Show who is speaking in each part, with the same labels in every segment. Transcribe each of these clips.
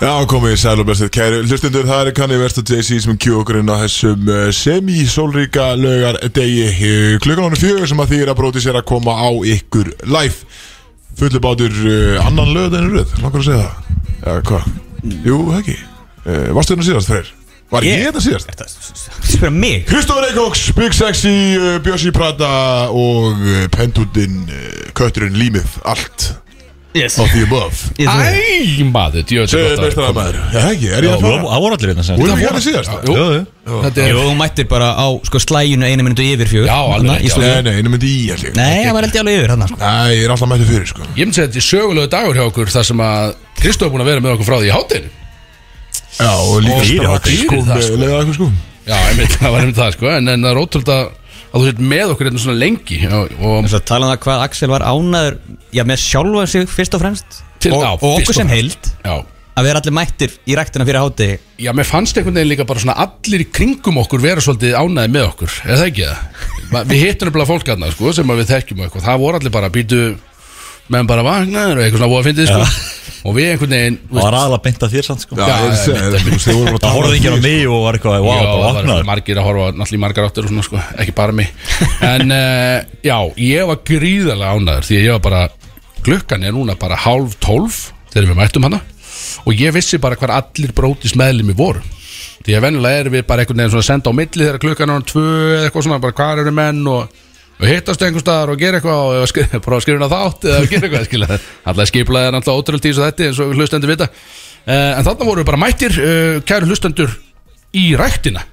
Speaker 1: Já, komið í sæl og blessið kæru Hlustundur, það er kannið verst að JC sem kjú okkur inn á þessum eh, semi-sólríka laugar degi klukkan ánum fjögur sem að því er að bróti sér að koma á ykkur live Fullu bátur uh, annan lög en röð, langar að segja það Já, hvað? Jú, það ekki uh, Varstu hérna síðast, Freyr? Var ég
Speaker 2: Ég?
Speaker 1: hérna síðast?
Speaker 2: Þetta spyrir mig
Speaker 1: Kristofur Eikóks, Big Sexy, uh, Bjössi Prata og uh, Pendutinn, uh, Kötturinn, Límið, allt
Speaker 2: Yes
Speaker 1: á því um above
Speaker 2: Ég trúi því.
Speaker 3: Æ, maður, djöðu
Speaker 1: Segðu meistara maður, já ekki, er ég að
Speaker 4: Það
Speaker 1: fara?
Speaker 4: voru allir hérna sem
Speaker 1: Þú erum hérna síðast?
Speaker 4: Jú, jú.
Speaker 3: Þetta
Speaker 2: Jú,
Speaker 3: er
Speaker 2: þú mættir bara á sko slæginu einu minútu yfir fjögur
Speaker 3: Já, alveg
Speaker 2: Þarna,
Speaker 3: rétt,
Speaker 2: í
Speaker 3: já.
Speaker 2: slaginu.
Speaker 1: Nei, nei, einu myndi í allir
Speaker 2: Nei, það var held ég alveg yfir hann sko.
Speaker 1: Nei, ég er alltaf mættu fyrir, sko
Speaker 3: Ég myndi segja þetta er sögulegu dagur hjá okkur þar sem að Kristó er búin að vera með okkur frá því í hátinn
Speaker 1: Já, og líka
Speaker 4: fyrir
Speaker 1: strax,
Speaker 4: okkur,
Speaker 1: sko,
Speaker 3: fyrir það,
Speaker 1: með
Speaker 3: sko.
Speaker 1: leiða eitthvað, sko
Speaker 3: Já, ég myndi það var einmitt það sko En, en það er ótrúld að að þú sett með okkur einnig svona lengi já, og
Speaker 2: Þess að tala um það hvað Axel var ánaður Já, með sjálfa sig fyrst og fremst
Speaker 3: Til-
Speaker 2: Og,
Speaker 3: já,
Speaker 2: og okkur
Speaker 3: fyrst og
Speaker 2: sem
Speaker 3: fremst.
Speaker 2: heild
Speaker 3: já,
Speaker 2: Að vera allir mættir í ræktina fyrir háti
Speaker 3: já, mér fannst einhvern veginn líka bara svona allir í kringum okkur vera svolítið ánæði með okkur eða það ekki það? Ma- Við hittum nefnilega fólk aðna sko sem að við þekkjum og eitthvað það voru allir bara býtu meðan bara vagnar og eitthvað svona voða fyndið sko og við einhvern veginn þú
Speaker 4: Það
Speaker 3: veist,
Speaker 4: var aðalega beint að þér sann sko
Speaker 1: Já,
Speaker 3: Já,
Speaker 1: ég segi,
Speaker 3: einmitt,
Speaker 1: þú veist, þið voru bara að
Speaker 4: Það
Speaker 1: tala
Speaker 4: horfði ekki á
Speaker 1: um því,
Speaker 4: mig og var eitthvað Vá,
Speaker 3: Já, það
Speaker 4: það var
Speaker 3: var
Speaker 4: opnaður
Speaker 3: margir að horfa á náttúrulega í margar áttur og svona sko, ekki bara mig En uh, já, ég var gríðarlega ánæður því að ég var bara Glukkan er núna bara hálf tólf þegar við mættum hana Og ég vissi bara hvar allir brótis meðlimi voru Því að venjulega erum við bara einhvern veginn svona að senda á milli þegar klukkan er hann tvö eða eitthvað svona bara hvar eru menn og og hittast einhvers staðar og gera eitthvað og eða skri, prófa að skrifa inn á þátt eða gera eitthvað skilja alltaf skiplaði er alltaf ótrúld í þessu þetta eins og við hlustendur vita uh, en þarna voru við bara mættir uh, kæru hlustendur í ræktina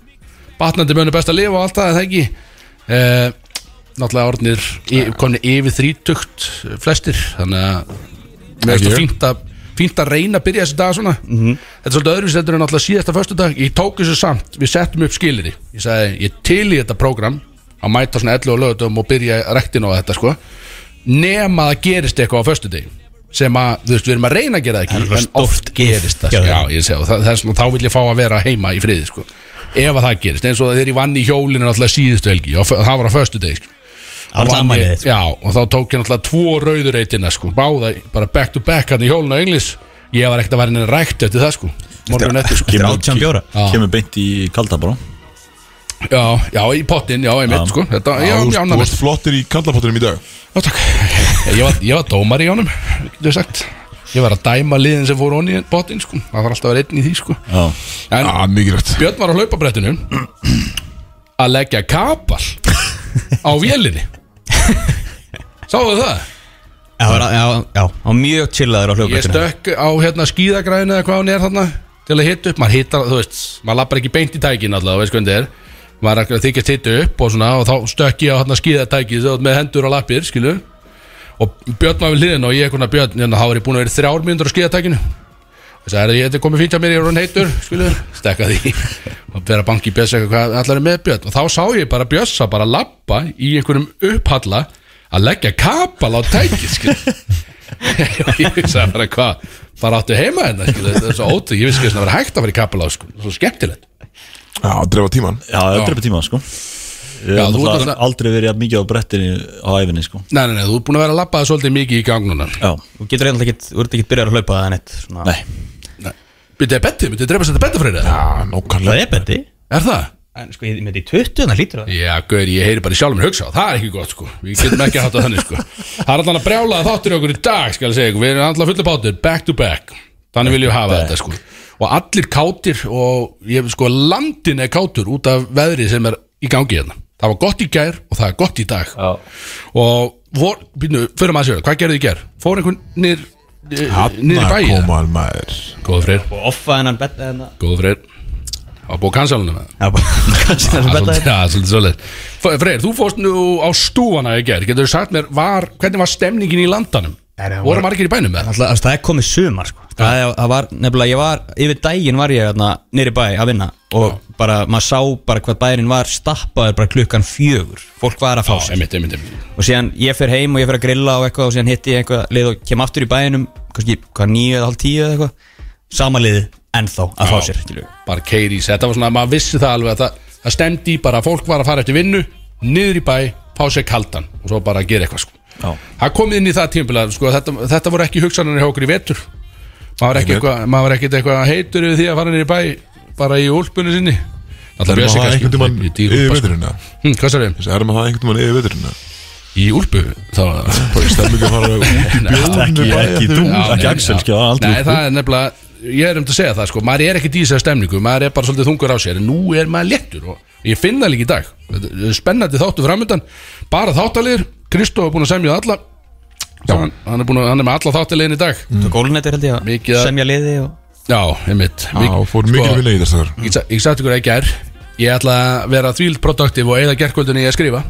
Speaker 3: batnandi mönu best að lifa og allt það er það ekki uh, náttúrulega orðnir y- komni yfir þrítugt eh, flestir þannig að það er
Speaker 1: ég.
Speaker 3: svona fínt að fínt að reyna að byrja þessi dag svona þetta er svolítið öðruvísi þetta er náttúrulega síðasta föstudag ég tók þessu samt, við settum upp skilir ég sagði, ég til í þetta prógram að mæta svona 11 og lögutum og byrja rektin á þetta sko nema það gerist eitthvað á föstudegi sem að, þú veist, við erum að reyna að gera það ekki
Speaker 2: er
Speaker 3: en
Speaker 2: stórt
Speaker 3: oft
Speaker 2: gif.
Speaker 3: gerist það, sko.
Speaker 2: Já.
Speaker 3: já, ég sé, og það, það er svona, þá vil ég fá að vera heima í friði, sko ef að það gerist, eins og þegar ég vann í hjólinu náttúrulega síðustu helgi, og það var á föstudegi sko.
Speaker 2: Það var
Speaker 3: Og vann
Speaker 2: afmælið
Speaker 3: ég-
Speaker 2: þitt, sko.
Speaker 3: Já, og þá tók ég náttúrulega tvo rauðureitina sko, báða bara back to back hann í hjólinu á englis ég var ekkert að vera henni rækt eftir það sko morgun eftir sko
Speaker 4: Kemur-
Speaker 2: 18 bjóra.
Speaker 4: ke- Kemur beint í kalda bara
Speaker 3: já, já, í pottin, já, ég mitt sko þetta, já,
Speaker 1: Já, þú
Speaker 3: já,
Speaker 1: veist, þú
Speaker 3: já,
Speaker 1: varst flottir í kallafottunum í dag
Speaker 3: já, takk ég var, ég var dómar í honum getur sagt ég var að dæma liðin sem fór honni í pottin sko það var alltaf að vera einn í því sko
Speaker 4: Já
Speaker 3: en
Speaker 1: Já, mikilvægt
Speaker 3: Björn var á hlaupabrettinu að leggja kapal á vélinni Sáðu það?
Speaker 2: Já, það var- já, já, hann var mjög chillaður á
Speaker 3: Ég
Speaker 2: hlugvættinu
Speaker 3: stökk á hérna skíðagræðinu eða hvað hún er þarna til að hita upp, maður hittar, þú veist maður lappar ekki beint í tækin alltaf, þú veist hvernig það er maður er að þykjast hitta upp og svona og þá stökk ég á hérna skíðatækið þú veist, með hendur og lappir, skilu og Björn var við hliðin og ég konar Björn hérna, þá er ég búin að vera í þrjár mínútur á skíðatækinu þess að ég þetta er komið fínt að mér, ég er hann heitur skilu, stekka því og vera banki björs eitthvað, hvað allar er með Björn og þá sá ég bara björsa bara lappa í einhverjum upphalla að leggja kapal á tækið skilu og ég hugsaði bara hvað bara áttu heima hérna skilu, þetta er svo ótrú ég vissi ekki að það var hægt að vera í kapal á sko, svo skemmtilegt
Speaker 1: Já, drefa tíman
Speaker 4: Já, öllur upp í tíma sko Ég
Speaker 3: Já, þú
Speaker 4: hef
Speaker 3: ert
Speaker 4: náttúrulega
Speaker 3: alltaf-
Speaker 4: aldrei verið jafn mikið á brettinu á æfinni sko
Speaker 3: nei, nei, nei, þú er búin að vera að lappa það svolítið mikið í gang núna
Speaker 4: Já,
Speaker 2: Þú getur eitthvað ekki, þú ert ekki byrjar að hlaupa það neitt svona.
Speaker 4: nei
Speaker 3: byrjuðu bettið, byrjuðu drepa sér þetta bettið fyrir
Speaker 1: Já, nákvæmlega
Speaker 2: Það er bendi
Speaker 3: það er það?
Speaker 2: En sko, ég myndi í 20, þannig lítur það
Speaker 3: Já, gauður, ég heyri bara í sjálfum mér hugsa Það er ekki gott, sko Við getum ekki að hátta þannig, sko Það er alltaf að brjála þáttur í okkur í dag, skal ég segja ykkur Við erum alltaf fullu bátur, back to back Þannig viljum við hafa þetta, sko Og allir kátir og ég, sko, landin er kátur út af veðrið sem er í gangi hérna Það var gott í gær og það er gott í dag Já. Og vor, býtnu, fyrir maður sér Hvað gerðu í gær? Fór einhvern nýr eh, Nýr í
Speaker 1: Hanna
Speaker 3: bæið?
Speaker 1: komal maður
Speaker 3: Góður freyr,
Speaker 2: Og offa hennan betta hérna. hennan
Speaker 3: góður freyr Það var búið að cancela hana með það
Speaker 2: Já, bara kannski þessu
Speaker 3: Það
Speaker 2: betta hérna.
Speaker 3: er
Speaker 2: hennan
Speaker 3: svolítið- svolítið svolítið Freyr, þú fórst nú á stúfana í gerð Getur þú sagt mér, var, hvernig var stemningin í landanum?
Speaker 2: Nei, nei, hún
Speaker 3: Voru
Speaker 2: var-
Speaker 3: margir í bænum með það?
Speaker 2: Alltaf, alltaf, það er komið sumar sko. það, er- það var nefnilega, ég var, yfir daginn var ég þarna, nýri bæ að vinna og bara, maður sá bara hvað bærin var stappaður bara klukkan fjögur fólk var að fá sig
Speaker 3: Einmitt, einmitt, einmitt
Speaker 2: og síðan ég fer heim og ég fer að grilla og eitthvað og síðan hitti ég eitthvað lið og kem aftur í bæinum kannski hvað nýju eða halv tíu eða eitthvað sama liði ennþá að fá sér skilurðu.
Speaker 3: Bara keiri í sig, þetta var svona, maður vissi það alveg að það, það stemdi í bara að fólk var að fara eftir vinnu Niður í bæ, fá sér kaldan Og svo bara að gera eitthvað sko
Speaker 4: Já.
Speaker 3: Það komið inn í það tímpil að sko, þetta, þetta voru ekki hugsananir hjá okkur í vetur maður var ekki eitthvað, maður var ekkit eitthvað heitur yfir því að fara nýri bæ bara í úlpunni sinni
Speaker 1: Það er maður það einhvern tímann yfir
Speaker 3: sko.
Speaker 1: veturina
Speaker 3: hm, Hvað sér
Speaker 1: Það er maður það einhvern tímann yfir veturina
Speaker 3: Í úlpu þá
Speaker 1: Bara í stemmingu að fara út í bjóðinu
Speaker 4: Ekki, ekki þú,
Speaker 3: Já,
Speaker 4: ekki
Speaker 3: nei,
Speaker 4: Axel
Speaker 3: já.
Speaker 4: skjá, aldrei
Speaker 3: Nei, það er nefnilega, ég er um til að segja það sko, maður er ekki í þessari stemningu, maður er bara svolítið þungur á sér en nú er maður léttur og ég finn það líka í dag Þetta er spennandi þáttu framöndan bara þáttalegir, Kristó er búin að semja alla hann, hann, er búin að, hann er með alla þáttalegin í dag
Speaker 2: mm. Gólunættir held ég
Speaker 3: Mikið
Speaker 2: að
Speaker 3: að-
Speaker 2: semja liði og
Speaker 3: Já, einmitt Sko,
Speaker 1: Já, fór
Speaker 4: Sko-
Speaker 1: mikil vinna í þessar
Speaker 3: Ég, sa- ég sagði ykkur ekki er Ég ætla að vera þvíld produktiv og eigða gerkvöldunni í að skrifa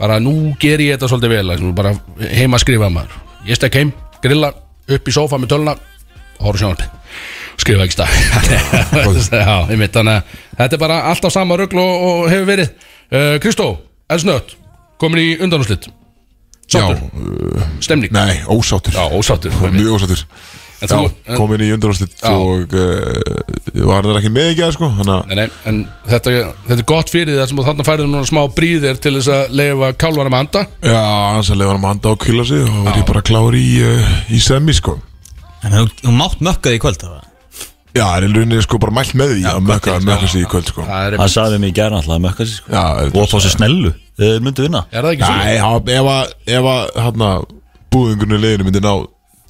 Speaker 3: Bara nú ger ég þetta svolítið vel Nú bara heima að skrifa maður Ég stekk heim, grilla, upp í sófa með tölna og Hóru sjónarpi Skrifa ekki stað Já, einmitt, þannig að Þetta er bara alltaf sama rögl og, og hefur verið uh, Kristó, elsnött Komin í undanúslit
Speaker 1: Já, uh,
Speaker 3: Sáttur, stemning
Speaker 1: nei, ósáttur
Speaker 3: Já, ósáttur einmitt.
Speaker 1: Mjög ósáttur
Speaker 3: En
Speaker 1: Já,
Speaker 3: þú- en-
Speaker 1: kom inn í undanúrslit
Speaker 3: Já.
Speaker 1: og uh, var hann ekki með ekki að sko Þannig að
Speaker 3: Nei, nei, en þetta, þetta er gott fyrir það sem að þarna færðu núna smá bríðir til þess að leifa kálvarum að anda
Speaker 1: Já, hans að lefa hann að handa á kvíla sig og var ég bara klár í, uh, í semi sko
Speaker 2: Þannig að þú- þú mátt mökkaði í kvöld það
Speaker 1: Já, það er í rauninni sko bara mælt með því að mökka, mökka sig í kvöld sko
Speaker 3: Það er,
Speaker 4: Hann sagði mig í gerna alltaf að mökka sig sko.
Speaker 1: Já, er-
Speaker 4: Og fá sér snellu Þeir myndu vinna
Speaker 3: er það ekki svo?
Speaker 1: Nei, hann- ef að, ef að hann að búðingurinn í leiðinu myndi ná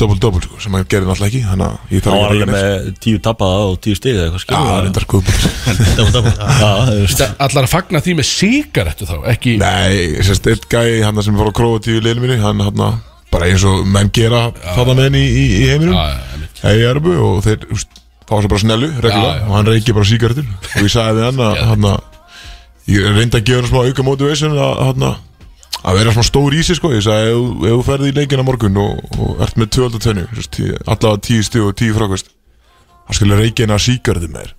Speaker 1: double-double sko, sem hann gerði náttúrulega ekki þannig að ég
Speaker 4: Hann
Speaker 1: þarf
Speaker 4: var
Speaker 1: ekki
Speaker 4: alveg
Speaker 1: að reyna
Speaker 4: með tíu tappaða og tíu stig eða eitthvað
Speaker 1: Já, það er
Speaker 4: skilur
Speaker 1: endar góð búður
Speaker 4: Já,
Speaker 3: Allar að fagna því með sigarettu þá, ekki
Speaker 1: Nei, sérst, eitt gæi hann sem fór á Kroatíu í leiðinu minni hann hann að bara eins og menn gera þarna menn í, í, í heiminum
Speaker 3: Já, já, einmitt.
Speaker 1: Hei, í Erbu og þeir úst, fá svo bara snellu
Speaker 3: Já, já.
Speaker 1: reglulega og hann reykir bara síkartur og ég sagði við hann að hann að ég reyndi að gefa hann smá auka motivation að hann að að vera smá stór í sig sko ég sagði ef, þú- ef þú ferði í leikina morgun og, og ert með 12 og 10 sérst, tí- allavega 10 stíð og 10 frákvæst hann skulle reykina síkartur með þér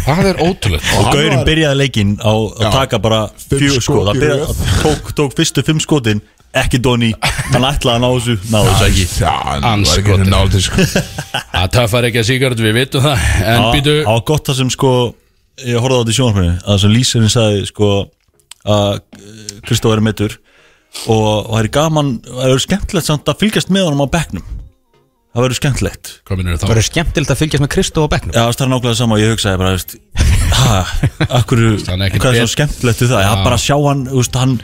Speaker 3: Það er ótrúlega
Speaker 4: Og
Speaker 1: hann
Speaker 4: Gaurin
Speaker 1: var-
Speaker 4: byrjaði leikinn á að
Speaker 1: Já.
Speaker 4: taka bara
Speaker 1: Fimm
Speaker 4: fjögur
Speaker 1: skot
Speaker 4: skot
Speaker 1: í
Speaker 4: Það byrjaði-
Speaker 1: röð.
Speaker 4: tók, tók fyrstu fimm skotin Ekki Doni, hann ætlaði að ná þessu Náðu þessu ekki
Speaker 1: Já, hann var ekki
Speaker 3: Anskotin.
Speaker 1: henni náldi sko
Speaker 3: Það töffar ekki að sigarettu, við vitum það En
Speaker 4: Á-
Speaker 3: býtu,
Speaker 4: á gott það sem sko Ég horfði á þetta í sjónarfinu Það sem lýsirinn sagði sko Að eh, Kristóf er meittur Og og það er gaman, það er skemmtilegt samt að fylgjast með honum á bekknum Það verður skemmtilegt
Speaker 3: hvað minnur
Speaker 2: Það
Speaker 3: þá?
Speaker 2: verður skemmtilegt að fylgjast með Kristó og Becknum
Speaker 4: Já, það er nákvæmlega sama og ég hugsaði bara, veist, hæ, akkur,
Speaker 3: Hann er
Speaker 4: hvað er
Speaker 3: ekkert
Speaker 4: svona
Speaker 3: bet-
Speaker 4: skemmtilegt við það? Já, bara sjá hann, þú veist, hann,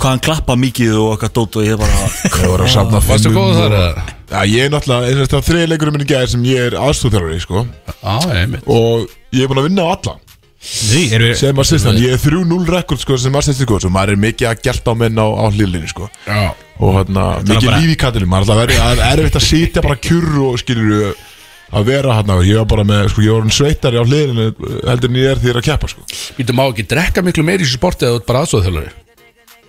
Speaker 4: hvað hann klappa mikið og okkar dót og ég bara,
Speaker 1: Ég var að safna
Speaker 3: Varstu
Speaker 1: fimmum
Speaker 3: góð þar,
Speaker 1: og-
Speaker 3: eða?
Speaker 1: Já, ég er náttúrulega, eins og þetta þriðleikurinn minn í gæði sem ég er aðstúðþjálfari sko
Speaker 3: Á, einmitt
Speaker 1: og ég er búin að vinna á alla
Speaker 2: Því, eru við
Speaker 1: sem assistan, ég er 3-0 rekord sko, sem assistan sko, svo maður er mikið að gert á menn á, á hlýlinni sko
Speaker 3: Já,
Speaker 1: og hérna, mikið
Speaker 2: bara-
Speaker 1: líf í kattinum maður er alltaf verið, það er erfitt að sitja bara kjur og skilur að vera hérna ég var bara með, sko, ég var hann sveitari á hlýlinni heldur en ég er því ég er að keppa sko
Speaker 3: býtu má ekki drekka miklu meiri í þessu sporti eða þú ert bara aðstóðþjálfari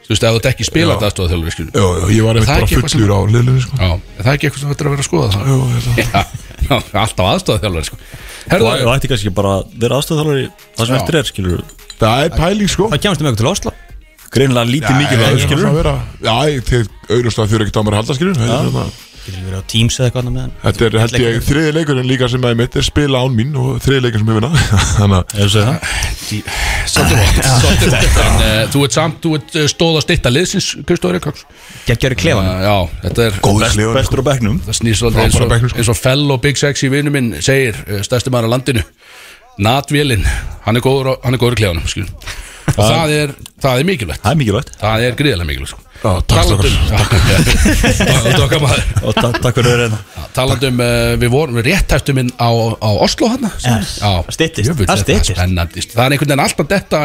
Speaker 3: Þú veist, eða þú ert ekki spilað aðstóðþjálfari, skilur
Speaker 1: Jó, jó, ég var einmitt
Speaker 3: Það er
Speaker 1: bara
Speaker 3: ekki eitthvað
Speaker 1: fullur á hlýlinni sko hérna.
Speaker 3: Já, er það er ekki eitthvað sem þetta er að vera að skoða það
Speaker 1: Jó, ég ætla-
Speaker 3: Já, já, alltaf aðstóðþjálfari, sko
Speaker 4: þú
Speaker 3: Herðu,
Speaker 4: þú ætti kannski bara að vera aðstöðþálari það sem
Speaker 3: Já.
Speaker 4: eftir er, skilur,
Speaker 1: það er pæling sko
Speaker 2: Það kemast um eitthvað til Oslo
Speaker 4: greinlega lítið mikið
Speaker 1: Já,
Speaker 4: það,
Speaker 1: ég-
Speaker 4: skilur.
Speaker 1: það vera- Já, þeir auðvist að þau eru ekkert á mér að halda skilur
Speaker 2: Getur við verið á Teams eða eitthvað annað með hann
Speaker 1: Þetta er held ég þriði leikurinn líka sem að ég mitt er spila án mín og þriði leikurinn sem ég vinna Þannig að
Speaker 4: Ef þú segir það.
Speaker 3: Svolítið vant, svolítið vant En uh, þú ert samt, þú ert eh, stóð að styrta liðsins Kristóður Eikáks uh,
Speaker 2: Geggjör í klefanum
Speaker 3: Já, þetta er
Speaker 1: Góður
Speaker 4: Best-
Speaker 1: klefur,
Speaker 4: Bestur á bekknum.
Speaker 3: Það snýst svolítið eins
Speaker 1: Frábæra bekknum,
Speaker 3: og,
Speaker 1: sko.
Speaker 3: eins og fellow Big Sexy vinnu minn segir uh, stærsti maður á landinu Nat Vélin, hann er góður á- hann er góður í klefanum skilur. og það er, það er mikilvægt
Speaker 4: Það er mikilvægt.
Speaker 3: það er gríðilega mikilvægt sko.
Speaker 1: Já, takk,
Speaker 3: Talandum Takk maður
Speaker 4: Og ta- takk fyrir að hérna. reyna.
Speaker 3: Talandum, uh, við vorum við réttæftum inn á, á Oslo hann
Speaker 2: Yes. Það styttist, það styttist.
Speaker 3: Spennandist, það er einhvern veginn alltaf detta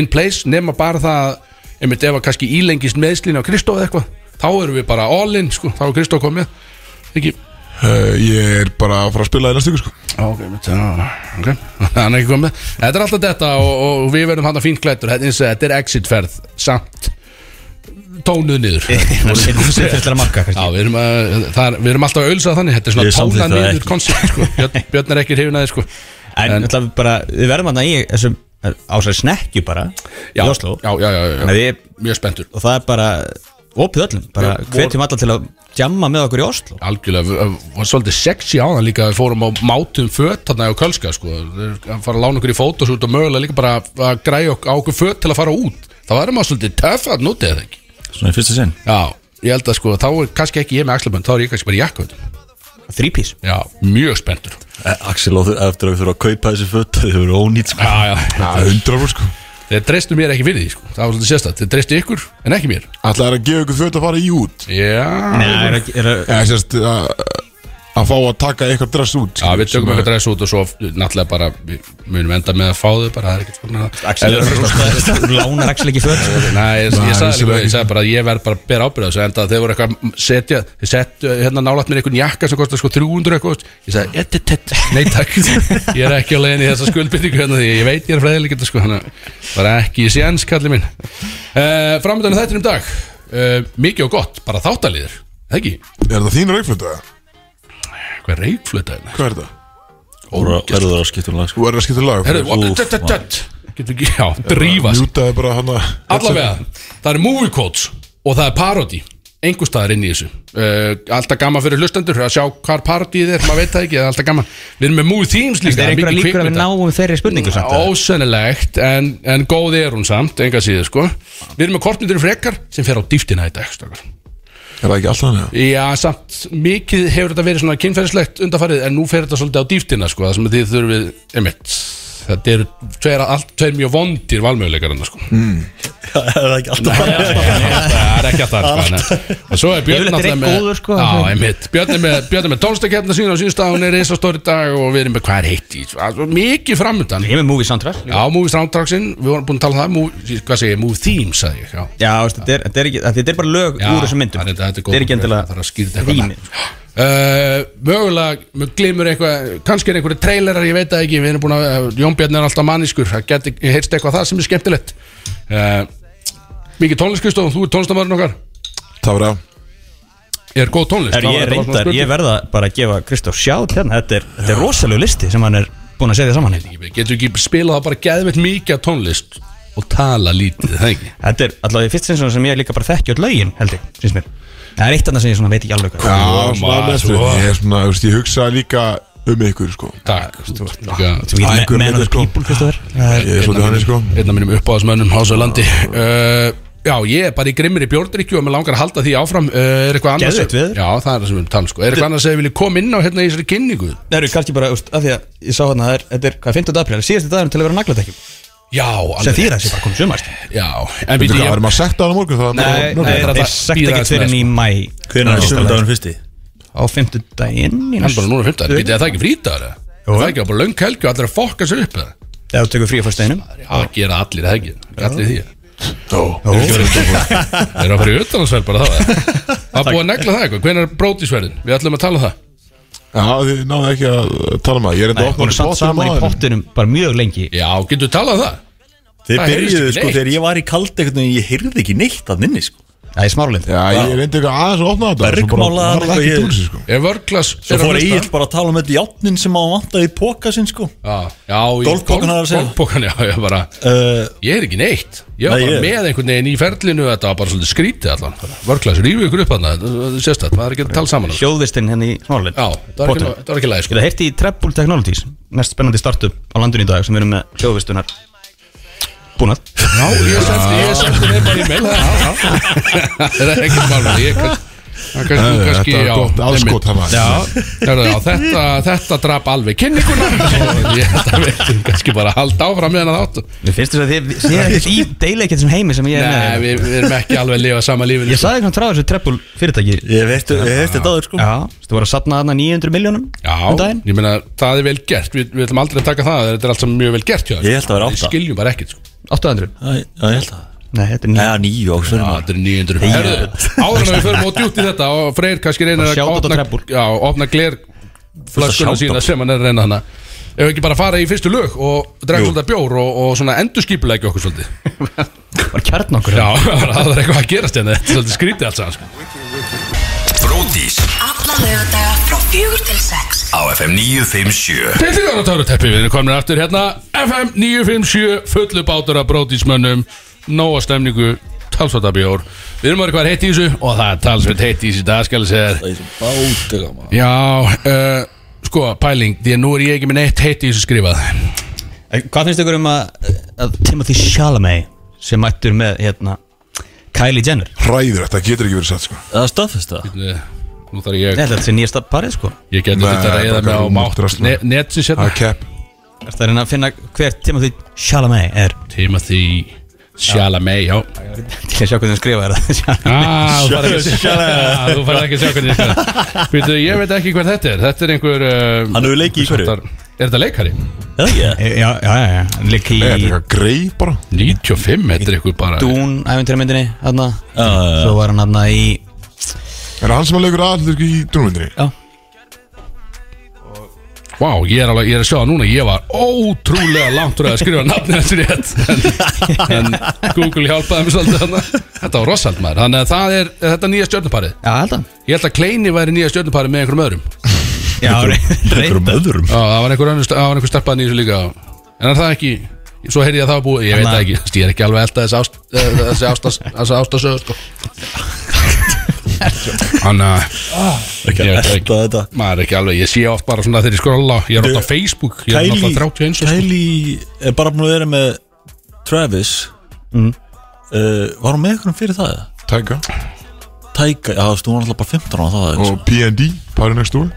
Speaker 3: in place nema bara það einmitt ef að kannski ílengist meðslín á Kristó eða eitthvað, þá erum við bara all in sko, þá er Kristó komið ekki,
Speaker 1: uh, Ég er bara að fara að spila í næstu ykkur sko
Speaker 3: Já, ok, mitt, já, ok Hann er ekki komið Þetta er alltaf þetta og, og við verðum hann að fínt klættur Þetta, eins og þetta er exitferð Samt Tónuð niður
Speaker 2: Það er sérfættilega marka
Speaker 3: Já,
Speaker 2: kannski
Speaker 3: við erum, að, það, er, við erum alltaf að ölsa þannig Þetta er svona
Speaker 4: Ég samþykki
Speaker 3: tónað
Speaker 4: það
Speaker 3: niður
Speaker 4: ekki.
Speaker 3: koncept sko. Björn, Björn er ekki hrifin að þið sko
Speaker 2: En náttúrulega við bara, við verðum hann í þessum ásæði snekkju bara í
Speaker 3: Já,
Speaker 2: Oslo
Speaker 3: já, já, já, já.
Speaker 2: Þannig að við-
Speaker 3: Mjög spenntur
Speaker 2: Og það er bara opið öllum Bara
Speaker 3: Við vorum-
Speaker 2: hvetjum alla til að jamma með okkur í Oslo
Speaker 3: Algjörlega, við- við- var svolítið sexy á það líka Við fórum á mátum föt þarna á Kölska sko. Þeir fara að lána okkur í fótosút og mögulega líka bara að græja ok- á okkur föt til að fara út Það væri maður svolítið töff að nútið það ekki
Speaker 4: Svona í fyrsta sinn.
Speaker 3: Já, ég held að sko, þá er kannski ekki ég með axlabönd, þá er ég kannski bara í jakkvöld
Speaker 2: Þrípís
Speaker 3: Já, mjög spenntur
Speaker 4: Eh, Axel á þau eftir að við þurfum að kaupa þessi föt Þau eru ónýtt sko
Speaker 3: Já, já,
Speaker 1: Það er hundra fór sko
Speaker 3: þeir dreistu mér ekki fyrir því sko. Það var svolítið sérstætt, þeir dreistu ykkur en ekki mér
Speaker 1: Ætlaði að gefa ykkur föt að fara í út
Speaker 3: Já,
Speaker 2: er, er, er, er,
Speaker 1: Eða sérst að að fá að taka eitthvað dress út
Speaker 3: já
Speaker 1: skilur,
Speaker 3: við tökum
Speaker 1: sem að-
Speaker 3: eitthvað dress út og svo náttúrulega bara við munum enda með að fá þau bara, það er ekkert svona
Speaker 4: Axel er
Speaker 3: Eða-
Speaker 2: Lánar Axel ekki föt sko.
Speaker 3: Nei, ég,
Speaker 1: Nei,
Speaker 3: ég, sagði
Speaker 1: vissulega
Speaker 3: líka, ég
Speaker 1: ekki.
Speaker 3: sagði bara að ég verð bara að bera ábyrða þessu enda að þeir voru eitthvað að setja, þeir settu hérna nálægt mér einhvern jakka sem kostar sko 300 eitthvað þú veist. ég sagði, "Ett, ett, ett." nei takk ég er ekki á leiðin í þessa skuldbyttingu hérna því ég veit ég er fræðilegget sko, þannig að bara ekki í séns kallið minn uh, framöndan er þættinum dag uh, mikið og gott, bara þáttalíður Það ekki,
Speaker 1: Er það þín reikflöta?
Speaker 3: hvað er reikflöta hérna?
Speaker 1: Hvað er það?
Speaker 4: Verður það að skipta um lag sko
Speaker 1: Þú er að skipta lag
Speaker 3: Herru,
Speaker 4: Úff,
Speaker 3: tött, tött, tött Getur ekki, já, drífast
Speaker 1: Mjútaði bara hann að
Speaker 3: Allavega, það eru movie quotes og það er parody einhver staðar inn í þessu uh, Alltaf gaman fyrir hlustendur að sjá hvar parodyið er, maður veit það ekki, það er alltaf gaman Við erum með movie themes líka
Speaker 2: Það er einhverja
Speaker 3: mikið
Speaker 2: líkur að við
Speaker 3: kvikmynda.
Speaker 2: náum þeirri spurningu samt eða?
Speaker 3: Ósennilegt, en, en góð er hún samt, enga síður sko Við erum með kortmyndir frekar sem fer á dýftina í dag stakar.
Speaker 1: Er það ekki alltaf hann? eða?
Speaker 3: Já, samt, mikið hefur þetta verið svona kynferðislegt undarfarið En nú fer þetta svolítið á dýftina sko, það sem þið þurfið, einmitt Þetta eru tveir, allt, tveir mjög vondir valmöguleikar annars sko
Speaker 4: Það er ekki alltaf
Speaker 3: Nei, það er ekki alltaf sko, nei. og svo er Björn
Speaker 2: Yfirleitt er einn
Speaker 3: náttúrulega
Speaker 2: góður, sko.
Speaker 3: á, einmitt, Björn er með, Björn er með tónstakefna sína og síðust að hún er reisa stóri dag og við erum með hvað er heitt í svo- svo mikið framöndan
Speaker 2: Ég er með movie soundtrack
Speaker 3: á movie soundtracksinn, við vorum búin að tala um það movie, hvað segir, ég, movie themes sagði ég já.
Speaker 2: Já, veistu, þetta er, þetta er, ekki- þetta er bara lög
Speaker 3: Já,
Speaker 2: úr þessum myndum
Speaker 3: það er- þetta er góð-
Speaker 2: Þetta er ekki
Speaker 3: það þarf að skýra
Speaker 2: endilega
Speaker 3: þetta eitthvað.
Speaker 2: rými
Speaker 3: Uh, mögulega, mjög glimur eitthvað kannski er einhverju trailerar, ég veit það ekki við erum búin að, uh, Jón Björn er alltaf manniskur það geti, ég heyrst eitthvað það sem er skemmtilegt uh, mikið tónlist Kristof, þú er tónlistamæðurinn okkar
Speaker 1: Það var að
Speaker 3: er góð tónlist
Speaker 2: Er ég
Speaker 3: Það var- þetta var svona
Speaker 2: reyndar,
Speaker 3: spurning.
Speaker 2: ég verða bara að gefa Kristóf sjátt hérna, þetta er, þetta er rosalegu listi sem hann er búin að setja saman hérna
Speaker 3: Við getum ekki spilað það bara geðveitt mikið af tónlist og tala lítið, það ekki
Speaker 2: Þetta er allavega í fyrst sinn svona sem ég líka bara þekki öll lögin, held ég, syns mér Það er eitt annað sem ég svona veit ekki alveg hvað
Speaker 1: Já, svona
Speaker 3: maður,
Speaker 1: alveg eftir
Speaker 3: svo.
Speaker 1: Ég er svona, þú veist, ég hugsa líka um ykkur sko
Speaker 3: Takk
Speaker 2: Þú
Speaker 1: Æ, einhver
Speaker 2: getur me- man
Speaker 1: myndi,
Speaker 2: of the
Speaker 1: sko.
Speaker 2: people, Kristófur
Speaker 1: Ég er svolítið hann sko
Speaker 3: Einn af mínum uppáðasmönnum Hásalandi uh, Já, ég er bara í grimmir í bjórdrykju og mér langar að halda því áfram uh, Er eitthvað annars
Speaker 2: Geðveikt veður.
Speaker 3: Já, það er það sem við erum að tala um, sko Er eitthvað annars að við viljum koma inn á hérna í þessari kynningu
Speaker 2: Það eru kannski bara, úst, af því að ég sá hérna, það er- þetta er, hvað, 15. apríl, síðasti dagur til að vera nagladekkjum
Speaker 3: Já,
Speaker 2: sem
Speaker 3: alveg
Speaker 2: þýra þessi bara komið sko. sumast
Speaker 3: Já, en
Speaker 1: Þú
Speaker 3: við
Speaker 1: veist,
Speaker 3: ég
Speaker 1: erum að sekta hann á morgun það
Speaker 2: Nei,
Speaker 1: Nú,
Speaker 2: nei,
Speaker 3: þetta er
Speaker 2: það
Speaker 3: að
Speaker 2: er sagt
Speaker 3: bíða sko.
Speaker 2: ekki
Speaker 3: aðeins með,
Speaker 2: fyrir enn í mæ
Speaker 4: Hvernig er sömundagurinn fyrsti?
Speaker 2: á 50 daginn
Speaker 3: Hann bara núna 15, við það ekki frítagur eða? Er Það ekki bara löng helgi og allir að fokka sér upp eða?
Speaker 2: Ef þú tekur frí á fyrst daginnum
Speaker 3: Það gera allir það ekki Allir því Það er að fara í utanhansverð bara það eða? Það er búið að negla það eitthvað Hvernig er brótisverðin? Við ætlum að tala um það
Speaker 1: Já, þið náðu ekki að tala maður Ég er enda að
Speaker 2: Nei, voru
Speaker 1: opna
Speaker 2: satt saman í pottinum bara mjög lengi
Speaker 3: Já, getur við talað um það?
Speaker 4: Þeir
Speaker 3: Það heyrðist
Speaker 4: byrjuðu
Speaker 3: ekki
Speaker 4: sko
Speaker 3: neitt.
Speaker 4: þegar ég var í kaldi einhvern veginn, ég heyrði ekki neitt að nynni sko
Speaker 2: Það er smáralind
Speaker 1: Já, ég reyndi eitthvað aðeins að opna þetta
Speaker 4: Bergmálaðar
Speaker 1: Það
Speaker 4: eitthvað
Speaker 1: ekki
Speaker 4: ég-
Speaker 1: túl sér sko
Speaker 3: Ef vörglas
Speaker 4: Svo fór Egil bara að tala um þetta játnin sem á vantaði í póka sinn sko
Speaker 3: Já, já í-
Speaker 4: Golfpokan
Speaker 3: golf-
Speaker 4: er að segja.
Speaker 3: golfpokan, já, ég bara
Speaker 4: uh,
Speaker 3: Ég er ekki neitt Ég var
Speaker 4: Nei,
Speaker 3: bara
Speaker 4: ég-
Speaker 3: með einhvern veginn í ferlinu Þetta var bara svolítið skrítið allan Vörglas, rífu ykkur upp hann Sérstætt, maður er ekki að tala saman um það.
Speaker 2: Hljóðvistinn henni hérna í smáralind
Speaker 3: Já, þetta var ekki- þetta var ekki læg
Speaker 2: Ég
Speaker 3: sko
Speaker 2: það heyrti í Treble Technologies Mest spennandi startup á landinu í dag sem við erum með hljóðvistunar Búnað
Speaker 3: Já, ég sendi, ég sendi þeim bara í mail það, já, já. Það er ekki mála Ég kann- það kannski,
Speaker 1: Nei,
Speaker 3: kannski,
Speaker 1: þetta var
Speaker 3: já,
Speaker 1: gott
Speaker 3: einmitt.
Speaker 1: aðskot hann að-
Speaker 3: Já, herðu, já, þetta, þetta drap alveg kynninguna og Ég held að við kannski bara halda áfram með hana þáttu
Speaker 2: Mér finnst þess að þið þið séð ekkert í deila ekkert sem heimi sem ég er
Speaker 3: Nei,
Speaker 2: með
Speaker 3: við, við erum ekki alveg að lifa sama lífinu
Speaker 2: Ég sagði eitthvað frá þessu Treble fyrirtæki
Speaker 4: Ég veist þetta áður sko
Speaker 2: Já, þú var að sapna þarna 900 miljónum
Speaker 3: Já,
Speaker 2: um daginn
Speaker 3: ég meina, það er vel gert Við, við ætlum aldrei að taka það, þetta er alltaf mjög vel gert hjá þér.
Speaker 4: Ég held að það væri
Speaker 3: Við
Speaker 4: átta.
Speaker 3: skiljum bara ekkert sko.
Speaker 2: 800
Speaker 4: Já, ég- já, ég held að
Speaker 2: Nei, þetta er
Speaker 4: Já,
Speaker 2: 9
Speaker 4: nýju
Speaker 3: Já,
Speaker 4: áksverðum
Speaker 3: Þetta er 900
Speaker 4: Ég-
Speaker 3: Herðu, áður en við förum á djútt í þetta og Freyr kannski reynir
Speaker 2: Bara
Speaker 3: að
Speaker 2: shout out á
Speaker 3: opna,
Speaker 2: Treble.
Speaker 3: já, opna gler flaskuna
Speaker 4: shout
Speaker 3: sína
Speaker 4: out.
Speaker 3: sem hann er að reyna hana Ef við ekki bara fara í fyrstu lög og drega svolítið bjór og, og svona endurskipulegja okkur svolítið
Speaker 2: Var kjarn okkur
Speaker 3: Já, það er eitthvað að gerast hérna Þetta er svolítið skrítið allt saman sko.
Speaker 5: Bródís
Speaker 6: Alla lögadaga frá fjögur til sex
Speaker 5: á FM 957
Speaker 3: Til því að tára teppi, við erum komin aftur hérna FM 957, fullu bátur af brótismönnum, nóa stemningu talsvartabjór, við erum að vera hvað heitt í þessu og það er talsvart heitt í þessu dag skal ég segja þér.
Speaker 4: Það er svo bátur gaman.
Speaker 3: Já, uh, sko, pæling því að nú er ég ekki með neitt heitt í þessu skrifað
Speaker 2: En Hvað finnst ykkur um að, að Timothy Chalamet sem mættur með hérna, Kylie Jenner
Speaker 1: Hræður, þetta getur ekki verið satt sko
Speaker 4: Eða staðfesta það?
Speaker 3: Eh, Nú þarf ég,
Speaker 2: Þetta er nýjasta parið sko
Speaker 3: ég geti
Speaker 1: Nei,
Speaker 3: þetta að reyða
Speaker 1: þetta
Speaker 3: mig á
Speaker 1: er rúmt
Speaker 3: mátt
Speaker 1: drasl.
Speaker 3: ne- Netsins
Speaker 1: Það
Speaker 3: hérna
Speaker 1: er kepp
Speaker 2: Það er hérna að finna hver Timothy Chalamet er
Speaker 3: Timothy Chalamet, já
Speaker 2: Til að sjá hvernig hann skrifa það
Speaker 3: Ah, þú farið ekki að sjá- Ah, þú farið ekki að sjá hvernig þetta er Býtu, ég veit ekki hver þetta er Þetta er einhver um,
Speaker 4: Hann hefur leikið í hverju?
Speaker 3: Er þetta leikari?
Speaker 4: Eða ekki?
Speaker 2: Já, já, já, já Hann Líka
Speaker 1: Nei, Þetta er
Speaker 2: í
Speaker 1: eitthvað greið bara
Speaker 3: 95, þetta er einhver bara
Speaker 2: Dún æfintyramyndinni Þarna
Speaker 4: Já, já, já.
Speaker 2: Svo var hann þarna í
Speaker 1: Er hann sem að leikur aðlur í drúmyndinni?
Speaker 2: Já
Speaker 3: Vá, ég er, alveg, ég er að sjá það núna Ég var ótrúlega langt úr að skrifa nafni þessu rétt en, en Google hjálpaði mér svolítið þarna Þetta var rosald maður Þannig að það er þetta er nýja stjörnuparið
Speaker 2: Já, held að
Speaker 3: Ég held að Kleini væri nýja stjörnuparið með einhverjum öðrum
Speaker 2: Já, reynd
Speaker 4: Einhverjum öðrum
Speaker 3: Já, það var einhver, önnur- það var einhver starpaðin í þessu líka En er það ekki Svo heyrði ég að það var búið Ég veit það ekki Þessi, Ég er ekki alveg elda þessi ást, eh, þessi ástas, þessi ástasöðu sko. Þannig að
Speaker 4: Ekki
Speaker 3: Ég
Speaker 4: að
Speaker 3: veit það
Speaker 4: elda þetta
Speaker 3: maður er ekki alveg Ég sé oft bara svona þegar ég skrolla Ég er oft á Facebook Ég er
Speaker 4: Kylie,
Speaker 3: náttúrulega 31 sko.
Speaker 4: Kylie er bara búin að vera með Travis uh, Var hún með einhverjum fyrir það? eða?
Speaker 1: Tæka
Speaker 4: Tæka, já þú veist, hún var alltaf bara 15 á það eða eitthvað.
Speaker 1: Og P&D, Party Next Door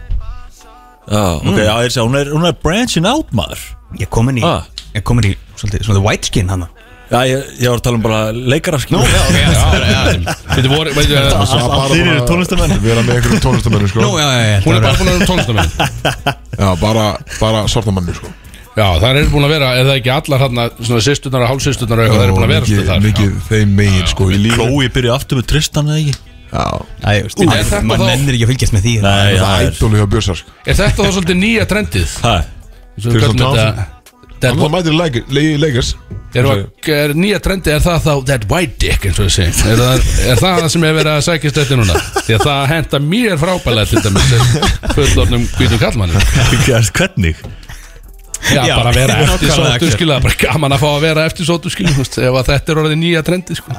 Speaker 4: Já, ok, já, ég sé, hún er, hún er branching out maður
Speaker 2: Ég kom inn í
Speaker 4: Ah.
Speaker 2: Ég kom inn í Svolítið Svona white skin hann
Speaker 4: Já, ég, ég var að tala um bara leikara skil
Speaker 3: Já, ok, já, já, já. Þetta voru, eh, veit ég,
Speaker 1: Það bara
Speaker 4: þeir
Speaker 1: bara
Speaker 4: eru tónlistarmenn.
Speaker 1: Vera með einhverjum tónlistamennu sko
Speaker 2: já, já, já
Speaker 3: Hún er bara búin að vera um tónlistamenn
Speaker 1: Já, bara, bara svartamannu sko
Speaker 3: Já, það er búin að vera, er það ekki allar hérna Svona sýsturnar og hálfsýsturnar og eitthvað Það er búin að vera
Speaker 1: mikið,
Speaker 3: stöð þar
Speaker 1: mikið þeim megin sko í lífi
Speaker 4: Chloe byrja aftur með Tristan eða ekki
Speaker 1: Já,
Speaker 2: Æ, þú
Speaker 3: er
Speaker 2: veist,
Speaker 3: þetta
Speaker 2: mann
Speaker 3: þá-
Speaker 2: mennir ekki að fylgjast með því
Speaker 4: Nei,
Speaker 1: það
Speaker 4: það
Speaker 1: er
Speaker 4: er
Speaker 1: ædólu hjá Björsar sko
Speaker 3: Já. Er þetta þá svolítið nýja trendið?
Speaker 4: Hæ,
Speaker 3: Svo við
Speaker 1: Tristan
Speaker 3: köllum
Speaker 1: Thompson.
Speaker 3: þetta- Dead
Speaker 1: Hann var mætir í Lakers- í Lakers
Speaker 3: Er, er nýja trendi, er það þá that white dick eins og ég segi er, það- er það það sem er verið að sækist þetta núna því að það henda mér frábælega til dæmis sem fullornum hvítum kallmanni
Speaker 4: ekki að hvernig
Speaker 3: já,
Speaker 2: Já,
Speaker 3: bara vera
Speaker 2: nákvæmlega,
Speaker 3: eftir sótu
Speaker 2: Axel.
Speaker 3: skilja bara gaman að fá að vera eftir sótu skilja ef að þetta er orðið nýja trendi sko.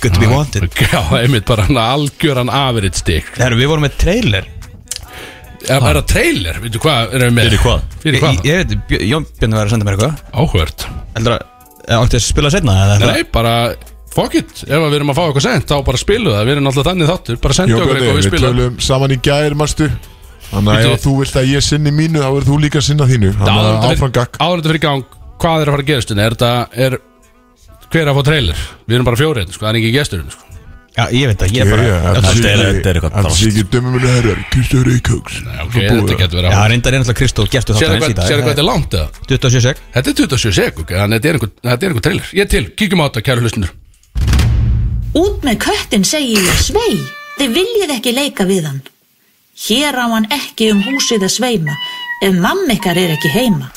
Speaker 2: Good to be wanted
Speaker 3: já, einmitt bara hann algjöran average dick
Speaker 2: Herru, við vorum með trailer
Speaker 3: er, er það trailer, veitu hvað erum við með
Speaker 4: Fyrir hvað?
Speaker 3: fyrir
Speaker 2: Ég,
Speaker 3: hvað,
Speaker 2: ég veit, Björn- Jón Björn var að senda mér eitthvað
Speaker 3: áhört
Speaker 2: Heldur að, eða átti að spila setna eða eitthvað
Speaker 3: nei, bara fuck it, ef að við erum að fá eitthvað sent þá bara spilu það, við erum alltaf þannig þáttur bara sendi
Speaker 1: Jón
Speaker 3: okkur
Speaker 1: Bjarni,
Speaker 3: eitthvað og við
Speaker 1: við
Speaker 3: spilum
Speaker 1: tölum saman í gær, marstu Þannig að
Speaker 3: Bíddu.
Speaker 1: ef þú vilt að ég sinni mínu, þá verður þú líka að sinna þínu Þannig
Speaker 3: áður
Speaker 1: að
Speaker 3: þetta
Speaker 1: áfram
Speaker 3: fyrir,
Speaker 1: gakk
Speaker 3: áður þetta fyrir gang hvað er að fara að gerast hérna? er þetta er, hver er að fá trailer við erum bara fjórið sko, það er ekki gestur hérna, sko.
Speaker 2: Já, ég veit það, ég er bara
Speaker 4: þetta er- þetta er eitthvað
Speaker 1: Það
Speaker 4: drast.
Speaker 1: sé ekki dömum minni herrar, Kristján Reykjóks
Speaker 3: okay, þetta getur verið
Speaker 2: Já,
Speaker 3: að
Speaker 2: reyndar er náttúrulega Kristó Gertu
Speaker 3: Sérðu
Speaker 2: þáttan
Speaker 3: hvað, sérðu hvað þetta er langt eða?
Speaker 2: 27 sek
Speaker 3: Þetta er 27 sekund, en þetta er einhver, þetta er einhver trailer. Ég er til, kíkjum á þetta, kæru hlustundur.
Speaker 6: Út með köttin segi ég svei. Þið viljið ekki leika við hann. Hér á hann ekki um húsið að sveima ef mamma ykkar er ekki heima.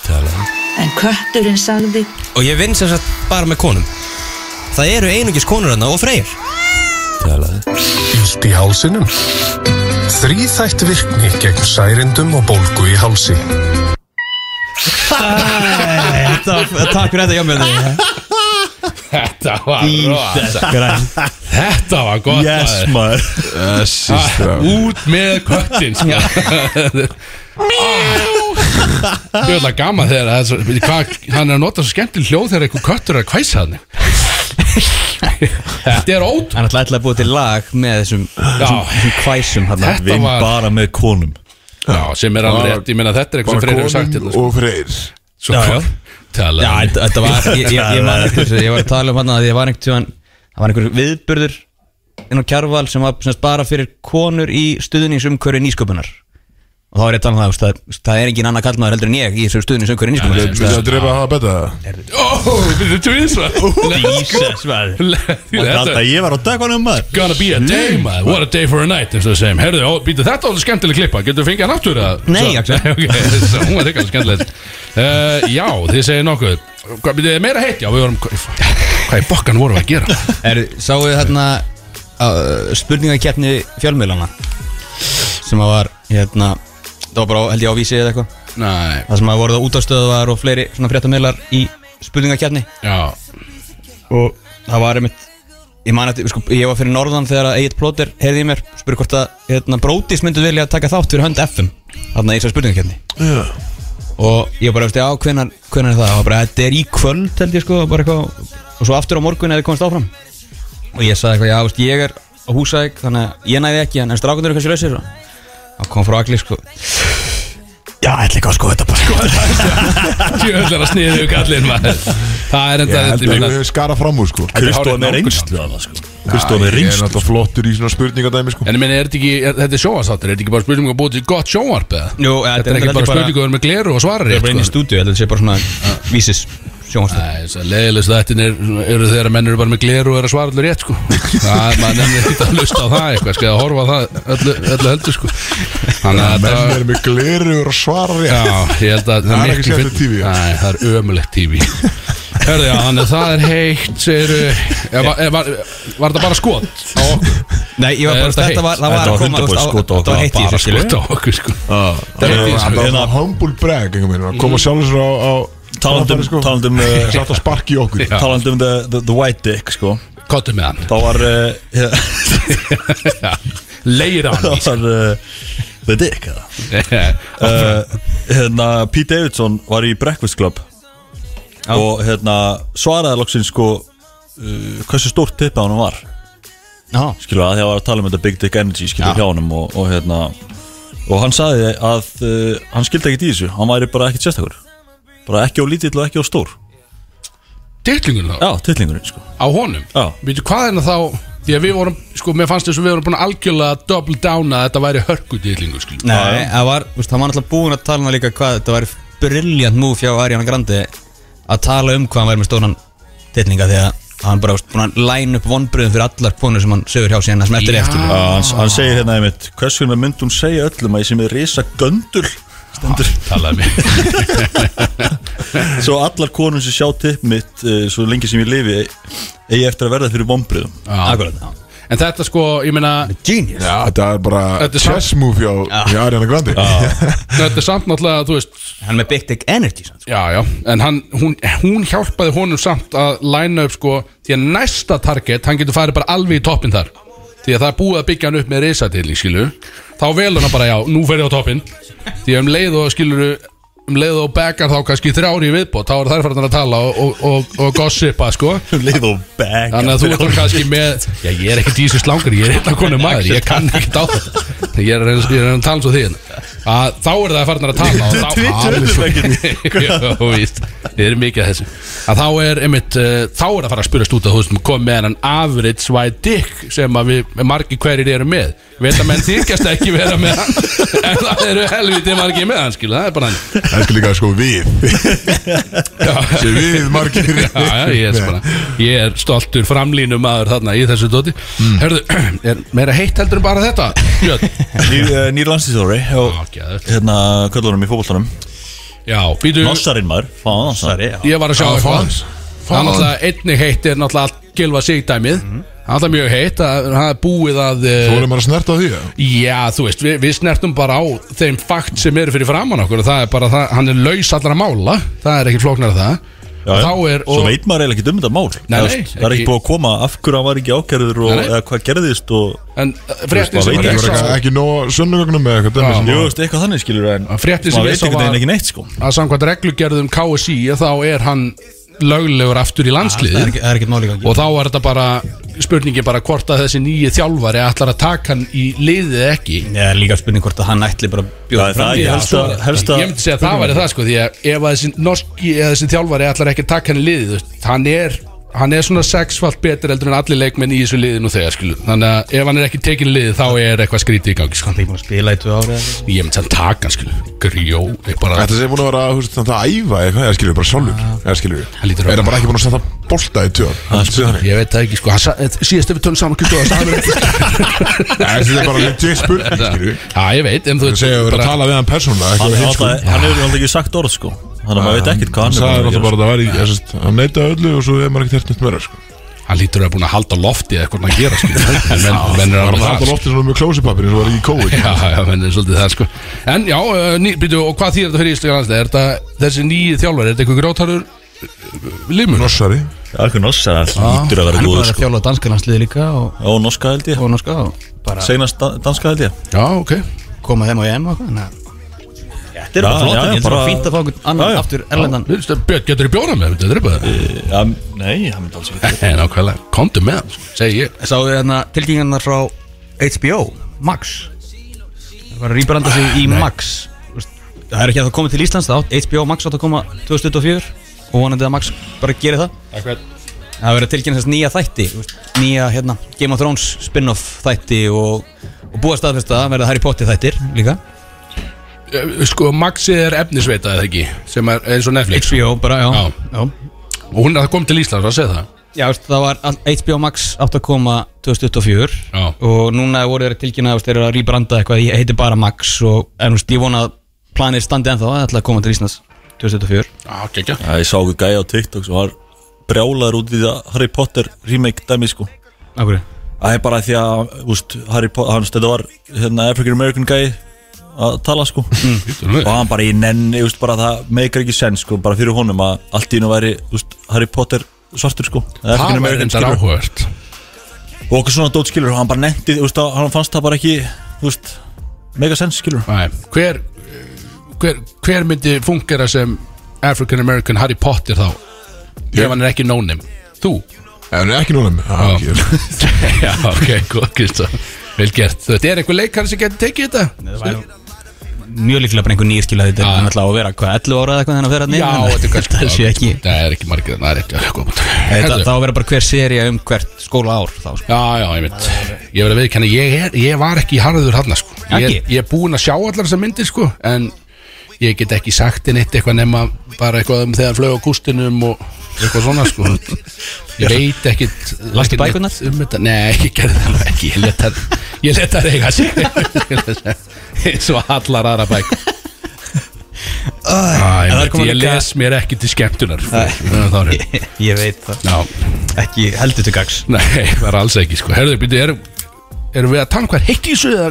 Speaker 6: En kötturinn sagði,
Speaker 7: Og ég vinn sem sagt bara með konum Það eru einungis konur hérna og freyr
Speaker 8: Ílt í hálsinum. Þrýþætt virkni gegn særendum og bólgu í hálsi.
Speaker 2: Takk fyrir þetta, Jón Björn
Speaker 3: Þetta var rosa. Þetta var gott
Speaker 4: Yes
Speaker 3: maður.
Speaker 4: maður
Speaker 3: Ah, Út með köttin sko. Þú veitlega gaman þegar að þessu- veitir hvað, hann er að nota svo skemmtileg hljóð þegar einhver köttur er að hvæsa hann Þetta er ótrú
Speaker 2: Hann ætlaði ætlaði að búa til lag með þessum þessum þessum hvæsum hann
Speaker 3: Þetta
Speaker 4: Vinn
Speaker 3: var-
Speaker 4: bara með konum
Speaker 3: Já, sem er alveg rétt, ég meina þetta er eitthvað sem
Speaker 1: Bara
Speaker 3: Freyr hefur sagt
Speaker 1: konum
Speaker 3: hérna sko.
Speaker 1: og freyr
Speaker 3: Svo
Speaker 2: Já,
Speaker 3: talaði
Speaker 2: þetta- þetta var, ég, ég, ég man eftir þessu, ég var að tala um hann að ég var einhvern tíðan, það var einhver viðburður inn á kjarval sem var semst, bara fyrir konur í stuðningsumkörfi nýsköpunar og þá er ég að tala um það, þú veist, það, það er engin annar kallmaður heldur en ég í þessu stuðningsumkörfi nýsköpunar
Speaker 1: Viltu að drepa það betta?
Speaker 3: Ó, þetta er tvísvar
Speaker 4: Jesus maður Það held að ég var á dagvanum maður
Speaker 3: Gonna be a day, maður What a day for a night, eins og það segjum Herðu, ó, býtu, þetta var alveg skemmtileg klippa Getur þú fengið hann aftur að
Speaker 2: Nei,
Speaker 3: Axel
Speaker 2: Axel.
Speaker 3: Hún var ekki alveg skemmtileg uh, Já, þið segir nokkuð Hvað, býtu, meira heitt? Já, við vorum Hvað í bokkan vorum við að gera?
Speaker 2: Er, sáu þið hérna uh, spurningakeppni fjölmiðlana sem að var hérna, það var bara á- held ég á vísi eða eitthvað
Speaker 3: Nei,
Speaker 2: það sem að voru það útastöðvar og fleiri svona fréttamiðlar í spurningakeppni
Speaker 3: já
Speaker 2: og það var einmitt ég man eftir, sko, ég var fyrir norðan þegar að Egil Plóter heyrði í mér, spurði hvort að hérna, Brótis myndi vilja taka þátt fyrir hönd FM þarna í þessari spurningakenni og ég bara veist, já, hvenar, hvenar er það og það bara, þetta er í kvöld, held ég sko bara eitthvað, og svo aftur á morgun eða komast áfram og ég sagði eitthvað, já, veist, ég er á húsæk Þannig að ég næði ekki En strákundur eru kannski lausir og- Þá kom frá Agli sko Já, ætla ekki að sko þetta bara sko
Speaker 3: Jöfnlega að sniðu ykkur allir maður Það er enda
Speaker 1: Ég held
Speaker 3: þetta
Speaker 1: að
Speaker 3: ég
Speaker 1: við
Speaker 3: meina-
Speaker 1: höfum skarað fram úr sko
Speaker 4: Kristóð með
Speaker 3: hárið
Speaker 4: reynslu að það sko Kristóð
Speaker 1: Ég
Speaker 4: með
Speaker 1: er
Speaker 4: reynslu
Speaker 1: náttúrulega flottur í svona spurningadæmi sko
Speaker 3: En ég meina, er þetta ekki, er, þetta er sjóarsáttur, er þetta ekki bara spurning um að búið til gott sjóarp eða?
Speaker 2: Jú, ja,
Speaker 3: Þetta er ekki bara spurning sko. að vera með gleru og svara
Speaker 2: Ég er bara inn í
Speaker 3: rétt, sko.
Speaker 2: stúdíu, ég held að þetta sé bara svona uh, Vísis, sjónvarstöð
Speaker 3: Nei, þess að leiðilegst þættin er, eru þegar að menn eru bara með gleru og eru að svara allir rétt, sko. Það, maður nefnir ekki að lusta á það eitthvað, sko, eða horfa á það öllu, öllu heldur, sko. Þannig að
Speaker 1: Menn
Speaker 3: þetta,
Speaker 1: er með glerur og svarar
Speaker 3: já,
Speaker 1: rétt
Speaker 3: ég held
Speaker 1: Það
Speaker 3: að
Speaker 1: er
Speaker 3: miklu
Speaker 1: ekki skemmtilegt
Speaker 3: fyll-
Speaker 1: TV, já.
Speaker 3: Nei, það er ömulegt TV. Hörðu, já, þannig að það er heitt, segir, var, var, var þetta bara skot á okkur?
Speaker 2: Nei, ég var
Speaker 3: Nei,
Speaker 2: bara,
Speaker 3: þetta
Speaker 2: þetta var, það var að
Speaker 4: Þetta var
Speaker 2: koma þú
Speaker 4: 100%
Speaker 2: veist, á-
Speaker 4: skot á
Speaker 2: Þetta
Speaker 4: okkur,
Speaker 2: var heitt í
Speaker 3: Bara
Speaker 2: þessu skilur
Speaker 3: skot á okkur, sko.
Speaker 4: Það
Speaker 3: er-
Speaker 1: Það er
Speaker 4: Hérna,
Speaker 1: það humble brag einhvern veginn, að
Speaker 3: Mm.
Speaker 1: koma sjálfur sér á, á
Speaker 4: Talandum,
Speaker 1: framfæri, sko.
Speaker 4: talandum, uh,
Speaker 1: Satt að sparki í okkur
Speaker 3: Já.
Speaker 4: talandum um the, the, the White Dick sko
Speaker 3: Kottu með hann.
Speaker 4: Þá var uh, yeah,
Speaker 3: Leir á hann,
Speaker 4: Þá var uh, The Dick eða
Speaker 3: sko.
Speaker 4: uh, Hérna Pete Davidson var í Breakfast Club Og hérna svaraði loksinn sko uh, Hversu stórt tippa hann var
Speaker 2: Já,
Speaker 4: Skilur að því að var að tala um þetta Big Dick Energy Skilur hjá honum og, og hérna Og hann sagði að uh, hann skildi ekkert í þessu Hann væri bara ekkert sérstakur Bara ekki á lítill og ekki á stór
Speaker 3: Dittlingur þá?
Speaker 4: Já, tillingurinn sko
Speaker 3: á honum
Speaker 4: Já.
Speaker 3: Veitu hvað er það þá Því að við vorum, sko, mér fannst þess að við vorum búin að algjörlega double down að þetta væri sko, hörkudýrlingu, skiljum
Speaker 2: Nei, það var, þú veist, hann var náttúrulega búinn að tala um það líka hvað þetta var briljant move hjá Ariana Grande að tala um hvað hann væri með stóran tilninga því að hann bara var búinn að line upp vonbröðum fyrir allar konur sem hann sögur hjá síðan það sem eftir er
Speaker 3: Já.
Speaker 2: eftir
Speaker 4: Já, hann, hann segir hérna einmitt Hvers vegna myndi hún segja öllum að ég sem er risa göndul Stendur
Speaker 3: Talaði mig
Speaker 4: Svo allar konum sem sjá tipp mitt uh, Svo lengi sem ég lifi Egi eftir að verða fyrir vombriðum
Speaker 2: Akkurat, já.
Speaker 3: En þetta sko, ég meina,
Speaker 2: Genius
Speaker 1: Já, þetta er bara
Speaker 3: Þetta er samt-
Speaker 1: chess move hjá hjá Ariana Grande
Speaker 3: þetta er samt náttúrulega, þú veist
Speaker 2: Hann er með Big Dick Energy sann, sko.
Speaker 3: Já, já, en hann, hún, hún hjálpaði honum samt að læna upp, sko Því að næsta target, hann getur farið bara alveg í toppin þar Því að það er búið að byggja hann upp með reisadýrling, skilju Þá velur hann bara, já, nú fer ég á toppin Því að um leið og, skilju, um leið og backar þá kannski þrjári í viðbót Þá er þær farin að tala og, og, og, og gossipa, sko
Speaker 4: Leif Um og bang
Speaker 3: Þannig að þú ert kannski með Já, ég er ekkert í þessu slangur, ég er eitthvað konu maður Ég kann ekkert á þetta Ég er að reyna- ég er að reyna að tala svo því hérna. að Þá er það farnar að tala og þá- Já, þú veist, Þið eru mikið að þessu að Þá er einmitt, uh, þá er að fara að spurast út að þú veist, kom með hennan average white dick sem að við margi hverjir eru með Ég veit að menn þykjast ekki vera með hann en það eru helviti margi með hann skilu, það er bara hann
Speaker 1: Elsku líka sko við Sér við margir
Speaker 3: Já, já, ég er, bara, ég er stoltur framlínu maður þarna í þessu doti
Speaker 4: Mm.
Speaker 3: Herðu, er meira heitt heldur en bara þetta? Björn?
Speaker 4: Nýr, uh, nýr landslýstóri
Speaker 3: Já, geðveikt.
Speaker 4: Hérna köllunum í fótboltanum
Speaker 3: Já, býtu,
Speaker 4: Nossarinn maður Fáðan Nossari
Speaker 3: ég var að sjá
Speaker 1: Já,
Speaker 3: eitthvað
Speaker 1: fans.
Speaker 3: Það er náttúrulega einnig heitt er náttúrulega allt gilva sigdæmið
Speaker 4: Mhm.
Speaker 3: Það er alltaf mjög heitt, það það er búið að eh,
Speaker 1: Þú erum bara að snerta á því eða?
Speaker 3: Já, þú veist, við, við snertum bara á þeim fakt sem eru fyrir framann okkur og það er bara, það, hann er laus allra mála það er ekki flóknar það
Speaker 4: Já,
Speaker 3: og
Speaker 4: já.
Speaker 3: þá er,
Speaker 4: Svo
Speaker 3: og,
Speaker 4: veit maður eiginlega ekki um þetta mál
Speaker 3: Nei,
Speaker 4: Eða,
Speaker 3: nei,
Speaker 4: veist, Það er
Speaker 3: ekki-
Speaker 4: ekki búið að koma Af hverju hann var ekki ákærður og,
Speaker 3: Nei, nei.
Speaker 4: Eða hvað gerðist og
Speaker 3: en eh,
Speaker 4: Þú
Speaker 3: fréttin
Speaker 4: veist,
Speaker 3: sem
Speaker 4: maður
Speaker 3: ég
Speaker 1: Það
Speaker 4: veit
Speaker 1: var
Speaker 3: sá-
Speaker 1: ekki- ekki nóg sönnugögnum eða eitthvað dæmi sem
Speaker 4: Jú,
Speaker 1: að-
Speaker 4: veist, eitthvað þannig skilur en
Speaker 3: Að fréttin sem
Speaker 4: maður
Speaker 3: ég
Speaker 4: veit
Speaker 3: sá
Speaker 4: einhvern
Speaker 3: var-
Speaker 4: veginn ekki neitt sko
Speaker 3: að samkvæmt um reglugerðum KSI þá er hann löglegur aftur í
Speaker 2: Það er
Speaker 3: landsliði
Speaker 2: ekki- það er ekkert máli gangi
Speaker 3: og þá er þetta bara spurningin bara hvort að þessi nýju þjálfari ætlar að taka hann í liðið eða ekki
Speaker 2: Ég er líka spurning hvort að hann ætli bara að
Speaker 4: Já,
Speaker 2: bjóða
Speaker 4: það er
Speaker 2: fram
Speaker 4: ekki
Speaker 2: í
Speaker 3: Já,
Speaker 4: helsta-
Speaker 3: svo-
Speaker 4: helsta
Speaker 3: ég myndi segja að það væri það sko því að ef að þessi norski eða þessi þjálfari ætlar ekki að taka hann í liðið þú veist, hann er hann er svona sexfalt betur heldur en allir leikmenn í þessu liðið nú þegar skilu þannig að ef hann er ekki tekin í liðið þá er eitthvað skrítið í gangi sko.
Speaker 2: Hann er búin að spila í tvö ári eða-
Speaker 3: ég myndi segja að taka hann skilu grjó ég bara
Speaker 1: Þetta sé búin að vera þú veist, þannig að æfa eitthvað eða skilur bara sjálfur eða skilur
Speaker 3: Hann lítur á-
Speaker 1: Er það bara ekki búin að senda bolta í tjóð Þetta
Speaker 3: ég veit það ekki sko Hann sa- síðast ef við tölum saman Kristóð
Speaker 1: er bara legit spurning skilur
Speaker 3: Já, ég veit, en þú
Speaker 1: Það segja að vera að tala við hann persónulega ekki
Speaker 4: Hann
Speaker 1: við
Speaker 4: hefur
Speaker 1: hinn, sko.
Speaker 4: alltaf hann hefur alltaf ekki sagt orð sko Þannig að maður veit ekkert hvað
Speaker 1: Hann
Speaker 4: hann
Speaker 1: sagði
Speaker 4: er búinn
Speaker 1: alltaf
Speaker 4: að
Speaker 1: bara að
Speaker 4: gera,
Speaker 1: það var í ég sést, Hann neitaði öllu og svo er maður ekkert hert nýtt meira sko.
Speaker 3: Hann lítur að vera búin að halda á lofti eða eitthvað hann að gera, sko En menn, menn er
Speaker 1: Hann
Speaker 3: alveg
Speaker 1: var
Speaker 3: það,
Speaker 1: alltaf
Speaker 3: sko
Speaker 1: loftið svona með klósipapir eins og var í COVID
Speaker 3: Já, já, menn er svolítið það, sko En já, uh, ný, býtu, og hvað þýr þetta fyrir Ísleika landslega? Er þetta, þessi nýju þjálfari, er þetta eitthvað grjótarur uh, limur?
Speaker 1: Nossari
Speaker 4: Akkur sko. norska
Speaker 1: Ah.
Speaker 4: er lítur að
Speaker 2: Hann er
Speaker 4: vera góður
Speaker 2: bara að
Speaker 4: sko
Speaker 2: þjála á danska landsliði líka og,
Speaker 4: Og norska held ég
Speaker 2: og norska og bara
Speaker 4: Seinast da- danska held ég
Speaker 3: Já, ok
Speaker 2: koma þeim á EM og eitthvað þannig að- Þetta er bara
Speaker 4: Já,
Speaker 2: flott,
Speaker 4: já,
Speaker 2: þetta er bara
Speaker 4: bara-
Speaker 2: fínt að fá einhvern annan
Speaker 4: Já, já.
Speaker 2: aftur erlendan
Speaker 3: Björn, getur þú bjóðað með, þetta er bara
Speaker 4: ja, Nei, það myndi alls ekki
Speaker 3: Nákvæmlega, komdu með hann, sko, segi ég
Speaker 2: Sáu þið hérna tilkynningarnar frá HBO, Max Það var að rýbranda sig í Max Þú veist, Það er ekki að það komið til Íslands það átt HBO Max átt að koma 2024 og vonandi að Max bara gerir það Það er verið að tilkynna þess nýja þætti þú veist, nýja hérna, Game of Thrones spin-off þætti og, og búa staðfesta að verða Harry Potter þættir líka
Speaker 3: Eh, Sko, Maxi er efnisveita eða ekki sem er eins og Netflix
Speaker 2: HBO bara, já,
Speaker 3: Já.
Speaker 2: já.
Speaker 3: og hún er að koma til Íslands að segja það
Speaker 2: Já, veist, það var all- HBO Max átt að koma 2024
Speaker 3: Já.
Speaker 2: og núna voru þeir að tilkynna veist, þeir eru að rýbranda eitthvað, ég heiti bara Max og en, veist, ég vona að planið standi ennþá það ætla að koma til Íslands 2024
Speaker 3: Já, gekkja
Speaker 4: Já, ég sá okkur gæja á TikTok sem var brjálaður út í það Harry Potter remake dæmi sko
Speaker 2: Akkur
Speaker 4: Það er bara því að, úst, Harry Potter, hans, þetta var hérna, African American gæi að tala sko og hann bara í nenni, úst, bara það meikar ekki sens sko, bara fyrir honum að allt í nú væri úst, Harry Potter svartur sko eða
Speaker 3: Það
Speaker 4: African
Speaker 3: var
Speaker 4: American,
Speaker 3: reyndar
Speaker 4: skilur.
Speaker 3: áhugavert
Speaker 4: og okkur svona dót skilur og hann bara nefndi, úst, að, hann fannst það bara ekki úst, meika sens skilur
Speaker 3: Nei, hver, hver, hver myndi fungera sem African American Harry Potter þá ef hann er ekki nónim þú
Speaker 1: En ekki núna Já, ekki, ég-
Speaker 3: já ok, góð Kristó vel gert, þetta er einhver leikar sem getur tekið þetta
Speaker 2: Mjög líklega bara einhver nýrskilaði þetta er náttúrulega að vera hvað 11 ára eða eitthvað þannig að vera
Speaker 3: já, þetta er kvöld
Speaker 2: það sé ekki
Speaker 3: það er ekki margir það er ekki það er góð punktur.
Speaker 2: Þetta,
Speaker 3: Herðu.
Speaker 2: þá vera bara hver serið um hvert skóla ár þá, sko.
Speaker 3: já, já, ég veit ég verið að viðkenna, ég, er- ég var ekki harður hann sko. ég,
Speaker 2: Ekki?
Speaker 3: ég er búinn að sjá allar þessar myndir sko, en ég get ekki sagt inn eitt eitthvað nema bara eitthvað um þegar flög á kústinum og eitthvað svona sko ég veit ekkit
Speaker 2: Lastu
Speaker 3: ekkit neitt
Speaker 2: bækurnar?
Speaker 3: um þetta, nei, ég gerði það nú ekki ég let það, ég let það eiga sig eins og allar aðra bækur Æ,
Speaker 2: en það er
Speaker 3: ég,
Speaker 2: komin
Speaker 3: ég
Speaker 2: líka-
Speaker 3: les mér ekki til skemmtunar sko. það er
Speaker 2: ég, ég veit það
Speaker 3: já,
Speaker 2: ekki heldur til gags
Speaker 3: Nei, það er alls ekki sko Herðu, byrju, erum er við að tala um hvað heitt í þessu eða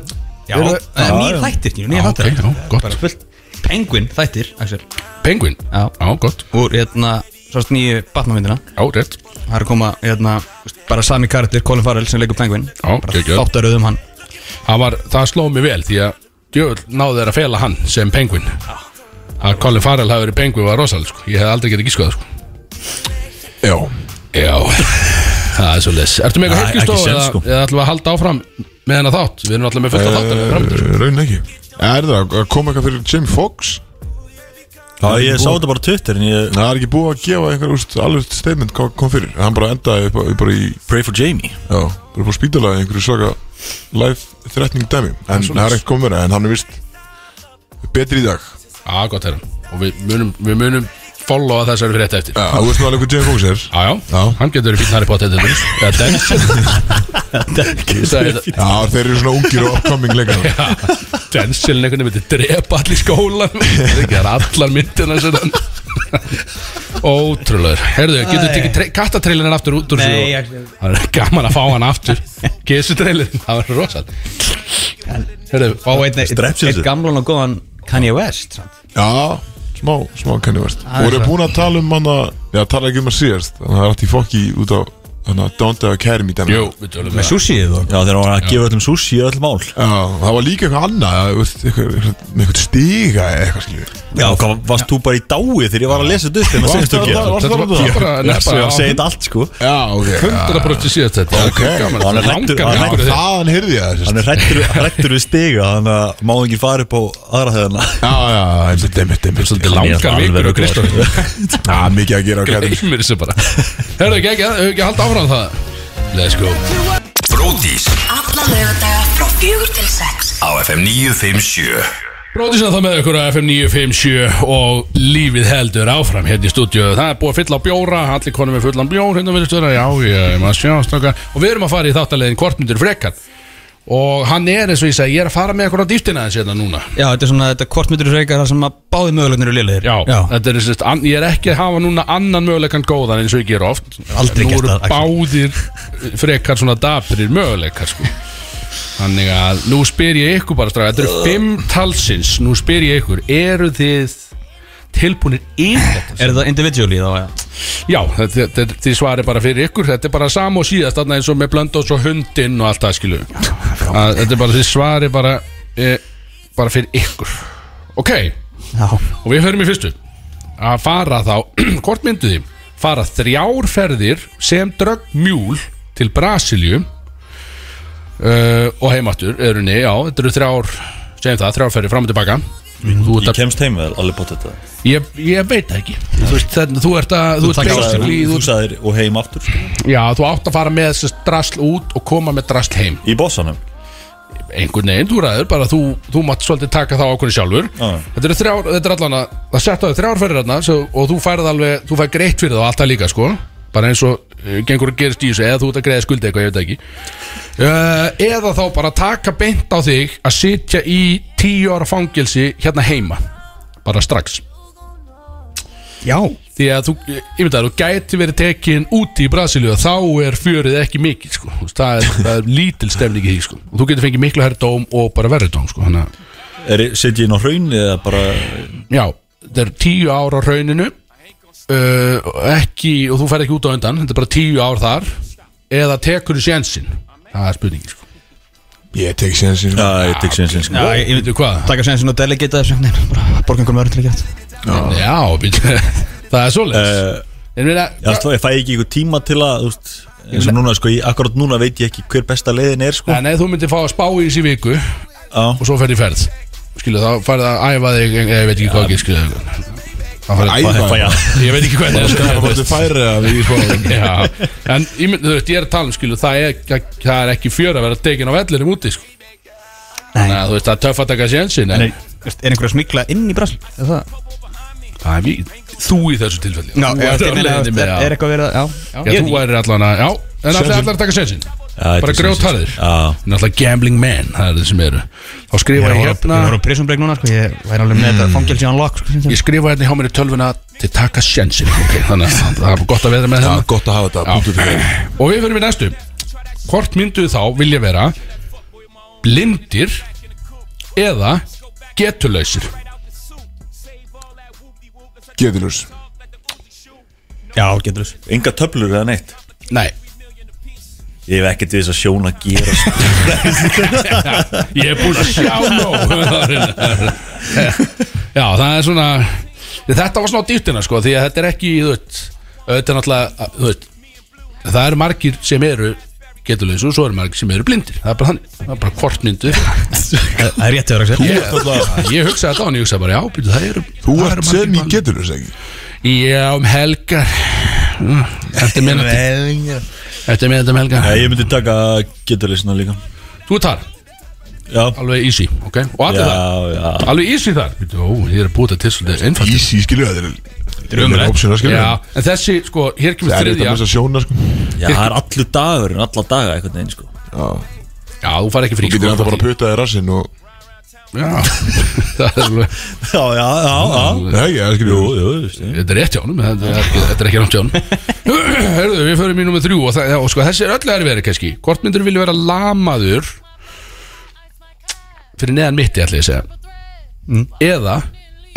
Speaker 2: Já,
Speaker 3: Eru-
Speaker 2: það er nýr þættir, nýr
Speaker 3: Já,
Speaker 2: þættir
Speaker 3: ok, já, gott.
Speaker 2: Bara fullt Penguin þættir, Axel
Speaker 3: Penguin?
Speaker 2: Já.
Speaker 3: gott,
Speaker 2: Úr, hérna, sást nýju Batman-myndina
Speaker 3: já, rétt
Speaker 2: Það er að koma, hérna, bara sami karakter, Colin Farrell sem leikur Penguin
Speaker 3: Já,
Speaker 2: Bara
Speaker 3: geggjað.
Speaker 2: þáttaröð um hann
Speaker 3: Það, var, það sló mig vel því að djöfull náðu þeir að fela hann sem Penguin Að Colin Farrell hafi verið Penguin var rosalega sko Ég hef aldrei getið gískað sko
Speaker 1: Já
Speaker 3: Já, það er svo les Ertu með
Speaker 4: Æ,
Speaker 3: eitthvað heitt í
Speaker 4: ekki séns,
Speaker 3: eða,
Speaker 4: sko.
Speaker 3: eða ætlum við að halda áfram með hennar þátt Við erum alltaf með fullt af þáttar framöndan, sko.
Speaker 1: Eh, Raun ekki Er það að koma eitthvað fyrir Jamie Foxx?
Speaker 4: Já, ég sá þetta bara á Twitter en ég,
Speaker 1: Það er ekki búið að gefa einhver úst, alveg statement hvað kom fyrir Hann bara endaði upp, upp bara í
Speaker 4: pray for Jamie
Speaker 1: Já, bara búið spítalaði einhverju svaka life threatening dæmi En það er ekkert komið verið En hann er vist betri í dag
Speaker 3: Já, gott herra Og við munum, við munum followa þessari fyrir eftir
Speaker 1: Já, þú veist nú alveg hvað Jamie Foxx er
Speaker 3: Já, já,
Speaker 1: Já.
Speaker 3: hann getur verið fínn Harry Potter til dæmis. Eða Denzel Sagði-
Speaker 1: Já, þeir eru svona ungir og upcoming leikar
Speaker 3: Já, Denzel einhvern veginn myndi drepa allir skólan Það er allar myndina sem hann Ótrúlegur Herðu, getur þú tekið tre- kattatrailerinn aftur út úr sig
Speaker 2: Nei,
Speaker 3: og-
Speaker 2: Axel.
Speaker 3: Það er gaman að fá hann aftur Kissutrailerinn, það var rosal Herðu, fá
Speaker 2: Og
Speaker 3: einn
Speaker 2: einn, einn,
Speaker 4: Strepsilsu.
Speaker 2: einn gamlan og góðan Kanye West samt.
Speaker 1: Já, smá, smá Kanye West Og eru búin að tala um hann að Já, tala ekki um að síðast Þannig að það er allt í fokki út á Þannig að Donda Academy dæmi
Speaker 3: Jú, við tölum
Speaker 2: Með
Speaker 3: það
Speaker 2: sushiðið og
Speaker 4: Já, þegar hann var að gefa öllum sushi í öll mál
Speaker 1: Já, það var líka eitthvað annað það var eitthvað, eitthvað, með eitthvað stiga eða eitthvað skiljum
Speaker 4: Já, hvað, varst þú bara í dái þegar ég var að lesa þetta upp en það segist þú ekki
Speaker 1: Varstu
Speaker 3: Þetta var bara
Speaker 4: Já, svo
Speaker 3: nefna
Speaker 4: ég segi þetta allt sko
Speaker 1: Já, ok
Speaker 3: 100% síðast þetta
Speaker 1: Ok,
Speaker 3: gaman,
Speaker 4: hann er hræddur-
Speaker 3: langar
Speaker 4: hann er
Speaker 3: mig
Speaker 1: Já,
Speaker 3: aftur.
Speaker 1: þaðan heyrði ég það
Speaker 4: Hann
Speaker 1: sérst.
Speaker 4: er hrættur, hrættur við stiga Þannig að má ekki fara upp á aðra hefðina
Speaker 1: Já, já, einmitt, einmitt, einmitt
Speaker 3: Svolítið
Speaker 4: Hann er
Speaker 3: langar vikur
Speaker 4: alveg
Speaker 3: og
Speaker 4: ruglaður.
Speaker 3: Kristofur
Speaker 1: Já, mikið að gera á kærum
Speaker 3: Gleimir þessu bara Herðu ekki ekki, hefur ekki að halda áfram það Let's go
Speaker 5: Bródís
Speaker 9: Alla lögadaga frá fjögur til sex
Speaker 5: á FM 957
Speaker 3: Bróðisina þá með ykkur á FM 957 og lífið heldur áfram hérna í stúdíu Það er búið að fylla á bjóra, allir konum er fullan bjór hérna við stöðra Já, ég maður sjást okkar Og við erum að fara í þáttalegin kvartmyndur frekar Og hann er eins og ég segi, ég er að fara með ykkur á dýftina þessi hérna núna
Speaker 2: Já, þetta er svona, þetta kortmyndur reykar það sem að báði mögulegnir og liðlegir
Speaker 3: Já,
Speaker 2: já.
Speaker 3: þetta er sem sagt, an, ég er ekki að hafa núna annan möguleikan góðan eins og ég ger oft
Speaker 2: Aldrei
Speaker 3: Nú
Speaker 2: gert
Speaker 3: eru
Speaker 2: það,
Speaker 3: báðir eh, frekar svona daprir möguleikar sko Þannig að nú spyr ég ykkur bara strax Þetta eru fimm talsins, nú spyr ég ykkur Eru þið tilbúinir yfir
Speaker 2: Er þetta individually þá, já
Speaker 3: Já, þetta- þetta er- þið svarið bara fyrir ykkur Þetta er bara sam og síðast þarna eins og með blöndos og hundinn og allt það skilu eh, Þetta er bara þið svarið bara, e, bara fyrir ykkur Ok, og við höfum í fyrstu að fara þá, hvort myndu þið fara þrjár ferðir sem dröggmjúl til Brasilju uh, og heimáttur erunni, já, þetta eru þrjár segjum það, þrjár ferðir fram og tilbaka þú, ert
Speaker 4: Ég
Speaker 3: að,
Speaker 4: kemst heim vel, alveg bótt þetta
Speaker 3: ég, ég veit það ekki þú veist, þannig, þú ert að þú, ert basically,
Speaker 4: Þú
Speaker 3: þú,
Speaker 4: sagðir og heim aftur sko.
Speaker 3: já, þú átt að fara með þessi drasl út og koma með drasl heim
Speaker 4: Í bossanum
Speaker 3: einhvern veginn, þú ræður, bara þú, þú mátt svolítið taka þá ákvörðu sjálfur
Speaker 4: Já.
Speaker 3: þetta er þrjár, þetta er allan að það setja á þig þrjár fyrir þarna svo, og þú færð alveg, þú fær greitt fyrir það og alltaf líka sko, bara eins og uh, gengur að gerist í þessu, eða þú ert að greiða skuldi eitthvað, ég veit það ekki uh, eða þá bara taka beint á þig að sitja í tíu ára fangilsi hérna heima, bara strax
Speaker 2: Já
Speaker 3: því að þú, ég veit að þú gæti verið tekin úti í Brasilíu þá er fjörið ekki mikið sko. Þú veist, það, er, það er lítil stemning í því sko. og þú getur fengið miklu herri dóm og bara verri dóm sko. þannig að,
Speaker 4: Sitt ég inn á hraun eða bara
Speaker 3: já, það er tíu ár á rauninu uh, ekki, og þú fær ekki út á undan þetta er bara tíu ár þar eða tekur þú sjensin það er spurningi sko.
Speaker 1: Ég tek sénsinn
Speaker 4: Já, ég tek sér sinn sko.
Speaker 3: ég veit hvað
Speaker 2: Takk að segja sinna og delegita þessu Nei, bara borga einhverjum öðrum til að geta
Speaker 3: já, býttu, það er svoleiðis
Speaker 4: Eh,
Speaker 3: en við
Speaker 4: Já, þú veist, ég fæ ekki einhver tíma til að þú veist, eins og núna, sko, ég, akkurat núna veit ég ekki hver besta leiðin er, sko
Speaker 3: En ef þú myndir fá að spá í þessi viku og
Speaker 4: Já,
Speaker 3: svo ferð í ferð skilu þá farið að æfa þig eh, ég veit ekki hvað ekki skilu
Speaker 1: Æfa
Speaker 4: fæ ég
Speaker 3: ég veit ekki hvað það
Speaker 1: Það
Speaker 3: er sko,
Speaker 1: var þetta færi að við spáðum
Speaker 3: Já, en ég mynd, þú veist, ég er að tala um skilu það er, það er ekki fjör að vera tekin á vellinum úti sko. þannig að þú veist, það er töff að taka sjensin en
Speaker 2: Er einhverja smikla inn í brasl? Er það?
Speaker 3: það er mjög, þú í þessu tilfelli
Speaker 2: Já,
Speaker 3: þú ert á leiðinni með
Speaker 2: er
Speaker 3: að-
Speaker 2: eitthvað verið að,
Speaker 3: Já, þú er allan að, já, en allir allar að taka sjensin bara grjótarðir
Speaker 4: Já,
Speaker 3: náttúrulega gambling men, það er þeir sem eru þá skrifa ég
Speaker 2: Ég
Speaker 3: hérna Mm.
Speaker 2: voru á prison break núna, sko, ég væri alveg með þetta fangelsi on lock, sko
Speaker 3: ég skrifa hérna hjá mér í tölvuna til taka sjensin okay, þannig að það er gott að vera með það
Speaker 1: Gott að hafa þetta punktur til þeim.
Speaker 3: og við fyrir við næstu hvort myndu þá vilja vera blindir eða getulausir
Speaker 1: Geturljós
Speaker 2: Já, getur þess
Speaker 4: enga töflur eða neitt
Speaker 3: nei,
Speaker 4: Ég hef ekkert við þess að sjón að gera, sko
Speaker 3: ég er búinn að sjá nóg já, það er svona þetta var svona á dýttina sko því að þetta er ekki, þú veit þetta er náttúrulega, þú veit það eru margir sem eru getulausir og svo eru margir sem eru blindir það er bara þannig, það er bara hvort myndu
Speaker 2: Það er réttið að vera að segja
Speaker 3: ég, ég hugsaði þetta á hann, ég hugsaði bara já, býtu, það eru
Speaker 1: Þú
Speaker 3: það eru
Speaker 1: ert
Speaker 3: margir
Speaker 1: sem í
Speaker 3: blindir.
Speaker 1: geturljós ekki
Speaker 3: Já, um helgar Mm, Eftir minnum Eftir minnum um helgar
Speaker 4: Nei, ég myndi taka geturleysina líka
Speaker 3: Þú ert þar,
Speaker 4: Já,
Speaker 3: alveg easy ok? Og allir
Speaker 4: já,
Speaker 3: þar,
Speaker 4: já
Speaker 3: alveg easy þar Ó, ég er að búið þetta til svolítið einfalt
Speaker 1: Easy skilju það Þetta er
Speaker 3: umrætt.
Speaker 1: option að skilju
Speaker 3: Já, en þessi, sko, hér kemur
Speaker 1: Það er þetta
Speaker 3: þriðja
Speaker 1: með þess að sjóna sko
Speaker 4: Já, það er allur dagur, alla daga einhvern veginn, sko
Speaker 3: Já, þú far ekki frí
Speaker 1: Þú getur
Speaker 3: sko,
Speaker 1: ennþá bara að
Speaker 3: frí.
Speaker 1: putta þér rassinn og
Speaker 3: Já, það er alveg
Speaker 4: Já, já, já, já
Speaker 1: Nei, já, skilju
Speaker 4: Jú, jú, þú veist ég.
Speaker 3: Þetta er rétt hjá honum, þetta er ekki, þetta er ekki rámt hjá honum Hörðu, við förum í nummer þrjú og, það, og sko, þessi er öll erfiðari kannski Hvort myndur vilja vera lamaður fyrir neðan mitti, ætla ég að segja eða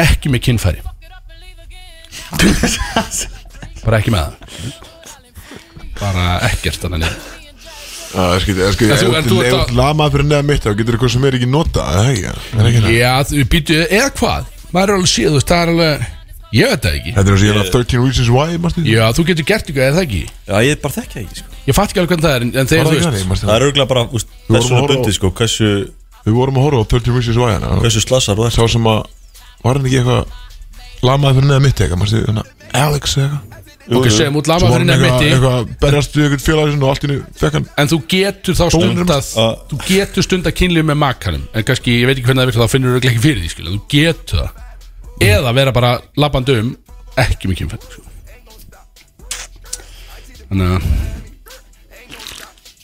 Speaker 3: ekki með kynfæri bara ekki með það bara ekkert þannig að
Speaker 1: Það er skilju Það er skilju
Speaker 3: En þú- en þú
Speaker 1: Ef
Speaker 3: ert að-
Speaker 1: þú lamað fyrir neða mitt þá getur eitthvað sem er ekki nota Það er ekki það er ekki það
Speaker 3: Já, þú býtu, eða hvað? Maður er alveg séð, þú veist, það er alveg Ég veit það ekki
Speaker 1: Þetta er eins og ég hef 13 reasons why marstu?
Speaker 3: Já, þú getur gert ykkur, eða það ekki
Speaker 4: Já, ég bara þekki það ekki, sko
Speaker 3: Ég fatt ekki alveg hvernig það er, en- en
Speaker 1: Var það
Speaker 3: þegar þú
Speaker 1: ekki
Speaker 3: veist
Speaker 1: þannig, marstu?
Speaker 4: Það er auðvitað bara, þú veist,
Speaker 1: vorum að
Speaker 4: persónu
Speaker 1: horfa á-
Speaker 4: bundið, sko Hversu,
Speaker 1: Við vorum að horfa á 13 reasons why hana og
Speaker 4: hversu slasar þú ert
Speaker 1: Sá sem að Var hann ekki eitthvað Lamaði fyrir neða mitt eitthvað marstu? Þannig að Alex eða eitthvað
Speaker 3: Ok, segjum út
Speaker 1: Svo
Speaker 3: lamaður
Speaker 1: var
Speaker 3: fyrir
Speaker 1: hann
Speaker 3: neðan
Speaker 1: eitthvað
Speaker 3: mitti
Speaker 1: eitthvað Berjast við eitthvað félagisinn og allt innu Fekk hann
Speaker 3: En þú getur þá stundað
Speaker 4: Ah.
Speaker 3: Þú getur stundað kynlíf með makanum En kannski, ég veit ekki hvernig það virkar Þá finnur þú örugglega ekki fyrir því, skilja Þú getur það
Speaker 1: Mm.
Speaker 3: Eða vera bara labbandi um Ekki mikið fyrir sko. Þannig að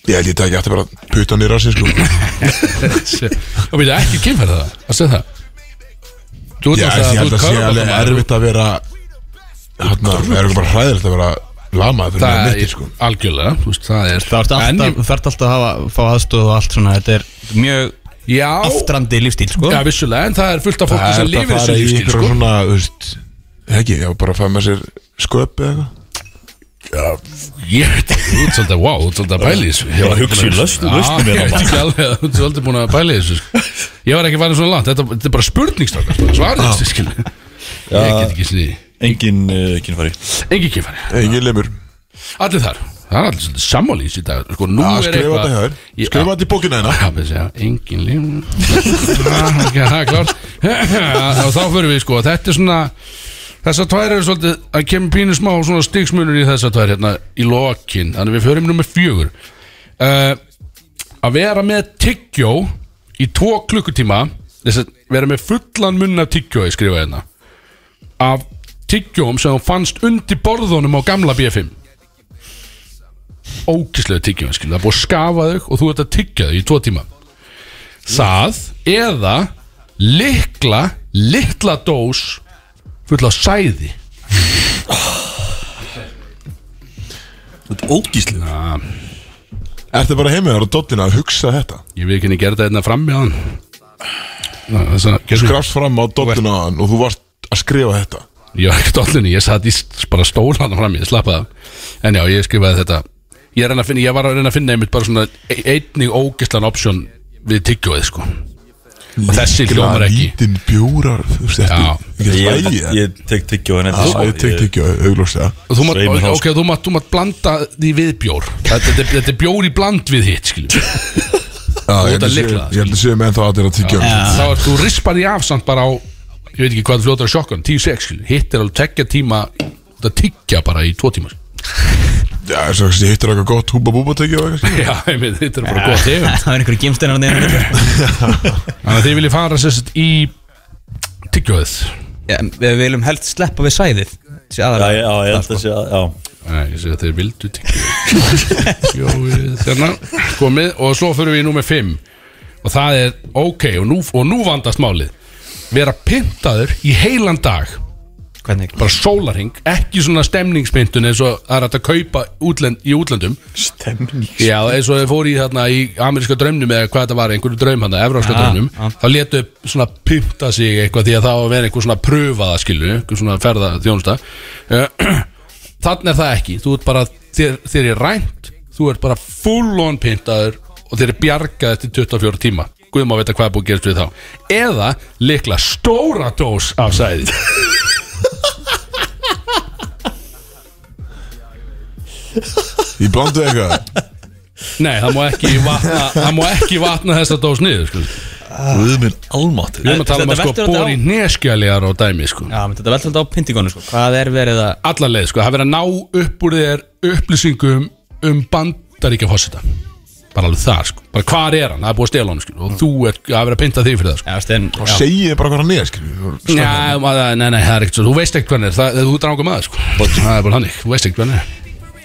Speaker 1: Ég held ég þetta ekki aftur bara að putta hann í rassin sko
Speaker 3: Það veit ekki kynferð það Það segð það Þú ert
Speaker 1: Já, ég
Speaker 3: náttúrulega-
Speaker 1: held
Speaker 3: þú
Speaker 1: að
Speaker 3: ert
Speaker 1: sé alveg
Speaker 3: körfuboltamaður.
Speaker 1: erfitt að vera Hanna, er eitthvað bara hræðilegt að vera Lamað fyrir neða
Speaker 3: Það
Speaker 1: mitti
Speaker 3: er
Speaker 1: sko
Speaker 3: algjörlega þú veist, Það er
Speaker 2: Það ert
Speaker 3: En ég-
Speaker 2: alltaf, þarft alltaf að hafa, fá aðstöð og allt svona Þetta er mjög
Speaker 3: Já
Speaker 2: aftrandi lífstíl, sko
Speaker 3: Já, vissulega En það er fullt af fólki
Speaker 1: Það
Speaker 3: sem
Speaker 1: er
Speaker 3: lifir
Speaker 1: þetta að
Speaker 3: þessu
Speaker 1: fara í
Speaker 3: lífstíl
Speaker 1: ykkur
Speaker 3: sko.
Speaker 1: svona, þú veist Ekki, já, bara að fara með sér sköp eða eitthvað
Speaker 3: Já, ég veit ekki, þú ert svolítið, wow, þú ert svolítið að bæli þessu
Speaker 4: Ég var að hugsa í lausn- lausnum
Speaker 3: Já,
Speaker 4: hérna,
Speaker 3: Ég veit
Speaker 4: maður.
Speaker 3: ekki alveg, þú ert svolítið búin að bæli þessu sko. Ég var ekki farin svona langt, þetta, þetta er bara spurningstakar Svarið þessu, skil Ég get ekki sniði,
Speaker 4: Engin uh, kynfari
Speaker 3: engi kifari
Speaker 1: Engin lemur
Speaker 3: Allir þar, það er allir svolítið sammál í þessu í dag sko, nú
Speaker 1: Já,
Speaker 3: er
Speaker 1: Skrifa
Speaker 3: eitthvað-
Speaker 1: þetta hjá þér
Speaker 3: Ég-
Speaker 1: Skrifa þetta í bókina hérna
Speaker 3: Já, við segja, engin lim Það er klart Og þá fyrir við sko, þetta er svona Þessar tvær eru svolítið að kemur pínu smá svona stigsmunur í þessar tvær hérna í lokin, þannig við förum nummer fjögur uh, Að vera með tyggjó í tvo klukkutíma þess að vera með fullan munna tyggjó ég skrifa hérna af tyggjóum sem hún fannst undir borðunum á gamla B5 ókislega tyggjum skilur. það er búið að skafa þau og þú ert að tyggja þau í tvo tíma það eða likla litla dós full af sæði
Speaker 4: Þetta er ógíslega
Speaker 1: Ertu bara heimið á dollina að hugsa þetta
Speaker 3: ég veit ekki henni gerði þetta hérna frammi á hann þess að gerðu
Speaker 1: Grafst fram á dollina hann og þú varst að skrifa þetta
Speaker 3: ég var ekki dollunni, ég satt í st- bara stólan fram, ég slappaði af en já, ég skrifaði þetta ég, er að reyna að finna, ég var að reyna að finna einmitt bara svona e- einnig ógislan option við tyggjóið sko og þessi hljómar ekki
Speaker 1: Lítinn bjórar Þú veist
Speaker 3: Já.
Speaker 1: þetta
Speaker 4: Ég,
Speaker 1: Ég
Speaker 4: ég, ég tek tyggjó en
Speaker 1: Já, ég tekti ekki auglóslega
Speaker 3: Og þú mátt,
Speaker 4: Reimar Hans.
Speaker 3: ok, þú mátt, þú mátt blanda því við bjór Þetta, þetta, þetta er bjór í bland við hitt, skiljum við.
Speaker 1: Ég
Speaker 3: ert að lykla það,
Speaker 1: ég held að séu með þá að þetta tiggja
Speaker 3: Þá er þú rispar því af samt bara á Ég veit ekki hvað þú fljótar að sjokkan, 10-6 skiljum við. Hitt er alveg tekja tíma Það tiggja bara í tvo tíma skiljum
Speaker 1: Já, þess að ég hittir eitthvað gott húba búba tiggja
Speaker 3: við. Já, ég veit, þetta er bara góð tegum
Speaker 2: Það er einhverjum gimsteinar neina
Speaker 3: Þannig að þið viljið fara sérst í Tyggjóðið
Speaker 2: Já, en Við viljum helst sleppa við sæðið Þessi
Speaker 4: Já,
Speaker 2: aðra
Speaker 4: já, ég held að sé að Já,
Speaker 3: Nei, ég segi að þeir vildu tyggjóðið Tyggjóðið Þannig, komið Og svo förum við í númer 5 Og það er, ok, og nú, og nú vandast málið Vera pyntaður í heilan dag
Speaker 2: Hvernig?
Speaker 3: bara sólarhing, ekki svona stemningsmyndun eins og það er hægt að kaupa útlend, í útlöndum
Speaker 4: stemning
Speaker 3: Já, eins og þau fóru í þarna í ameríska draumnum eða hvað þetta var, einhverju draum hann evróska draumnum,
Speaker 2: já.
Speaker 3: þá letu þau svona pynta sig eitthvað því að það á að vera einhver svona pröfaða skilu, einhver svona ferða þjónusta Þannig er það ekki þú ert bara, þér, þér er rænt þú ert bara full on pyntaður og þér er bjargað eftir 24 tíma Guð má vita hvað er búið að gerast við þá eða likla stóra dós af sæði
Speaker 1: Ég blandu eitthvað
Speaker 3: Nei, það má ekki vatna, það má ekki vatna þessa dós niður sko.
Speaker 4: Guð minn almáttur
Speaker 3: Við erum að tala um
Speaker 2: Þetta
Speaker 3: að sko
Speaker 2: veltur þetta á-
Speaker 3: bóri neskjaliðar og dæmi sko.
Speaker 2: Já, menn þetta veldur þetta á pyntingonu sko Hvað er verið að
Speaker 3: Alla leið, sko, það verið að ná upp úr þér upplýsingum um bandaríkja fósita Bara alveg þar, sko. bara hvar er hann, það er búið að stela hann sko. og þú er að vera að pynta þig fyrir það sko.
Speaker 2: Já, stein
Speaker 1: Og segi bara hvað hann er skilur við.
Speaker 3: Já, maður- nei, nei, það er ekkert svo, þú veist ekkert hvernig er, það, þú ert ranga maður, sko Það er bara hannig, þú veist ekkert hvernig er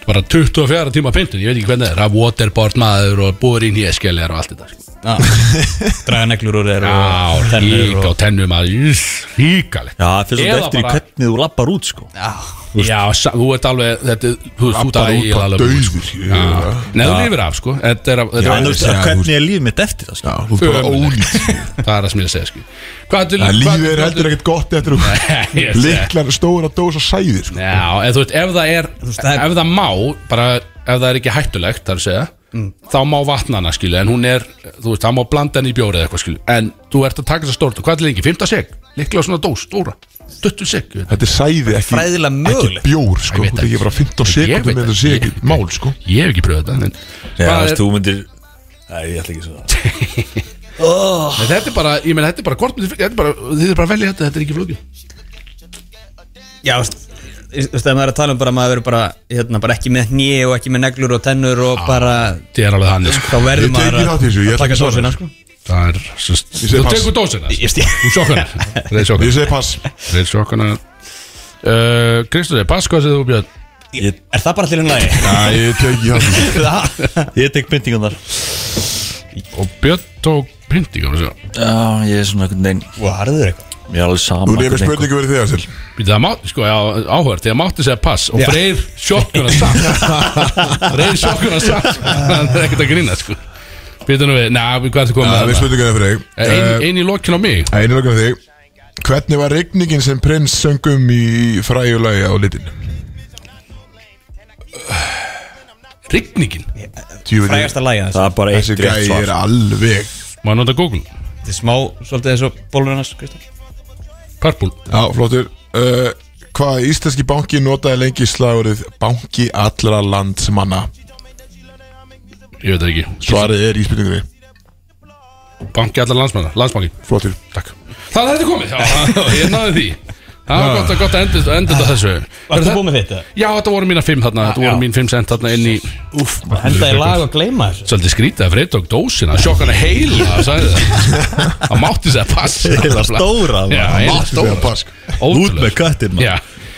Speaker 3: Bara 24 tíma pyntun, ég veit ekki hvernig er, það er waterboard maður og búið í nýjaskjaliðar og allt þetta sko.
Speaker 2: Draga neglur úr þér
Speaker 3: Já,
Speaker 2: og tennur
Speaker 3: líka
Speaker 2: og
Speaker 3: og tennum að Líkalegt
Speaker 4: Já, það fyrir
Speaker 3: Eða
Speaker 4: svolítið eftir
Speaker 3: bara-
Speaker 4: í hvernig þú lappar út sko Já,
Speaker 3: Já, sa- þú ert alveg Þetta, er- þú ert út
Speaker 1: Labbar
Speaker 3: að
Speaker 1: út bara dauður, ég-
Speaker 3: Nei, þú lifir af, sko Þetta er, þetta er
Speaker 4: en þú veist
Speaker 1: já,
Speaker 4: að
Speaker 1: þú
Speaker 4: hvernig er líf mitt eftir
Speaker 1: Já,
Speaker 4: það sko
Speaker 1: þú er bara
Speaker 3: Ömurlegt.
Speaker 1: ólít
Speaker 3: Það er það sem ég er að segja, sko Hvað til
Speaker 1: Það lífið er heldur ekkert gott eftir
Speaker 3: Nei, ég
Speaker 1: þú
Speaker 3: sé.
Speaker 1: Liklar stóra dós og sæðir sko.
Speaker 3: Já, en þú veist, ef það er
Speaker 2: það er-
Speaker 3: Ef það má, bara Ef það er ekki hættulegt, það er að segja Þá má vatna hana, skilu En hún er, þú veist, það má blanda henni í bjóri eða eitthvað, skilu En þú ert að taka þess að stórt Hvað til lengi? 15 seg? Líklega svona dós, stóra 20 seg
Speaker 1: Þetta er sæði ekki
Speaker 2: Fræðilega
Speaker 1: Ekki
Speaker 2: mögulegt.
Speaker 1: bjór sko
Speaker 3: veit
Speaker 1: Þetta er
Speaker 3: ekki.
Speaker 1: ekki bara 15
Speaker 3: Ég veit
Speaker 1: sekundum með þetta sé
Speaker 3: ekki.
Speaker 1: ekki mál sko
Speaker 3: Ég hef ekki pröfð þetta en-
Speaker 4: Já,
Speaker 3: Hvað
Speaker 4: þú
Speaker 3: er-
Speaker 4: veist, þú myndir Nei, ég ætla ekki að segja það
Speaker 3: Nei, þetta er bara, ég meina, þetta er bara hvort myndi- þetta er bara, þið er bara að velja þetta, þetta er ekki flóki
Speaker 2: Já, þú veist, þú veist, ef maður er að tala um bara að maður verður bara, hérna, bara ekki með hné og ekki með neglur og tennur og bara
Speaker 3: Þetta er alveg þannig, sko
Speaker 2: þá verður
Speaker 1: Ég
Speaker 2: maður
Speaker 1: teki þátt í þessu, ég
Speaker 2: að
Speaker 1: ætla
Speaker 2: taka
Speaker 1: ekki að
Speaker 2: dósina sko
Speaker 3: Það er, sérst,
Speaker 1: segi
Speaker 3: þú
Speaker 1: pass.
Speaker 3: tekur dósina sko.
Speaker 2: Ég stíð
Speaker 3: Þú sjokkana, reyð
Speaker 1: Ég
Speaker 3: sjokkana
Speaker 1: segi pass
Speaker 3: Reyð sjokkana Uh, Kristur, pass hvað segðu þú Björn
Speaker 2: Er það bara allir um lagi?
Speaker 1: Já, ég teki þátt í þessu.
Speaker 4: Ég tek pyntingunar
Speaker 3: og Björn tók pynting býta
Speaker 4: Já, ég er svona einhvern veginn
Speaker 2: Þú harður eitthvað
Speaker 4: Mér er alveg sama
Speaker 1: Þú nefnir
Speaker 4: hvernig einhver-
Speaker 1: spurningu verið þig Axel
Speaker 3: það mátti sko áhverð þegar mátti segja pass og freyð sjokkuna samt freyð sjokkuna samt sko. það er ekkert að grína sko býta nú við na, hvað ertu komið
Speaker 1: Það er
Speaker 3: með þetta
Speaker 1: spurningu verið
Speaker 3: ein,
Speaker 1: þig
Speaker 3: ein í lokin á mig
Speaker 1: Einu lókar þig Hvernig var um regningin sem prins söngum í fræjulagi á litin?
Speaker 3: Rigningin
Speaker 1: Djúvill,
Speaker 2: Frægasta lægi þess
Speaker 4: Það er bara eitt
Speaker 1: Þessi
Speaker 4: rétt
Speaker 1: gæi
Speaker 4: svar
Speaker 1: er alveg
Speaker 3: Má ég nota Google?
Speaker 2: Þetta er smá, svolítið eins og bólur hans, Kristall
Speaker 3: Purple
Speaker 1: Já, flottur uh, Hvað íslenski banki notaði lengi slagurð Banki allra landsmanna
Speaker 3: Ég veit það ekki
Speaker 1: Svarið er í spurningunni
Speaker 3: Banki allar landsmanna Landsbanki
Speaker 1: Flottur
Speaker 3: Takk Það er þetta komið Já, ég náði því Það var gott að, gott að enda, enda
Speaker 4: Ah.
Speaker 3: þetta þessu
Speaker 7: Var
Speaker 3: Eru
Speaker 7: þú
Speaker 3: það-
Speaker 7: búinn með þetta?
Speaker 3: Já, þetta voru mína fimm þarna Þetta voru mín fimm sent þarna inn í Úf,
Speaker 7: Henda í lag og gleyma þessu
Speaker 3: Svolítið skrítið að freyta okk dósina Sjokk hann að heila, það sagði það Það mátti þess að passa
Speaker 4: Heila stóra, maður.
Speaker 3: Já, heila
Speaker 1: Þegar
Speaker 3: stóra
Speaker 1: pask
Speaker 4: Út með köttin
Speaker 3: Já,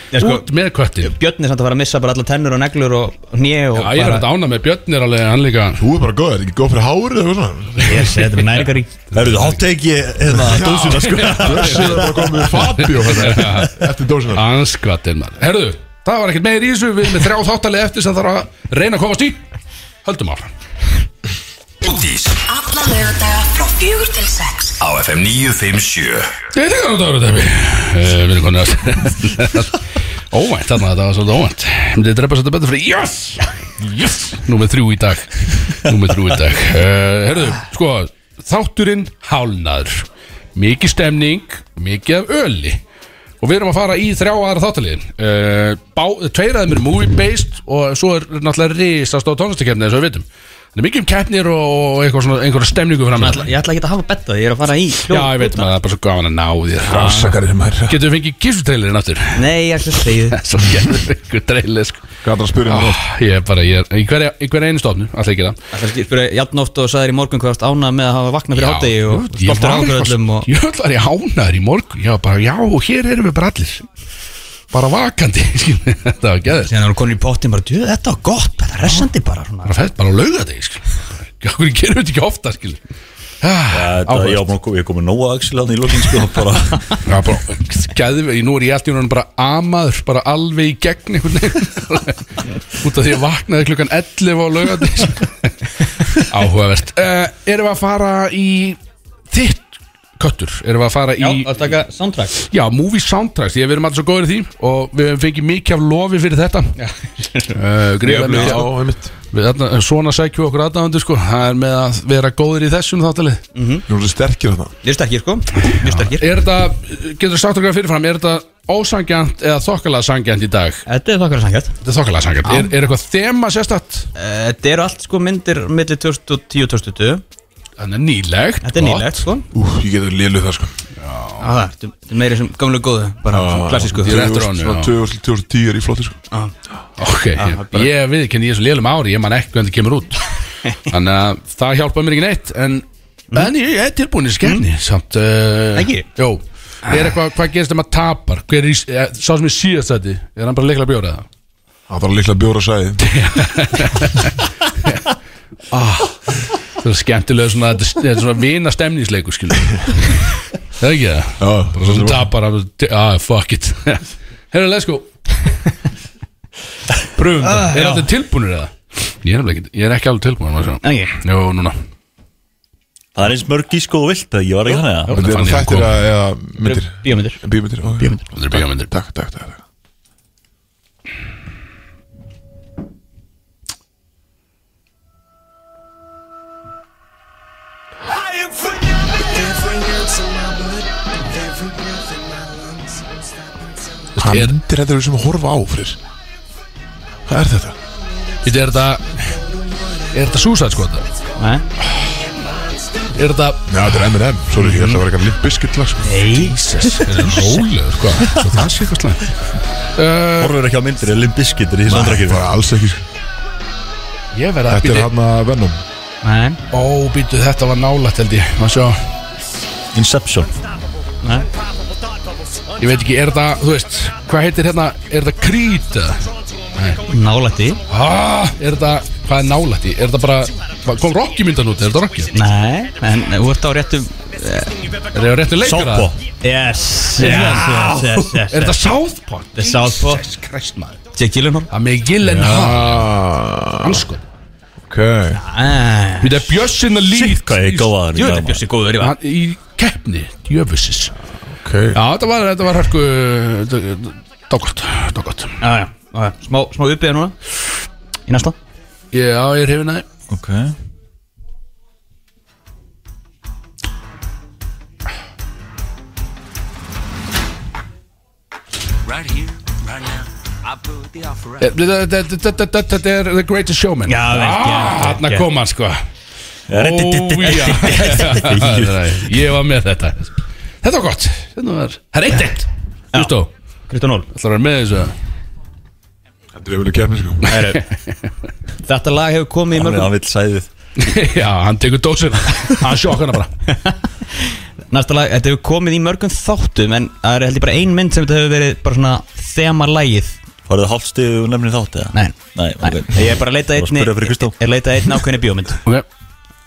Speaker 2: Já, sko-
Speaker 3: út með köttin
Speaker 2: Björn er samt að fara að missa bara alla tennur og neglur og hnið og
Speaker 3: Já, ég er að
Speaker 2: bara
Speaker 3: dána með Björn er alveg Hann líka
Speaker 1: Þú er bara góð, er þetta ekki góð fyrir hárið eða eitthvað svona?
Speaker 2: Yes, Þetta er næringarík
Speaker 4: Herru, þá tek ég hérna dósina sko
Speaker 1: Þessi er bara komið með Fabio hérna, Eftir dósinar
Speaker 3: Anskvatinn mann Herðu, það var ekkert meir í þessu Við erum með þrjá þáttalið eftir sem þarf að reyna að komast í Höldum áfram
Speaker 5: Brótis
Speaker 9: Alla lögadaga frá fjögur til sex
Speaker 5: á FM 957
Speaker 3: Ég veit ekki hvað það voru tæmi Eh, Við erum konið að Óvænt þarna, þetta var svolítið óvænt Ég myndi drepa svolítið betur fyrir Yes! Yes! Númer þrjú í dag Númer þrjú í dag uh, Herðu, sko Þátturinn hálnaður Mikið stemning, mikið af öli Og við erum að fara í þrjá aðra þáttaliðin uh, Tveir aðeim eru movie based Og svo er náttúrulega risast á tónlistakefni Þess að við vitum Það er mikið um keppnir og eitthvað svona, einhverja stemningu framöndan.
Speaker 2: Ég ætla ekki að hafa betta, ég er að fara í
Speaker 3: Já, ég veit maður, það er bara svo gaman að ná því
Speaker 1: Rásakarið maður
Speaker 3: Getum við fengið kissutrailerinn aftur?
Speaker 2: Nei, ég ætla að segja þið
Speaker 3: Svo gerður ykkur trailer sko.
Speaker 1: Gata að spyrja hann
Speaker 3: ah, Ég er bara, ég er í hverja, í hverja einu stofnu Alltaf ekki það
Speaker 2: Það er ekki spyrja jafnótt og sagðir í morgun hvað ást ánað með að hafa vaknað fyrir hátegi og
Speaker 3: ég var
Speaker 2: stoltur ákveð
Speaker 3: eitthvað-
Speaker 2: öllum og
Speaker 3: Ég öll var í hánaður í morgun Já, bara, já, og hér erum við bara allir Bara vakandi skilur við. Þetta var gæður
Speaker 2: Síðan er hún komin í pottin bara, djöð, þetta var gott, þetta er resandi bara svona
Speaker 3: Bara fætt, bara á lauga þetta Hvernig gerum við þetta ekki ofta, skil
Speaker 4: Já, þetta-
Speaker 3: Áhugavert.
Speaker 4: ég var búinn að koma- ég kom með nóa axil hann í lokin sko bara
Speaker 3: Já, bara, gæðum við, nú er ég allt í hún bara amaður, bara alveg í gegn einhvern veginn, út af því að ég vaknaði klukkan 11 á laugandi áhugavert uh, erum við að fara í þitt köttur, erum við að fara í já,
Speaker 2: taka soundtrack
Speaker 3: movie soundtracks, því að við erum alltaf svo góður í því og við hefum fengið mikið af lofi fyrir þetta uh, greiða mikið á
Speaker 1: einmitt
Speaker 3: Við þarna, svona sækjum við okkur aðdáðandi sko, það er með að vera góður í þessum þáttalið
Speaker 1: Nú er það sterkir þarna
Speaker 2: Mjög sterkir sko, mjög sterkir
Speaker 3: Er þetta, getur þú sagt okkur fyrirfram, er þetta ósangjant eða þokkalega sangjant í dag?
Speaker 2: Þetta er þakkar að sangja
Speaker 3: Þetta er þokkalega sangjant. Er, er eitthvað þema sérstætt?
Speaker 2: Þetta eru allt sko myndir millir 2010 og 2020
Speaker 3: Þannig nýlegt.
Speaker 2: Þetta er nýlegt sko
Speaker 1: Ú, ég getur liðluð það sko
Speaker 2: Já, það er- Þetta er meiri sem gamlu góðu, bara svona klassísku
Speaker 3: Ég er eftir honum,
Speaker 1: Svona
Speaker 3: já.
Speaker 1: 2000 2010 er í flotti sko
Speaker 3: Ok, ég, ég viðkenni ég er svo lélum ári, ég man ekki hvernig þetta kemur út. Þannig að það hjálpa mér ekki neitt, en, en ég er tilbúin í skemmi, samt. Uh,
Speaker 2: Mm. Ekki?
Speaker 3: Jó. Er eitthvað, hvað gerist þegar maður tapar? Hver er í, eh, sá sem er síðast þetta, er hann bara leikla bjóra það?
Speaker 1: Það var líklega bjóra sæði
Speaker 3: Það er skemmtilega svona, þetta er- þetta er svona vina stemningsleikur, skilur. Það er ekki það?
Speaker 1: Já,
Speaker 3: bara svona tapar að, ah, fuck it Herra, let's go Pröfum það, er allir tilbúinir eða? Ég er, nefnilega ekki, ég er ekki alveg tilbúin maður sjá.
Speaker 2: Ekki?
Speaker 3: Jó, núna
Speaker 4: Það er eins mörg í sko og vilt það, ég var ekki þannig að
Speaker 1: Þetta
Speaker 3: fann
Speaker 1: er
Speaker 3: ég að
Speaker 1: þættir
Speaker 3: koma.
Speaker 1: að, eða myndir
Speaker 2: Bíómyndir
Speaker 1: Bímyndir Bímyndir
Speaker 3: Þetta er bíómyndir
Speaker 1: Takk, takk, takk takk. Hvað
Speaker 3: Er-
Speaker 1: myndir þetta eru sem að horfa á fyrir? Hvað er þetta?
Speaker 3: Þetta er þetta Er þetta Suicide Squad?
Speaker 2: Nei
Speaker 3: Er þetta
Speaker 1: Já, þetta er M&M, sorry, ég ætla að vera eitthvað lipp biskutla sko.
Speaker 3: Jesus Er þetta rólegur, sko Svo það sé eitthvað slæmt
Speaker 4: Horfur ekki á myndir eða limbiskitir í þessu
Speaker 1: Það
Speaker 4: andrakir
Speaker 1: er alls ekki sko.
Speaker 3: Ég verða
Speaker 1: Þetta er hann að Venom
Speaker 2: Nei
Speaker 3: Ó, býtu, þetta var nálægt held ég Má sjá
Speaker 4: Inception
Speaker 2: Nei
Speaker 3: Ég veit ekki, er þetta, þú veist Hvað heitir hérna Er þetta Creed? eða?
Speaker 2: Nálætti
Speaker 3: Ah, er þetta Hvað er nálægt í? Er þetta bara hvað- Kom Rocky myndan út? Er þetta Rocky?
Speaker 2: Nei En þú ert á réttum
Speaker 3: Er það réttu leikara?
Speaker 4: Sápo
Speaker 2: Yes Yes, yes, yes, yes
Speaker 3: Er þetta Southpaw?
Speaker 2: The Southpaw.
Speaker 3: Jesus Christ maður
Speaker 2: Jack Gyllenhaal
Speaker 3: Það með Gillen Hall
Speaker 1: Ah,
Speaker 3: Sko
Speaker 1: ok
Speaker 2: Ah.
Speaker 3: Þetta er Bjössin að lít
Speaker 4: Hvað ég gáða
Speaker 2: Jú, þetta
Speaker 4: það
Speaker 2: er bjössi góður í vatn
Speaker 3: Hann í keppni Jöfussis
Speaker 1: Ok
Speaker 3: Já þetta var Þetta var hörku Dókvart Dókvart
Speaker 2: Já, já, já, smá, smá uppiða núna í næsta
Speaker 3: Ég, já, ég er hefina þeim
Speaker 4: Ok
Speaker 3: Eh, Þetta þetta- þetta- þetta- þetta er The Greatest Showman
Speaker 2: Já, vel gert,
Speaker 3: Ah,
Speaker 2: vel
Speaker 3: Þarna
Speaker 2: gert.
Speaker 3: kom hann sko Ó, já. Ég var með þetta Þetta var gott Þetta var Það er eitt eitt Justó
Speaker 2: Kristján Ól
Speaker 3: Það er með þessu eða?
Speaker 1: Þetta er vel að kemna sko Nei,
Speaker 2: Þetta lag hefur komið í
Speaker 4: Hann er
Speaker 2: mörgum
Speaker 4: aðvill sæðið
Speaker 3: Já, hann tekur dósina Hann sjokk hana bara
Speaker 2: Næsta lag, þetta hefur komið í mörgum þáttum En það er heldur bara ein mynd sem þetta hefur verið bara svona Þema lagið
Speaker 4: Var það hálfstíðu nefnir þátt eða?
Speaker 2: Nei,
Speaker 4: Nei, ok
Speaker 2: Ég er bara að leita
Speaker 4: Það var að
Speaker 2: einni
Speaker 4: spyrja fyrir Kristó.
Speaker 2: Ég er að leita einni ákveðinni bíómynd
Speaker 3: Ok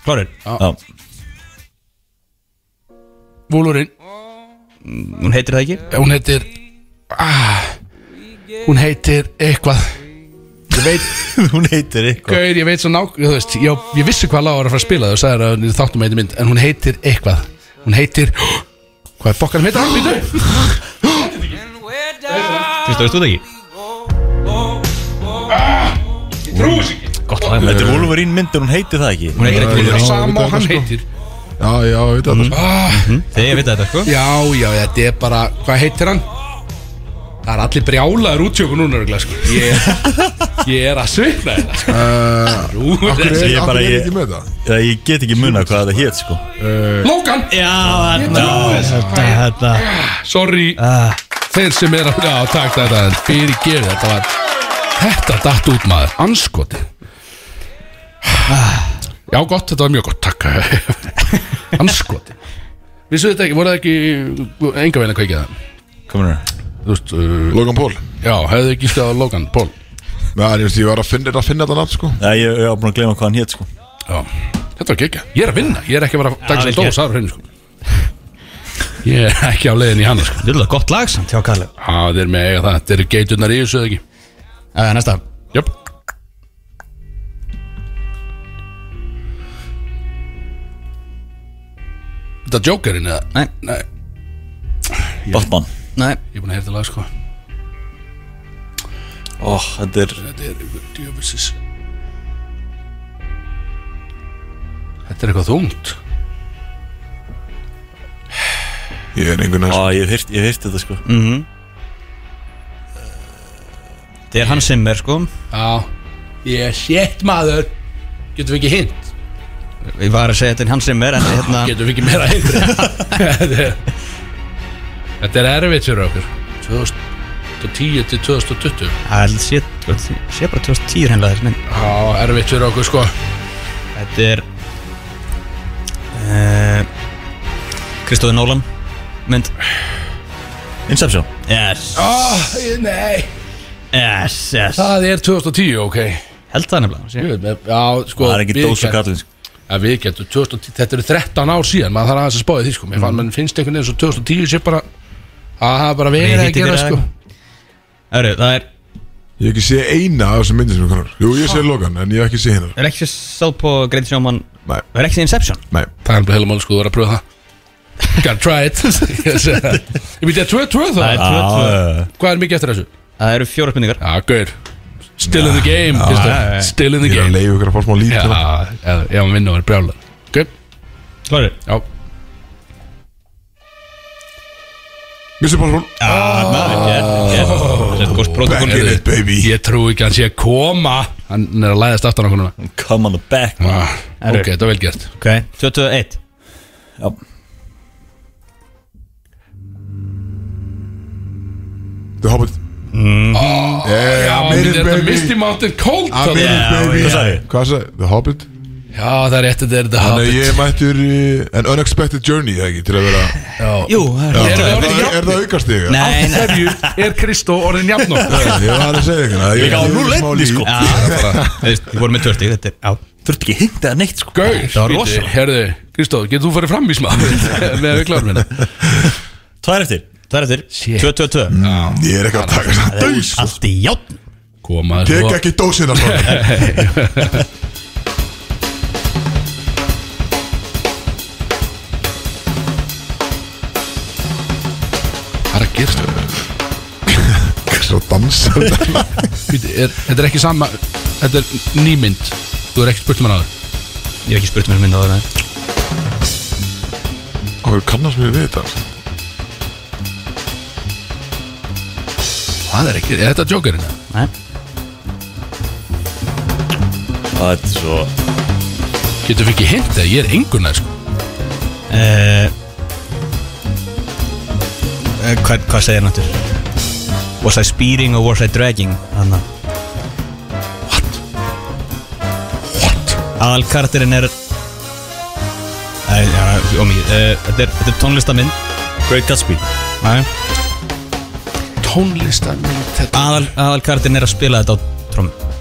Speaker 2: Klárir?
Speaker 4: Já,
Speaker 3: Vúlurinn eh,
Speaker 2: Hún heitir það ekki?
Speaker 3: Hún heitir ah, Hún heitir eitthvað Ég veit
Speaker 4: hún heitir eitthvað
Speaker 3: Gaur, ég veit svo nák Þú veist, ég, ég vissi hvað lág var að fara að spila Þú sagðir að þið þáttum eitthvað mynd En hún heitir eitthvað Hún heitir Hvað er bokkanum heitir hann? Býtu
Speaker 2: Kristó, veistu þú það ekki?
Speaker 4: Gott lag Þetta er Wolverine myndir, hún heitir það ekki
Speaker 2: Hún heitir ekki
Speaker 3: Það
Speaker 2: Wolverine
Speaker 3: er
Speaker 1: já,
Speaker 3: sama
Speaker 1: þetta
Speaker 3: og hann
Speaker 1: sko.
Speaker 3: heitir
Speaker 1: Já, já, veit það sko
Speaker 2: Þegar ég veit þetta sko
Speaker 3: Já, já, þetta er bara Hvað heitir hann? Það er allir brjálaður útjóku núna örugglega, sko. ég, ég er að hérna, sko. svipna þetta
Speaker 1: Akkur
Speaker 3: Rúður
Speaker 1: er,
Speaker 4: Ég
Speaker 1: akkur
Speaker 4: bara-
Speaker 1: er
Speaker 4: ég-
Speaker 1: ekki með það
Speaker 4: Já, Ég get ekki muna hvað það hétt sko
Speaker 3: Lókan
Speaker 7: Já, þarna
Speaker 3: sko.
Speaker 7: Þetta, þetta
Speaker 3: Sorry Þeir sem er að Já, takk þetta er Fyrir gefið Þetta var Þetta datt út maður Anskoti Já, gott Þetta var mjög gott Takk Anskoti Vissu þetta ekki Voru það ekki Enga veina kveikið það
Speaker 4: Komur hér
Speaker 3: Þú veist uh,
Speaker 1: Logan Paul
Speaker 3: Já, hefðu ekki skjáð Logan Paul
Speaker 1: Nei, ég veist, ég var að finna, að finna þetta nátt sko
Speaker 4: Já, ég ég var búin að gleyma hvað hann hétt sko
Speaker 3: Já Þetta var ekki Ég er að vinna Ég er ekki að vera Dagsins
Speaker 2: vel
Speaker 3: dós Það er hreinu sko Ég er ekki á leiðin í hana sko
Speaker 2: Vildu það gott lag samt hjá Kallur
Speaker 3: Já, þeir eru með að eiga það Þeir eru geiturnar í þessu eða ekki
Speaker 2: Það er næsta
Speaker 3: Jöp Þetta er Jokerinn eða?
Speaker 2: Nei,
Speaker 3: Nei,
Speaker 4: Batman
Speaker 2: nei
Speaker 3: ég er búin að heyrta lag sko
Speaker 4: Ó, þetta er
Speaker 3: Þetta er ykkur djöfilsis Þetta er eitthvað þungt
Speaker 1: Ég er einhvern veginn
Speaker 4: Á, ég hef heyrt- ég hef heyrt þetta sko
Speaker 2: Þetta er hann sem er sko
Speaker 3: Já Ég er sétt maður Getum við ekki hint?
Speaker 2: Ég var að segja þetta er hann sem er En hérna
Speaker 3: Getum við ekki meira hint? Þetta er- Þetta er erfitt fyrir okkur 2010 til 2020
Speaker 2: Það er sé sé bara 2010 hennilega þessi mynd
Speaker 3: Já, erfitt fyrir okkur sko
Speaker 2: Þetta er eh, Kristóður Nólan eh, Mynd
Speaker 4: Inception
Speaker 2: Yes
Speaker 3: oh, Nei
Speaker 2: Yes, yes
Speaker 3: Það er 2010, ok
Speaker 2: Held það nefnilega sé.
Speaker 3: Ég veit, með- Já, sko
Speaker 4: Það er ekki
Speaker 3: við
Speaker 4: dós og
Speaker 3: gætum-
Speaker 4: kallin sko
Speaker 3: Já, við getum 2010 Þetta eru 13 ár síðan Maður þarf aðeins að spáði því, sko Mér fann, menn finnst einhvern veginn Svo 2010 sé bara Að það er bara verið
Speaker 2: Við
Speaker 3: að
Speaker 2: hitti
Speaker 3: gera,
Speaker 2: fyrir
Speaker 3: sko
Speaker 2: að- Herru, Það er
Speaker 1: Ég hef ekki séð eina af þessum myndir sem konar Jú, ég séð Logan, en ég hef ekki séð hennar
Speaker 2: Er ekki séð Soap og Great Showman
Speaker 1: Nei.
Speaker 2: Það er ekki séð Inception
Speaker 1: Nei,
Speaker 3: Það er bara heila mál, sko Þú verður að pröfa það Gotta try it Yes, eh. Ég myndi að 2-2
Speaker 2: Það er
Speaker 3: það
Speaker 2: tvö, tvö.
Speaker 3: Hvað er mikið eftir þessu?
Speaker 2: Það eru fjóra spurningar
Speaker 3: Já, gaur Still in the game, Kristján Still in the
Speaker 1: ég er að
Speaker 3: game
Speaker 1: leiða ykkur að fá smá lít
Speaker 3: Já,
Speaker 1: hérna.
Speaker 3: eða- ef hann vinna var brjála Ok,
Speaker 2: Klárir
Speaker 3: já
Speaker 1: Mr. Paul,
Speaker 2: Þetta er
Speaker 1: back
Speaker 2: góðst protokoll
Speaker 1: in it baby
Speaker 3: Ég trúi ekki að hann sé að koma Hann er að læðast aftan okkur núna
Speaker 4: Come on the back man.
Speaker 3: ah, Ok, þetta er vel gert
Speaker 2: Ok, 21
Speaker 4: Já
Speaker 1: The Hobbit Yeah, I made it
Speaker 3: Þetta Mm-hmm. er
Speaker 1: baby
Speaker 3: Misty Mountain Cold
Speaker 1: I made it baby
Speaker 4: Hvað sagði ég?
Speaker 1: Hvað sagði? The Hobbit
Speaker 3: Já, það er rétt, þetta er The
Speaker 1: Þannig að
Speaker 3: Hobbit
Speaker 1: ég er mættur í- An unexpected journey, eða ekki, til að vera
Speaker 2: Jú, það er
Speaker 1: Er
Speaker 3: við
Speaker 1: það-
Speaker 3: orðin
Speaker 1: er- er það aukast þig?
Speaker 2: Nei, nei
Speaker 3: Hverju er Kristó orðin jafnokk?
Speaker 1: Ég var að segja ykkur Ég
Speaker 4: Líka á rúlletni, sko.
Speaker 2: Já, þú veist, Við vorum með 20 Þetta er á
Speaker 4: Þurfti ekki hint eða neitt sko
Speaker 3: Gaur,
Speaker 2: Það var
Speaker 3: bíddu,
Speaker 2: rosalegt.
Speaker 3: herðu, Kristó, getur þú farið fram í smá með að við klárum hérna?
Speaker 4: Tvær eftir
Speaker 2: Það er
Speaker 3: Shit.
Speaker 2: eftir 22
Speaker 1: Ég er ekki að taka þess að dæs
Speaker 2: Allt í játn
Speaker 3: Koma
Speaker 1: Tek ekki dósina sko. svo
Speaker 3: Það er að gerst
Speaker 1: Svo dansa þarna.
Speaker 3: Bíddu, er- Þetta er ekki sama Þetta er nýmynd Þú er ekki spurt um hann aður
Speaker 2: Ég hef ekki spurt mér um mynd áður en
Speaker 1: Og þú kannast mér við þetta
Speaker 3: Það er ekki Er þetta hérna? Jokerinn? eða?
Speaker 2: Nei
Speaker 4: Það er svo
Speaker 3: Getur við ekki hint að ég er engun sko.
Speaker 2: uh, eh, hvað, hvað segir hann aftur? Was I speeding or was I dragging? Þannig What? What? Aðalkartirinn er Æ, já, um, uh, þetta, er, þetta er tónlistaminn
Speaker 4: Great Gatsby
Speaker 3: Tónlistarmynd þetta
Speaker 2: Aðal, Aðalkartirinn er að spila þetta á trómmu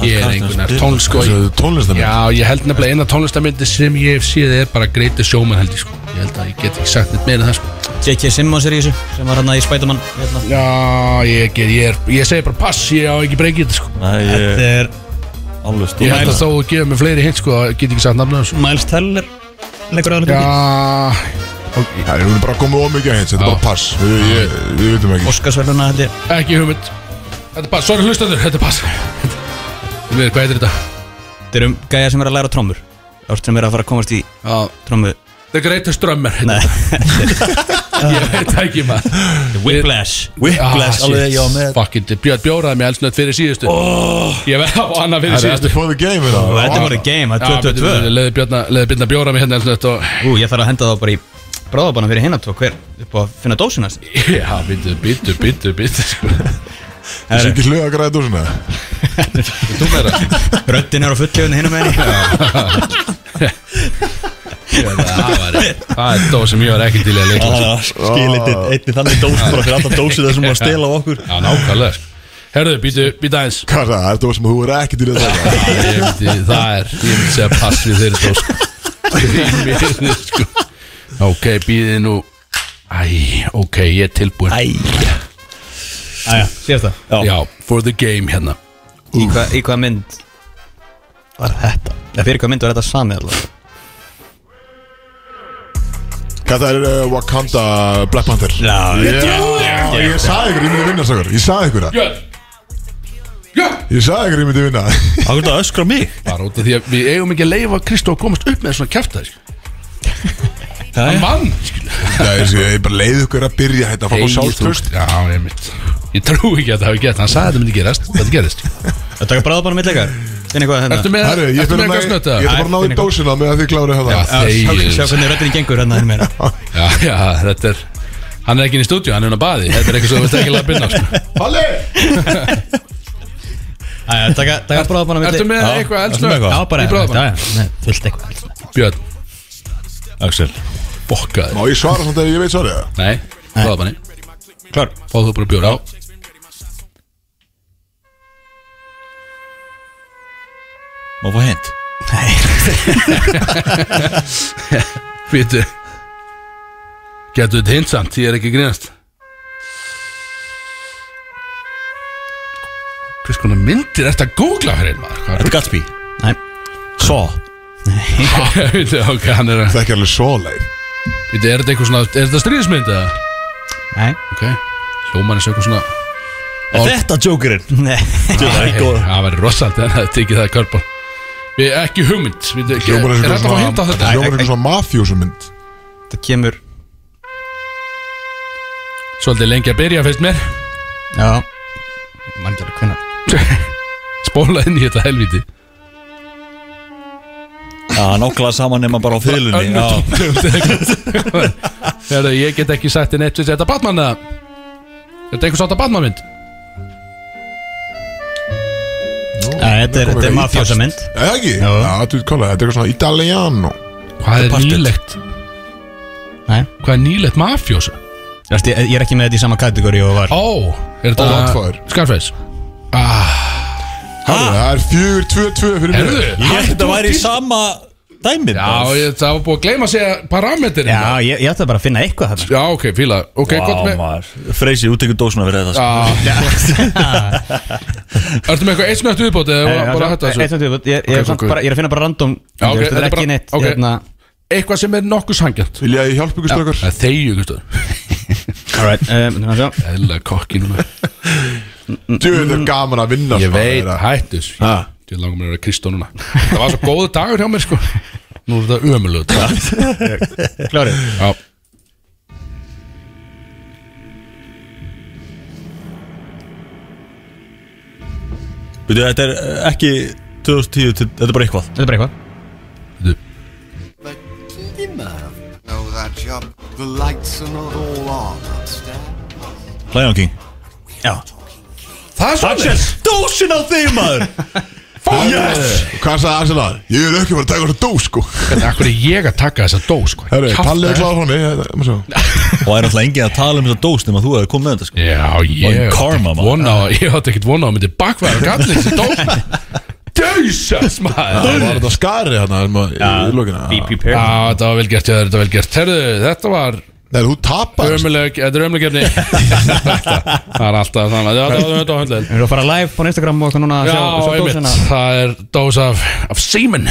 Speaker 3: Ég er engun
Speaker 4: Spyr-
Speaker 3: Tón sko
Speaker 1: Þessu tónlistarmynd
Speaker 3: Já, ég held nefnilega eina tónlistarmyndi sem ég hef séð er bara greiti sjóman held ég sko Ég held að ég get ekki sagt neitt meira en það sko
Speaker 2: J.K. Simmons er í þessu sem var hann að í Spiderman hérna.
Speaker 3: Já, ég, get, ég, er, ég segi bara pass, ég á ekki breykið þetta sko
Speaker 4: Það
Speaker 2: Þetta
Speaker 4: er
Speaker 2: er
Speaker 4: alveg
Speaker 3: Ég
Speaker 4: stóð
Speaker 3: held að þó að gefa mig fleiri hint sko, get ekki sagt nafnum sko.
Speaker 2: Miles Teller leikur aðalhluti
Speaker 3: Já,
Speaker 1: Það er bara komið ómikið að hins, þetta er
Speaker 3: Já.
Speaker 1: bara pass Við, ég, við veitum ekki
Speaker 2: Óskarsverðuna held ég
Speaker 3: ekki hugmynd Þetta er pass, sorry hlustandur, þetta er pass Við, hvað heitir þetta?
Speaker 2: Þetta er um gæja sem er að læra trommur Árt sem er að fara að komast í
Speaker 3: Já,
Speaker 2: trommu
Speaker 3: The Greatest Drummer heitir
Speaker 2: Nei.
Speaker 3: þetta. Ég veit það ekki maður Ah,
Speaker 2: Whiplash
Speaker 4: Whiplash, alveg já með
Speaker 3: Fucking, Björn bjóraði mig elsnött fyrir síðustu Ég verði á annað fyrir
Speaker 1: Það er eftir
Speaker 3: síðustu
Speaker 1: for the game hérna.
Speaker 2: Og þetta var í game að 22
Speaker 3: Leði Björn að bjóra mig hérna elsnött og
Speaker 2: Ú, ég þarf að henda þá bara í bráðabanna fyrir hinn að tók hver upp á að finna dósina hans
Speaker 3: Já, býttu, býttu, býttu, býttu sko.
Speaker 1: Þessi ekki hluga að græða dúsina
Speaker 3: Þú meira
Speaker 2: Röddin er á fulljöfni hinn um henni
Speaker 3: Ég veit að Það var- það er dó sem ég var ekki til í að leikla sko.
Speaker 4: Skilitið, einni þannig dós bara fyrir alltaf dósið það sem var að stela á okkur
Speaker 3: Já, nákvæmlega sko. Herðu, býttu, býttu aðeins
Speaker 1: Hvað er það? Það er það sem þú er ekki til að taka
Speaker 3: Ég myndi- Það er, ég myndi segja pass við þeirri dó sko. Mér, sko. Ok, býði nú Æ, ok, ég er tilbúin Æ,
Speaker 2: Æja, sér það
Speaker 3: Já, for the game hérna
Speaker 2: Í hvað hva mynd var þetta? Eða fyrir hvað mynd var þetta samið alveg?
Speaker 1: Hvað það er uh, Wakanda Black Panther Já, ég, ég, ég sagði ykkur, ég myndi vinna sakur Ég sagði ykkur það
Speaker 3: Björn Björn
Speaker 1: Ég sagði ykkur, ég myndi vinna
Speaker 4: Akkur það öskra mig
Speaker 3: Bara út af því að við eigum ekki að leifa Kristó að komast upp með svona kjaftaði sko. Hann vann skilur.
Speaker 1: Það er svo, ég bara leið ykkur að byrja þetta Fá
Speaker 3: Eigið
Speaker 1: sjálfströst
Speaker 3: þú- Já, ég mitt Ég trú ekki að það hafi gett Hann sagði að þetta myndi gerast Þetta gerist
Speaker 2: Það taka bráðabanna mittleikar Finn eitthvað hérna
Speaker 3: Ertu með
Speaker 1: Herru, ég
Speaker 3: Ertu
Speaker 1: ætla
Speaker 3: með
Speaker 1: bara að ná
Speaker 3: eitthvað snöta?
Speaker 1: í- ég ætla bara að ná í dósina með að þið hérna. kláru að
Speaker 3: Já,
Speaker 1: hafa
Speaker 2: Sjá
Speaker 3: þegið.
Speaker 2: sjá hvernig röddin gengur hérna hinn meina
Speaker 3: Já, já, þetta er Hann er ekki inn í stúdíu, hann er inn á baði Þetta er eitthvað sem þú veist ekki að binna sko.
Speaker 1: Halli!
Speaker 2: Æja, taka, taka bráðabanna mittleikar
Speaker 3: Ertu með
Speaker 4: Já,
Speaker 3: eitthvað
Speaker 4: ertu
Speaker 3: eldsnögt?
Speaker 4: með eitthvað?
Speaker 2: Já, bara
Speaker 3: í bráðabann?
Speaker 2: já, já, nei, fullt eitthvað
Speaker 3: Björn,
Speaker 4: Axel
Speaker 1: Má
Speaker 3: bokkaði
Speaker 1: ég svara samt að ég veit svarið það?
Speaker 3: Nei, bráðabanni
Speaker 4: Klar
Speaker 3: Fáðu þú bara bjóra á
Speaker 4: Má fá hint
Speaker 3: Býtu Getur þetta hinsamt, ég er ekki að grínast Hvers konar myndir ertu að googla fyrir einn maður? Hvað
Speaker 4: Þetta er Gatsby
Speaker 2: Nei.
Speaker 4: Svo
Speaker 3: er Býtu, ok, hann er að
Speaker 1: Það er ekki alveg svo leið
Speaker 3: Býtu, er þetta eitthvað svona, er þetta stríðismynd eða?
Speaker 2: Nei,
Speaker 3: Ok, hljóman er eitthvað svona
Speaker 4: Er þetta Jokerinn?
Speaker 2: nei
Speaker 4: Þetta er
Speaker 3: Nei,
Speaker 4: ekki góð
Speaker 3: Það væri rosalt en það tekið það í körpun Við ekki hugmynd Býtu, ekki-
Speaker 1: Hljómar
Speaker 3: Er
Speaker 1: eins og
Speaker 3: þetta að fá að hinta á þetta?
Speaker 1: Hljómar eitthvað svona mafjósumynd
Speaker 2: Það kemur
Speaker 3: Svolítið lengi að byrja fyrst mér
Speaker 2: Já Man ekki alveg hvenær
Speaker 3: Spóla inn í þetta helviti
Speaker 4: Já, nákvæmlega saman nema bara á fyrirlunni
Speaker 3: Önnur
Speaker 4: Já,
Speaker 3: tóntegund eða eitthvað. Herðu, ég get ekki sagt þér neitt við þetta Batman eða Þetta er einhvers átta Batman mynd
Speaker 2: Já, þetta er, þetta er mafjósa mynd
Speaker 1: Já, ekki? Já, þetta er kallað, þetta er eitthvað svona Italiano
Speaker 3: Hvað er
Speaker 4: Departed.
Speaker 3: nýlegt?
Speaker 2: Nei
Speaker 3: Hvað er nýlegt mafjósa?
Speaker 2: Vast, ég, ég er ekki með þetta í sama kategóri og var
Speaker 3: Ó, er þetta
Speaker 1: Godfather.
Speaker 3: Scarface
Speaker 1: Herru, það er 4-2-2 fyrir mér
Speaker 3: Herðu
Speaker 4: ég held þetta væri í sama dæmið
Speaker 3: Já, ég, það var búið að gleyma að segja parametrin
Speaker 2: Já, ég, ég ætla bara að finna eitthvað þarna
Speaker 3: Já, ok, fíla Ok, gott
Speaker 4: Vá,
Speaker 3: með
Speaker 4: maður Freysi, þú tekur dósuna fyrir þetta sko.
Speaker 3: Já Ertu með eitthvað eitt snögt viðbót eða
Speaker 2: Nei,
Speaker 3: var bara
Speaker 2: já,
Speaker 3: hætta
Speaker 2: eitt
Speaker 3: þessu?
Speaker 2: sem þú- Ég ég
Speaker 3: Ok,
Speaker 2: er samt
Speaker 3: ok.
Speaker 2: bara- ég er að finna bara random
Speaker 3: Já, ok,
Speaker 2: þú veist,
Speaker 3: þetta
Speaker 2: Þetta
Speaker 3: er
Speaker 2: er
Speaker 3: bara-
Speaker 2: ekki neitt
Speaker 3: ok.
Speaker 2: hérna-
Speaker 3: Eitthvað sem er nokkuð sangjant
Speaker 1: Vilja ég hjálpa ykkur strökar?
Speaker 3: Þegju, Gustaf
Speaker 2: Alright, um, þannig að sjá
Speaker 3: Eðla kokki núna
Speaker 1: Djöður er gaman að vinna
Speaker 3: Ég
Speaker 1: svona,
Speaker 3: veit,
Speaker 1: þeirra.
Speaker 3: hættu þessu.
Speaker 1: Ha?
Speaker 3: Ég langar mér að vera Kristó núna Það var svo góðu dagur hjá mér sko Nú er þetta ömulöð
Speaker 2: Klárið
Speaker 3: Já,
Speaker 4: Veitu, þetta er eh, ekki 2010, til- þetta er bara eitthvað
Speaker 2: Þetta er bara eitthvað
Speaker 4: Lion King Já
Speaker 3: það er
Speaker 4: Axel,
Speaker 3: svolítið
Speaker 4: dósin á þig maður Yes
Speaker 1: Og Hvað sagði Axel að? Ég er ekki bara að taka þessu dó sko
Speaker 3: Akkur er ég að taka þessa dó sko
Speaker 1: Herru,
Speaker 3: Kjafta
Speaker 1: Palli er
Speaker 3: þér.
Speaker 1: kláð honni
Speaker 4: Og er alltaf engin að tala um þetta dós nema þú hefði komið með þetta sko
Speaker 3: Já, ég
Speaker 4: Fucking karma, maður.
Speaker 3: vona, Ég átti ekkert vona að myndi bakvæða Gallin sem dó Djössas
Speaker 1: Það
Speaker 3: maður
Speaker 1: var þetta skari hérna sem að- í lokina
Speaker 2: Be
Speaker 3: Já,
Speaker 2: prepared
Speaker 3: þetta var vel gert, já, þetta var vel gert Herðu, þetta var
Speaker 1: Nei, þú tapar
Speaker 3: ömuleg, þetta er ömuleg efni Það er alltaf þannig Já, þetta var þetta var höndlega
Speaker 2: Við erum að fara live á Instagram og eitthvað núna að
Speaker 3: Já,
Speaker 2: sjá- sjá
Speaker 3: einmitt,
Speaker 2: dósina.
Speaker 3: það er dós af, af semen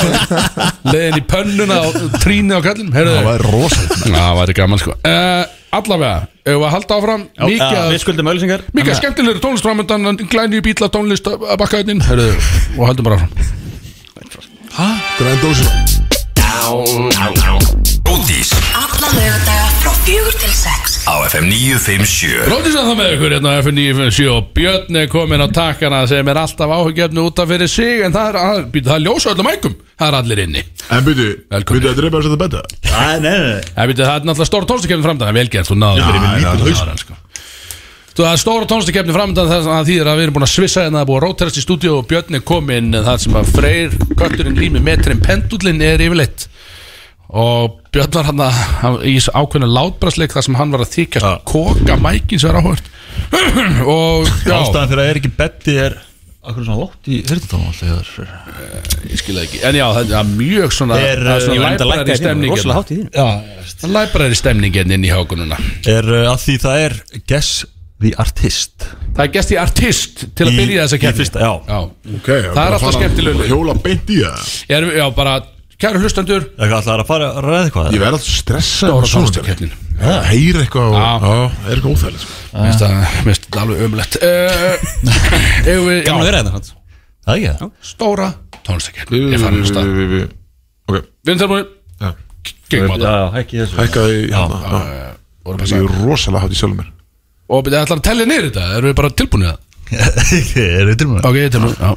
Speaker 3: Leðin í pönnuna og trínu á kallin Herðu,
Speaker 1: Það er rosalega
Speaker 3: það væri gaman sko uh, Allavega, ef við að halda áfram Mikið
Speaker 2: Við
Speaker 3: að
Speaker 2: skuldum öllisingar
Speaker 3: Mika skemmtilegur tónlistramöndan, glæni bíla tónlist eh, að bakka einn og haldum bara áfram
Speaker 1: Græn dósi
Speaker 5: Bódís
Speaker 9: Alla lögadaga frá fjögur til sex
Speaker 5: á FM 957
Speaker 3: Bróðis að það með ykkur hérna á F957 og Björn er komin á takkana sem er alltaf áhugjefni út af fyrir sig en það er, að, býtu, það er ljósa öllum ægum, það er allir inni
Speaker 1: En byrju,
Speaker 3: Velkomin.
Speaker 1: byrju að drepa þess að þetta betta
Speaker 4: Nei, nei, nei
Speaker 3: Það, býtu, það er náttúrulega stóra tónlistakefni framdann, velgerð, þú náður
Speaker 1: Já, já, já, já.
Speaker 3: haus sko. Þú, það er stóra tónlistakefni framdann þess að því er að við erum búin að svissa en það er búin að róterast í stúdíu og Björn er komin það sem að freyr, kötturinn, lími, metrin, pendullin er yfirleitt og Björn var hann að hann- í ákveðinu látbrasleik þar sem hann var að þykjast koka mækin sem er áhört og já,
Speaker 4: Ástæðan fyrir að er ekki betti er Akkur er svona látt í hyrtutónum alltaf þegar
Speaker 3: ég skil það ekki en já, það er mjög svona
Speaker 4: Er,
Speaker 3: það
Speaker 4: ég var enda að lækka
Speaker 3: læbrar í
Speaker 4: í þínu,
Speaker 3: stemningin
Speaker 2: Rosalega hátt í þínu
Speaker 3: það læbrar í stemningin inn í hákununa
Speaker 4: Er uh, að því það er Guess the Artist
Speaker 3: það er gæst í artist til að
Speaker 4: Í-
Speaker 3: byrja þessa
Speaker 4: í
Speaker 3: kefni
Speaker 4: fyrsta, já.
Speaker 3: já.
Speaker 1: okay,
Speaker 3: Það er alltaf skemmtilegur.
Speaker 1: Hjóla beint í það
Speaker 3: Ég er, já, bara, kæru hlustendur
Speaker 4: Það er alltaf að fara að ræða eitthvað
Speaker 1: Ég verð alltaf stressað
Speaker 3: Stóra
Speaker 1: með svona
Speaker 3: tónlistakeppnin.
Speaker 1: stjórn. Já, heyri eitthvað og
Speaker 3: Já.
Speaker 1: já, er eitthvað óþægilegt sko.
Speaker 3: mér finnst það- mér finnst þetta alveg Eh, ömulegt uh,
Speaker 7: Gaman að vera þetta hans
Speaker 4: Það er ekki það
Speaker 3: stóra tónlistakefni ég fann
Speaker 1: Við-
Speaker 3: hlusta
Speaker 1: við- við- við- Ok,
Speaker 3: við erum þar
Speaker 1: já
Speaker 3: Gengum á það
Speaker 4: Já, ekki þessu
Speaker 1: Hækkaði í hana já.
Speaker 3: vorum að
Speaker 1: Ég er rosalega hátt í sjálfum mér
Speaker 3: Og byrja, ætlar að tellja niður þetta? Erum við bara tilbúinni það?
Speaker 4: Er þetta maður?
Speaker 3: Ok, ég er tilbúin Já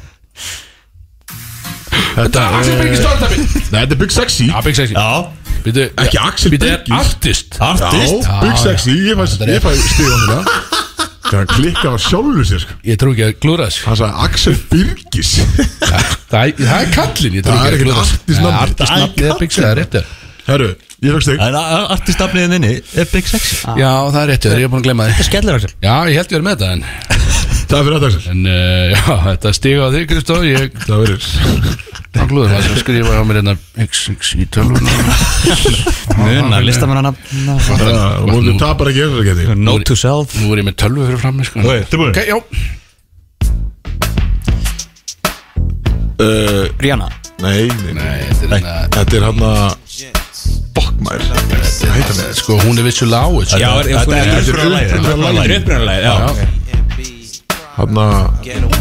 Speaker 3: Þetta er Axel Birgis Stoltabi
Speaker 1: Nei, þetta er Big Sexy
Speaker 3: Já, Big Sexy
Speaker 4: Já
Speaker 3: Býtu
Speaker 1: Ekki Axel
Speaker 3: Býtu, er
Speaker 1: Birgis.
Speaker 3: artist
Speaker 4: Artist
Speaker 1: Já, Big
Speaker 3: Já,
Speaker 1: Sexy, ég fæ- ég fæ stíðan þetta Þegar hann klikkar á sjálfur sér sko.
Speaker 3: Ég trú ekki að glúra þessu
Speaker 1: Hann sagði Axel Birgis
Speaker 3: Það er- það er kallinn, ég trú
Speaker 1: Það er
Speaker 3: ekki að
Speaker 1: ekkert
Speaker 3: glúra
Speaker 1: artist nafn.
Speaker 3: Artist
Speaker 1: Það er
Speaker 3: nafnið er Big Sexy, það er réttur
Speaker 1: Herru, ég fæk stík
Speaker 4: En artistafniðin inni er Big Sexy
Speaker 3: Já, það er réttur, ég er búin að glemma þið
Speaker 7: Skellir Axel
Speaker 3: Já, ég held ég er með þetta en
Speaker 1: Það er fyrir þetta Axel
Speaker 3: En uh, já, þetta stiga á þig, Kristóð Ég
Speaker 1: Það verður
Speaker 3: hann glúður það sem skrifa á mér hérna X, X í tölvunum
Speaker 2: Munar listamannan
Speaker 1: Það vonum við tapar ekki þessari geti
Speaker 7: Note to self
Speaker 3: Nú er ég með tölvu fyrir fram sko.
Speaker 4: Ok, tilbúin
Speaker 3: Ok, já
Speaker 1: Uh,
Speaker 2: Rihanna
Speaker 1: Nei, nei, nei
Speaker 3: Nei, þetta er hérna
Speaker 1: Þetta er hann að Fuck maður Hvað heitir hann?
Speaker 3: Sko, hún er vissulega á þessu
Speaker 7: Já, er- er-
Speaker 4: Þetta er
Speaker 7: er-
Speaker 4: upprunalega lagið, þetta er upprunalega
Speaker 7: er
Speaker 4: lagið.
Speaker 7: upprunalega Já
Speaker 1: Hann að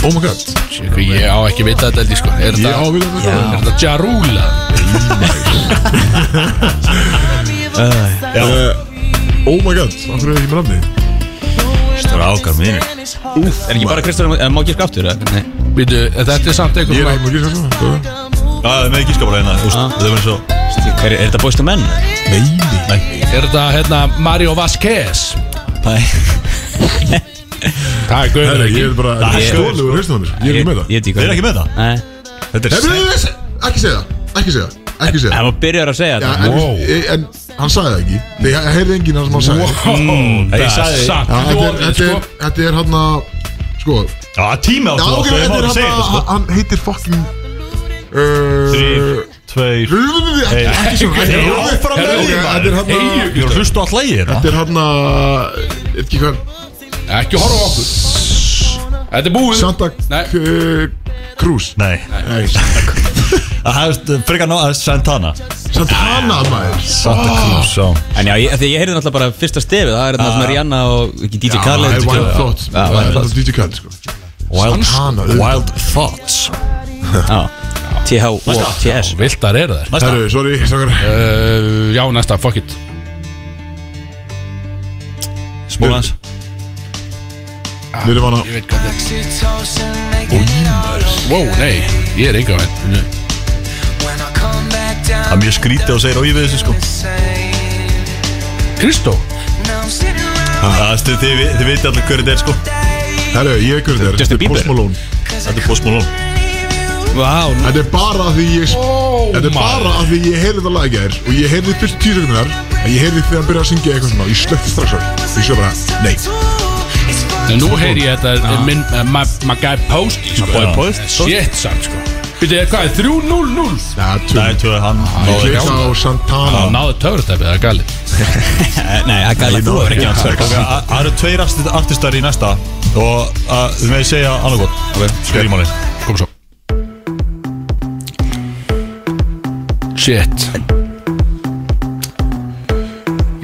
Speaker 1: Oh my god
Speaker 3: Sko, Ég á ekki vita þetta held ég sko Er
Speaker 1: Ég á
Speaker 3: þetta,
Speaker 1: við þetta
Speaker 3: er þetta Jarúla?
Speaker 1: Uh, Oh my god Hann fyrir ekki með nafni
Speaker 4: Strákar mínir
Speaker 7: Er ekki bara Kristján eh, Má gíska aftur eða? Nei
Speaker 3: Býtu, þetta er samt
Speaker 1: Ég er
Speaker 3: eitthvað
Speaker 1: ekki með gísa sko Góða.
Speaker 4: Já, það er með gískapar hérna þú veist, Þetta er verið svo
Speaker 7: Er er þetta bóðstu menn?
Speaker 1: Nei, nei
Speaker 3: Er þetta hérna Mario Vasquez?
Speaker 4: Nei
Speaker 3: Það er gauður
Speaker 1: Herra,
Speaker 3: ekki
Speaker 1: ég er bara Ég
Speaker 4: Það er
Speaker 1: er
Speaker 4: skoður,
Speaker 1: stóluður reistum hann sko. Ég er ekki með það
Speaker 7: Ég veit ekki
Speaker 4: Þeir eru ekki með það?
Speaker 7: Nei
Speaker 4: Þetta
Speaker 1: Nei,
Speaker 4: er
Speaker 1: nei, nei, nei, Ekki segja það Ekki segja það Ekki segja það
Speaker 7: Það var byrjar að segja
Speaker 1: Já,
Speaker 7: þetta
Speaker 1: en, e,
Speaker 3: Wow.
Speaker 1: en hann sagði það ekki Nei, ég heyrði enginn hann sem hann sagði Já,
Speaker 4: Ég sagði-
Speaker 3: samt
Speaker 1: þetta er-
Speaker 3: lofið,
Speaker 1: Þetta
Speaker 3: sko.
Speaker 1: er, þetta er hann að Sko
Speaker 4: Já, tími
Speaker 1: Já,
Speaker 4: áttu
Speaker 1: ok,
Speaker 4: Ég má
Speaker 1: þetta er
Speaker 4: ekki
Speaker 1: hann
Speaker 4: segja þetta sko
Speaker 1: að Hann heitir fucking Uh,
Speaker 4: Þrír, tveir
Speaker 1: Ekki ekki svona ekki svona.
Speaker 4: Áfram
Speaker 1: Ok, Þetta er hérna- hann
Speaker 4: með því
Speaker 1: að
Speaker 4: Ég er að hlusta á all lægi hérna
Speaker 1: Þetta er hann að Ekki hvað
Speaker 3: Ekki horfa á okkur Þetta er búið
Speaker 1: Santa
Speaker 3: Nei.
Speaker 1: K- Cruz
Speaker 4: Nei
Speaker 1: Nei, Santa
Speaker 4: Það er frekar ná að Santana
Speaker 1: Santana maður
Speaker 4: Santa Cruz, já
Speaker 2: En já, ég, af því að ég heyrði náttúrulega bara fyrsta stefið Það er þarna svona Rihanna og ekki DJ
Speaker 1: Ah. Það
Speaker 2: Khaled
Speaker 1: er
Speaker 2: og-
Speaker 1: Wild Thoughts
Speaker 2: Já,
Speaker 1: Það er
Speaker 2: Wild
Speaker 1: bara
Speaker 2: Thoughts
Speaker 1: DJ Khaled sko
Speaker 4: Wild,
Speaker 1: Santana, auðvitað.
Speaker 4: Wild Thoughts
Speaker 2: Já. TH og TS
Speaker 3: Viltar eru þær
Speaker 1: Herru, sorry, sakar
Speaker 3: uh, Já, næsta, fuck it
Speaker 4: Smólans
Speaker 1: Við erum hana
Speaker 3: Ég veit hvað þetta er Wow, nei, ég er enga veginn
Speaker 4: Það er mjög skrítið og segir ói við þessu sko
Speaker 3: Kristó
Speaker 4: Það er stuð, þið, þið viti allir hverju þetta er sko
Speaker 1: Herru, ég ekkur þér
Speaker 2: Justin
Speaker 1: Þetta er
Speaker 2: Bieber.
Speaker 1: Post Malone
Speaker 4: Þetta er Post Malone
Speaker 2: Vá,
Speaker 1: Þetta er bara að því ég Þetta er bara að því ég heyrði þetta lag í gær Og ég heyrði fyrst tíu sekundunar En ég heyrði þegar hann byrjaði að syngja eitthvað svona Ég slökti strax á því. Ég svo bara, nei
Speaker 3: Nei, Nú heyri ég þetta er minn eh, my- My guy Posty sko.
Speaker 4: boy Posty.
Speaker 3: Shit, samt sko Býttu, hvað er 3-0-0?
Speaker 1: Það er
Speaker 4: Nei,
Speaker 1: tölum
Speaker 4: tjóðu, hann
Speaker 1: Ég
Speaker 4: náði
Speaker 1: klikka á Santana
Speaker 3: Það náðu töfratæpið, það er gali
Speaker 2: nei, það gæði þú er ekki hans
Speaker 4: Ok, það það eru tveir artist- artistar í næsta og uh, þið meði segja annað gott okay. Skriði máli
Speaker 3: Kom svo Shit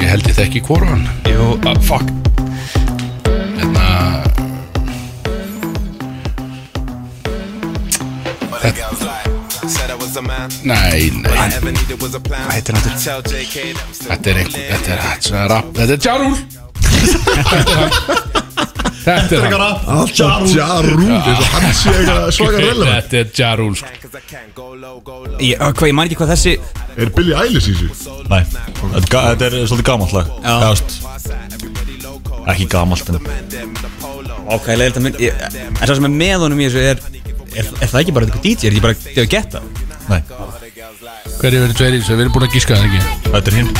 Speaker 3: Ég held ég þekki hvora hann Jú,
Speaker 4: ah,
Speaker 3: uh, fuck Hérna Nei, nei Þetta er einhver, þetta er, þetta er rap Þetta er Jarúl Þetta er hann
Speaker 1: Alltaf Jarú Þess að hann sé eitthvað svaka relevant
Speaker 3: Þetta er Jarúl sko.
Speaker 2: ég, á, hvað, ég man ekki hvað þessi
Speaker 1: Er Billie Eilish í þessu?
Speaker 4: Nei, þetta er ga- þetta er svolítið gamalt lag
Speaker 2: Já.
Speaker 4: Eða, veist, Ekki gamalt en
Speaker 2: Ok, ég leðilt að mynd ég- En það sem er með honum í þessu er Er, er það ekki bara eitthvað DJ? Er ekki bara Það er gett það?
Speaker 4: Nei,
Speaker 3: Hverju verður tveir í þessu? Við erum búin að gíska það ekki
Speaker 4: þetta er hinn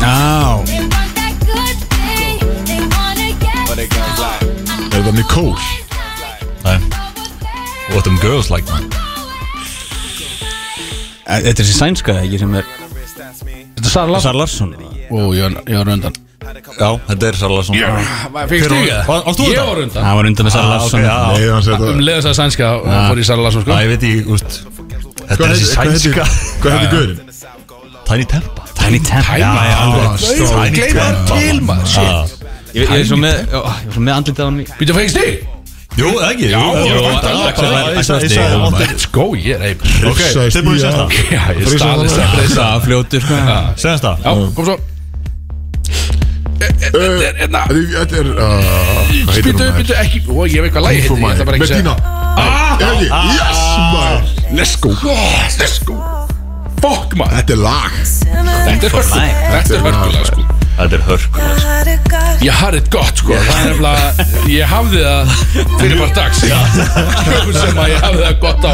Speaker 2: Já
Speaker 1: Er þetta Nicole?
Speaker 4: Nei What them um girls like man
Speaker 2: Eh, Þetta er þessi sænska ekki sem er
Speaker 3: Þetta er Sarla
Speaker 2: Sar Larsson
Speaker 3: Ó, ég var- ég var undan
Speaker 4: Já, þetta er sérlega svona
Speaker 3: Fyrst þú ekki
Speaker 4: Var- varst þú
Speaker 3: Ég
Speaker 4: undan?
Speaker 3: var
Speaker 2: Það
Speaker 3: undan
Speaker 2: var undan með Sar
Speaker 4: Ah,
Speaker 2: Larsson
Speaker 4: ok, já.
Speaker 1: Nei, hann segir
Speaker 3: Um
Speaker 1: þetta
Speaker 3: leiðis að sænska þá fór ég Sarla Larsson sko
Speaker 4: Æ, ég veit ekki, úst Þetta
Speaker 1: Hvað
Speaker 4: er þessi
Speaker 1: heitir- hvað heitir-
Speaker 4: sænska
Speaker 1: Hvað hefði gaurinn?
Speaker 4: Tiny Tempa
Speaker 2: Tiny Temp
Speaker 3: Já, já,
Speaker 1: alveg.
Speaker 3: alveg Gleima hann til maður Shit
Speaker 2: Ég ég er svo með ó, Ég er svo með andlitað á hann í
Speaker 3: Býttu að fegist þig
Speaker 4: Jú, eða
Speaker 3: Já,
Speaker 4: ekki jú,
Speaker 3: já, já,
Speaker 4: jú,
Speaker 3: já,
Speaker 4: bara- bara-
Speaker 3: já,
Speaker 4: ég sagði- ég sagði það vant-
Speaker 3: Let's go, ég er einn
Speaker 4: Ok,
Speaker 1: Hrifsaðist
Speaker 4: þið búin
Speaker 1: í
Speaker 4: að segja
Speaker 1: hana.
Speaker 4: það
Speaker 3: Já, ég
Speaker 1: Frísa
Speaker 3: stali
Speaker 1: hana.
Speaker 3: stefnir þess
Speaker 2: Það fljótur sko
Speaker 4: Segja það
Speaker 3: Já, kom svo Eh,
Speaker 1: Þetta er hérna Þetta er uh, Hvað heitir
Speaker 3: Býttu,
Speaker 1: hún maður?
Speaker 3: býttu, ekki Ó, ég veit hvað lagi
Speaker 1: Info maður
Speaker 3: heitir Ég ætla bara ekki að
Speaker 1: Bettina
Speaker 3: segja
Speaker 1: Er það ekki? Yes maður
Speaker 3: Let's go Yes, Let's go Fuck maður
Speaker 1: Þetta er lag
Speaker 3: Þetta er hörkulag sko. Þetta er hörkulag sko
Speaker 4: Þetta er hörk
Speaker 3: Ég harði þetta gott sko Það er nefnilega Ég hafði það Fyrir bara dags Sköfum sem að ég hafði það gott á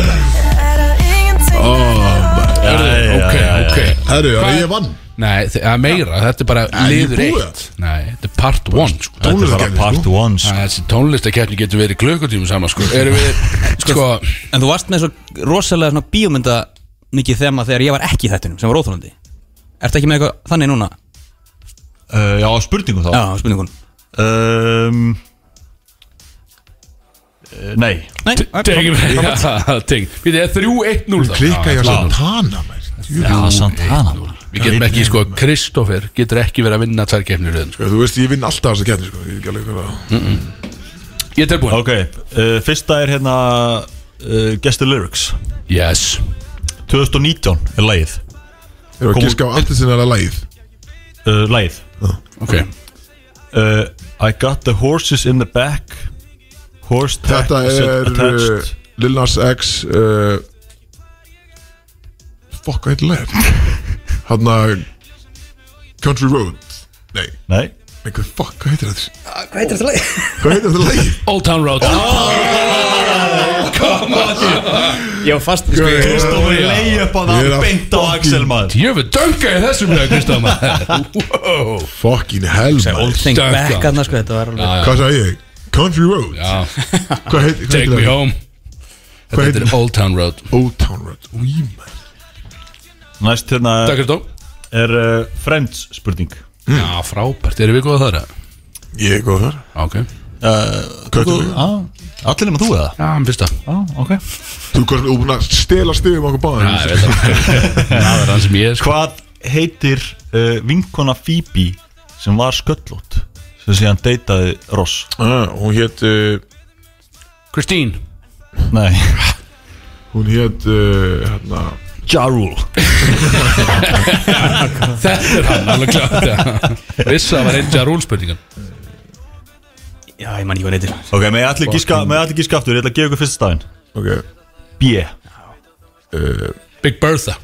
Speaker 3: Ok, ok
Speaker 1: Herru,
Speaker 3: Hvað-
Speaker 1: ég vann
Speaker 3: Nei, þe- það er meira Þetta er bara
Speaker 1: ég
Speaker 3: liður
Speaker 1: búið
Speaker 3: eitt Nei, þetta er part one sko
Speaker 4: Þetta er bara
Speaker 1: Tónlistarkeppni,
Speaker 4: part
Speaker 1: sko.
Speaker 4: one sko.
Speaker 3: Æ, Þessi tónlistakeppni getur verið klukkutíma saman sko Erum við Sko
Speaker 2: En þú varst með svo rosalega svona bíómynda mikið þema þegar ég var ekki í þættunum sem var óþólandi Ertu ekki með eitthvað þannig núna?
Speaker 4: Uh, Já, spurningum þá
Speaker 2: Já, spurningun
Speaker 4: um, eh, Nei
Speaker 2: Nei,
Speaker 3: Tegum við Já, það Tegum Við þetta er 3-1-0 þá.
Speaker 1: Klikka ég
Speaker 3: Já,
Speaker 1: að
Speaker 3: klart.
Speaker 1: Santana maður
Speaker 4: Já, Santana
Speaker 3: Við getum ekki sko Kristoffer getur ekki verið að vinna tvær keppnir röðum sko
Speaker 1: Sko, Þú veist, ég vinn alltaf þessa keppni sko. Ég er ekki alveg hvað það-
Speaker 3: Ég er tilbúin
Speaker 4: Ok, uh, fyrsta er hérna uh, Guess the Lyrics
Speaker 3: Yes
Speaker 4: 2019 er lagið
Speaker 1: Erum við að
Speaker 4: Kom-
Speaker 1: giska á allir sinna að lagið
Speaker 4: uh, Lagið
Speaker 3: Ok
Speaker 4: uh, I got the horses in the back Horse tack
Speaker 1: Þetta
Speaker 4: is
Speaker 1: er uh,
Speaker 4: attached
Speaker 1: Lil Nas X uh, Fuck, hvað heitir lagið? Hanna Country Road Nei,
Speaker 4: Nei
Speaker 1: nei, hvað fuck, Ah, hvað heitir þetta? Hvað heitir þetta lagið?
Speaker 3: Old Town Road Oh!
Speaker 2: Ég var fast
Speaker 1: Hvað heitir þetta lagið?
Speaker 4: Kristoffer leiði upp að
Speaker 1: Ég er
Speaker 4: það
Speaker 1: að
Speaker 4: beint á Axel maður
Speaker 3: Jöfnir dönga í þessum lög Kristoffer Wow
Speaker 1: Fucking hell man.
Speaker 2: Think
Speaker 3: Dunk
Speaker 2: back
Speaker 3: on.
Speaker 2: aðna sko, þetta var alveg
Speaker 1: Hvað sagði ég? Country Road
Speaker 3: Já,
Speaker 1: Hvað heit- hvað
Speaker 3: Take
Speaker 1: heitir
Speaker 3: Me
Speaker 1: það?
Speaker 3: Home
Speaker 1: Hvað
Speaker 3: Þetta
Speaker 1: heitir
Speaker 3: er Old Town Road
Speaker 1: Old Town Road Új, man.
Speaker 4: Næst hérna
Speaker 3: Takk Kristó
Speaker 4: er uh, Friends spurning
Speaker 1: Hm.
Speaker 3: Já, frábært, erum við góða þar? eða?
Speaker 1: Ég er góð þar
Speaker 3: Ok
Speaker 4: Köttur
Speaker 3: Ah.
Speaker 4: Allir nema þú eða?
Speaker 3: Já, hann fyrsta
Speaker 4: Já, ok
Speaker 1: Þú erum kannski búin að stela stigum okkur báðum
Speaker 3: Já, ég veit það Það er hann sem ég er sko
Speaker 4: Hvað heitir uh, vinkona Phoebe sem var sköllótt sem síðan deytaði Ross?
Speaker 1: Ah, Hún hétt uh,
Speaker 3: Kristín
Speaker 4: Nei
Speaker 1: Hún hétt uh, hérna,
Speaker 4: Jarul
Speaker 3: Þetta er hann, alveg klart Vissu að það var einja rúlspurningan
Speaker 2: Já, ég man ekki hvað neytir
Speaker 4: Ok, með allir gíska, með allir gíska aftur, ég ætla að gefa ykkur fyrsta staðinn
Speaker 1: Ok
Speaker 4: B
Speaker 1: uh,
Speaker 3: Big Bertha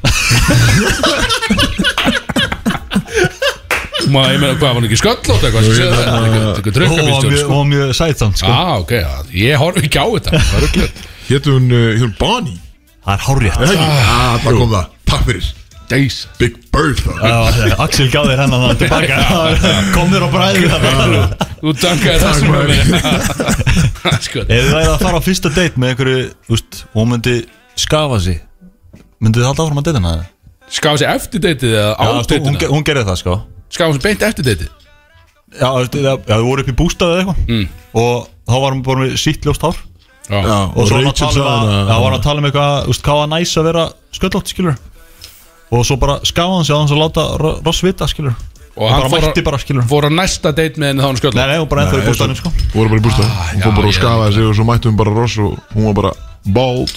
Speaker 3: Má, ég meina, hvað var hann ekki sköllótt eitthvað sem séð það? Eitthvað
Speaker 4: Ó, hún var
Speaker 3: trukkabílstjóri
Speaker 4: mjög- hún
Speaker 3: sko
Speaker 4: var mjög sætsamt sko
Speaker 3: Á, ok, já, ég horf ekki á þetta Það er öllur
Speaker 1: Hétt hún, uh, hét hún Bonnie
Speaker 4: Það er
Speaker 1: Er
Speaker 4: hárrétt
Speaker 1: það ekki? Ah, það kom það Takk fyrir
Speaker 3: Deis
Speaker 1: Big Bertha
Speaker 4: Já, já, Axel gaf þér hennan þannig tilbaka Kom þér á bræði Ef
Speaker 3: Þú dankaði það sem
Speaker 1: maður.
Speaker 3: mér Sko,
Speaker 4: þið væri að fara á fyrsta date með einhverju úst, Hún myndi skafa sig Myndið þið halda áfram að date hana?
Speaker 3: skáði sér eftir deytið eða á
Speaker 4: Já, sko, hún,
Speaker 3: deytið
Speaker 4: ge- hún gerði það sko
Speaker 3: Skáði sér beint eftir deytið
Speaker 4: Já, þú veist, það- já, þau voru upp í bústaði eða eitthvað Og þá var hún bara með sítt ljóst hár
Speaker 3: Já,
Speaker 4: Og svo var hún að
Speaker 1: Rachel
Speaker 4: tala um
Speaker 1: sagði
Speaker 4: að-
Speaker 1: hana-
Speaker 4: já, var hún að tala um eitthvað Úst, hvað var næs að vera sköllótt skilur Og svo bara skafa hann sig á hans að láta Ro- Ross vita skilur
Speaker 3: og hann
Speaker 4: bara
Speaker 3: fór,
Speaker 4: mætti bara, skilur.
Speaker 3: fór að næsta date með henni þá hann sköll
Speaker 4: Nei, nei, hún bara ennþá í
Speaker 1: Nei,
Speaker 4: bústaðinu sko
Speaker 1: Hún voru bara í bústað Hún fór
Speaker 3: já,
Speaker 1: bara og
Speaker 3: ég-
Speaker 1: skafaði sig og svo mættum við bara Ross og hún var bara bald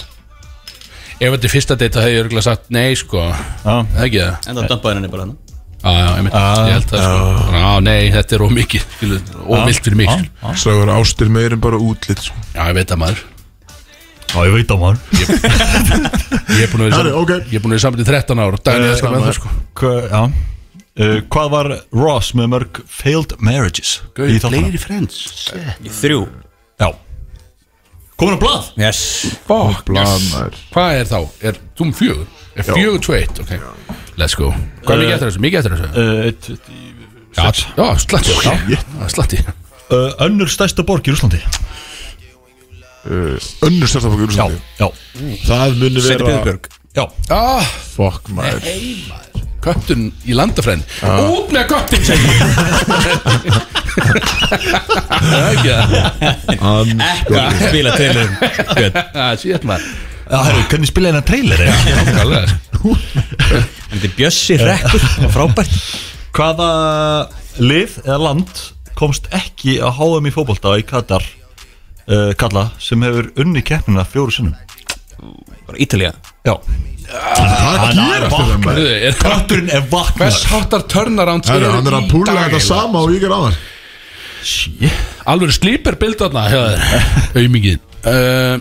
Speaker 3: ef þetta er fyrsta date þá hefði ég örgulega sagt nei sko
Speaker 4: Já.
Speaker 3: Það ekki það
Speaker 2: Enda að dampaði henni bara hann
Speaker 3: Já, já, einmitt, ég held það sko Já, nei, þetta er ómikið, skilu, óvilt fyrir mig skilur.
Speaker 1: Sæður ástir meir en bara útlit sko.
Speaker 3: Já, ég veit það maður
Speaker 4: Já, ég veit á maður
Speaker 3: Ég er búin að vera
Speaker 1: Herri,
Speaker 3: í
Speaker 1: ok.
Speaker 3: sam- ég er búin að vera saman til 13 ára Daginn er sko með það sko
Speaker 4: Hva, já. Uh, hvað var Ross með mörg failed marriages í þáttunum?
Speaker 3: friends
Speaker 2: Þrjú
Speaker 4: Já Komin á blað?
Speaker 2: Yes
Speaker 3: Fuck, yes.
Speaker 1: maður.
Speaker 3: Hvað er þá? Er þú um fjögur? Er fjögur tvo eitt, ok Let's go Hvað er mikið eftir þessu? Mikið eftir
Speaker 1: Eh,
Speaker 3: þessu?
Speaker 4: Uh, eitt-
Speaker 3: Já, já, slatti Já, já, slatti
Speaker 4: uh, önnur stærsta borg í Rúslandi
Speaker 1: uh, Önnur stærstafokk í Úrslandi
Speaker 4: já,
Speaker 1: Það muni vera
Speaker 4: já
Speaker 3: Já,
Speaker 1: Fuck maður
Speaker 3: köttun í landafræðin Út með köttun, segi ég Það er ekki það
Speaker 1: Hann
Speaker 2: Spila um- trailerum
Speaker 3: Ah, Shit maður
Speaker 4: Já, Eh, herru, hvernig spilaði hennar trailer eða?
Speaker 3: Nákvæmlega.
Speaker 2: Þetta er Bjössi Rekkur Frábært
Speaker 4: Hvaða lið eða land komst ekki að háa í fótbolta í Katar uh, Kalla sem hefur unni keppnina fjóru sinnum
Speaker 2: Bara Ítalía
Speaker 4: Já
Speaker 1: Hvað
Speaker 4: Hann er
Speaker 1: gerast þetta
Speaker 4: vaknaður.
Speaker 1: maður?
Speaker 3: Heyrðu, er það-
Speaker 4: Kötturinn er vaknar
Speaker 3: Hvers háttar turnaround
Speaker 1: Herru, hann er að púla þetta sama og ég er á hann
Speaker 3: Alveg slíper bildarna Aumingið uh,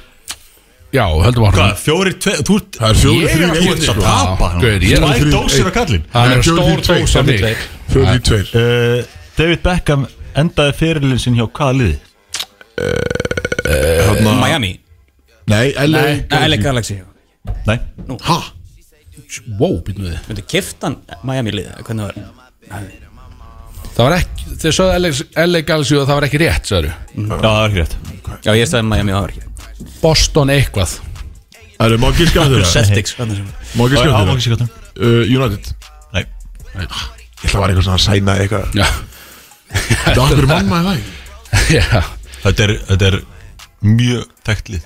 Speaker 3: Já, höldum á
Speaker 4: Hvað, fjóri, tveir, þú ert
Speaker 1: Það er fjóri,
Speaker 3: Ég er
Speaker 1: þrjú,
Speaker 3: að
Speaker 1: eitt
Speaker 3: búin til
Speaker 1: sko.
Speaker 3: að tapa. Gaur, ég er að-
Speaker 4: Tvær dósir á kallinn
Speaker 3: Það
Speaker 1: Nei,
Speaker 3: er
Speaker 1: fjórir,
Speaker 3: stór
Speaker 1: tveir,
Speaker 3: dós af mig
Speaker 1: tveir. Fjóri, þrjú, tveir
Speaker 4: Uh, David Beckham endaði fyrirlin sinn hjá hvaða liði?
Speaker 2: Miami
Speaker 1: Nei, LA
Speaker 2: Nei, LA Galaxy
Speaker 4: Nei
Speaker 1: Ha?
Speaker 3: Wow, býtum við
Speaker 2: Myndi kiftan Miami liða Hvernig var
Speaker 3: Það var ekki Þeir sögðu LA LA Galaxy og það var ekki rétt, sagður
Speaker 4: Já, það er ekki rétt
Speaker 2: Já, ég staði Miami á ekki
Speaker 3: Boston eitthvað
Speaker 1: Herru, má ekki skjáða þetta?
Speaker 2: Celtics hvernig sem
Speaker 1: Má ekki
Speaker 4: Já,
Speaker 1: skjáða
Speaker 4: það var
Speaker 1: þetta?
Speaker 4: ekki skattum
Speaker 1: Uh, United
Speaker 4: Nei
Speaker 1: Ég ætla að vera eitthvað svona að sæna eitthvað
Speaker 3: Já,
Speaker 1: Það er okkur manna það ekki
Speaker 3: já
Speaker 4: Þetta er, þetta er mjög þekkt lið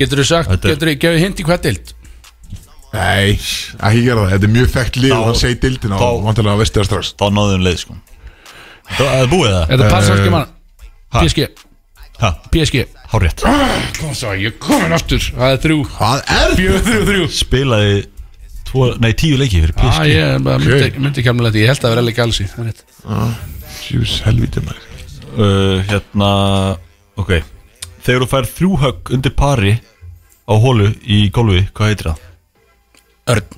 Speaker 3: Getur þú sagt,
Speaker 4: Þetta er-
Speaker 3: getur þú gefið hindi hvað dild?
Speaker 1: Nei, ekki gera það, þetta er mjög þekkt lið og
Speaker 4: Þá-
Speaker 1: það segir dildin á
Speaker 4: þá-
Speaker 1: vantilega að vesti það strax
Speaker 4: Þá náðu um leið sko Það það er búið Eh, það
Speaker 3: Er það passarski mann? PSG,
Speaker 4: Ha,
Speaker 3: PSG
Speaker 4: hár rétt
Speaker 3: Kom svo, ég komin aftur Það er þrjú
Speaker 1: Hvað er þetta?
Speaker 3: Fjögur, þrjú, þrjú
Speaker 4: Spilaði tvo, nei, tíu leiki fyrir
Speaker 3: Já,
Speaker 4: PSG
Speaker 3: ég bara myndi, okay. myndi kemla þetta Ég held að það vera LA Galaxy Það er rétt
Speaker 1: Sjús, helvítið maður
Speaker 4: uh, Hérna, ok Þegar þú fær þrjú högg undir pari á hólu í golfi, hvað heitir það?
Speaker 2: Örn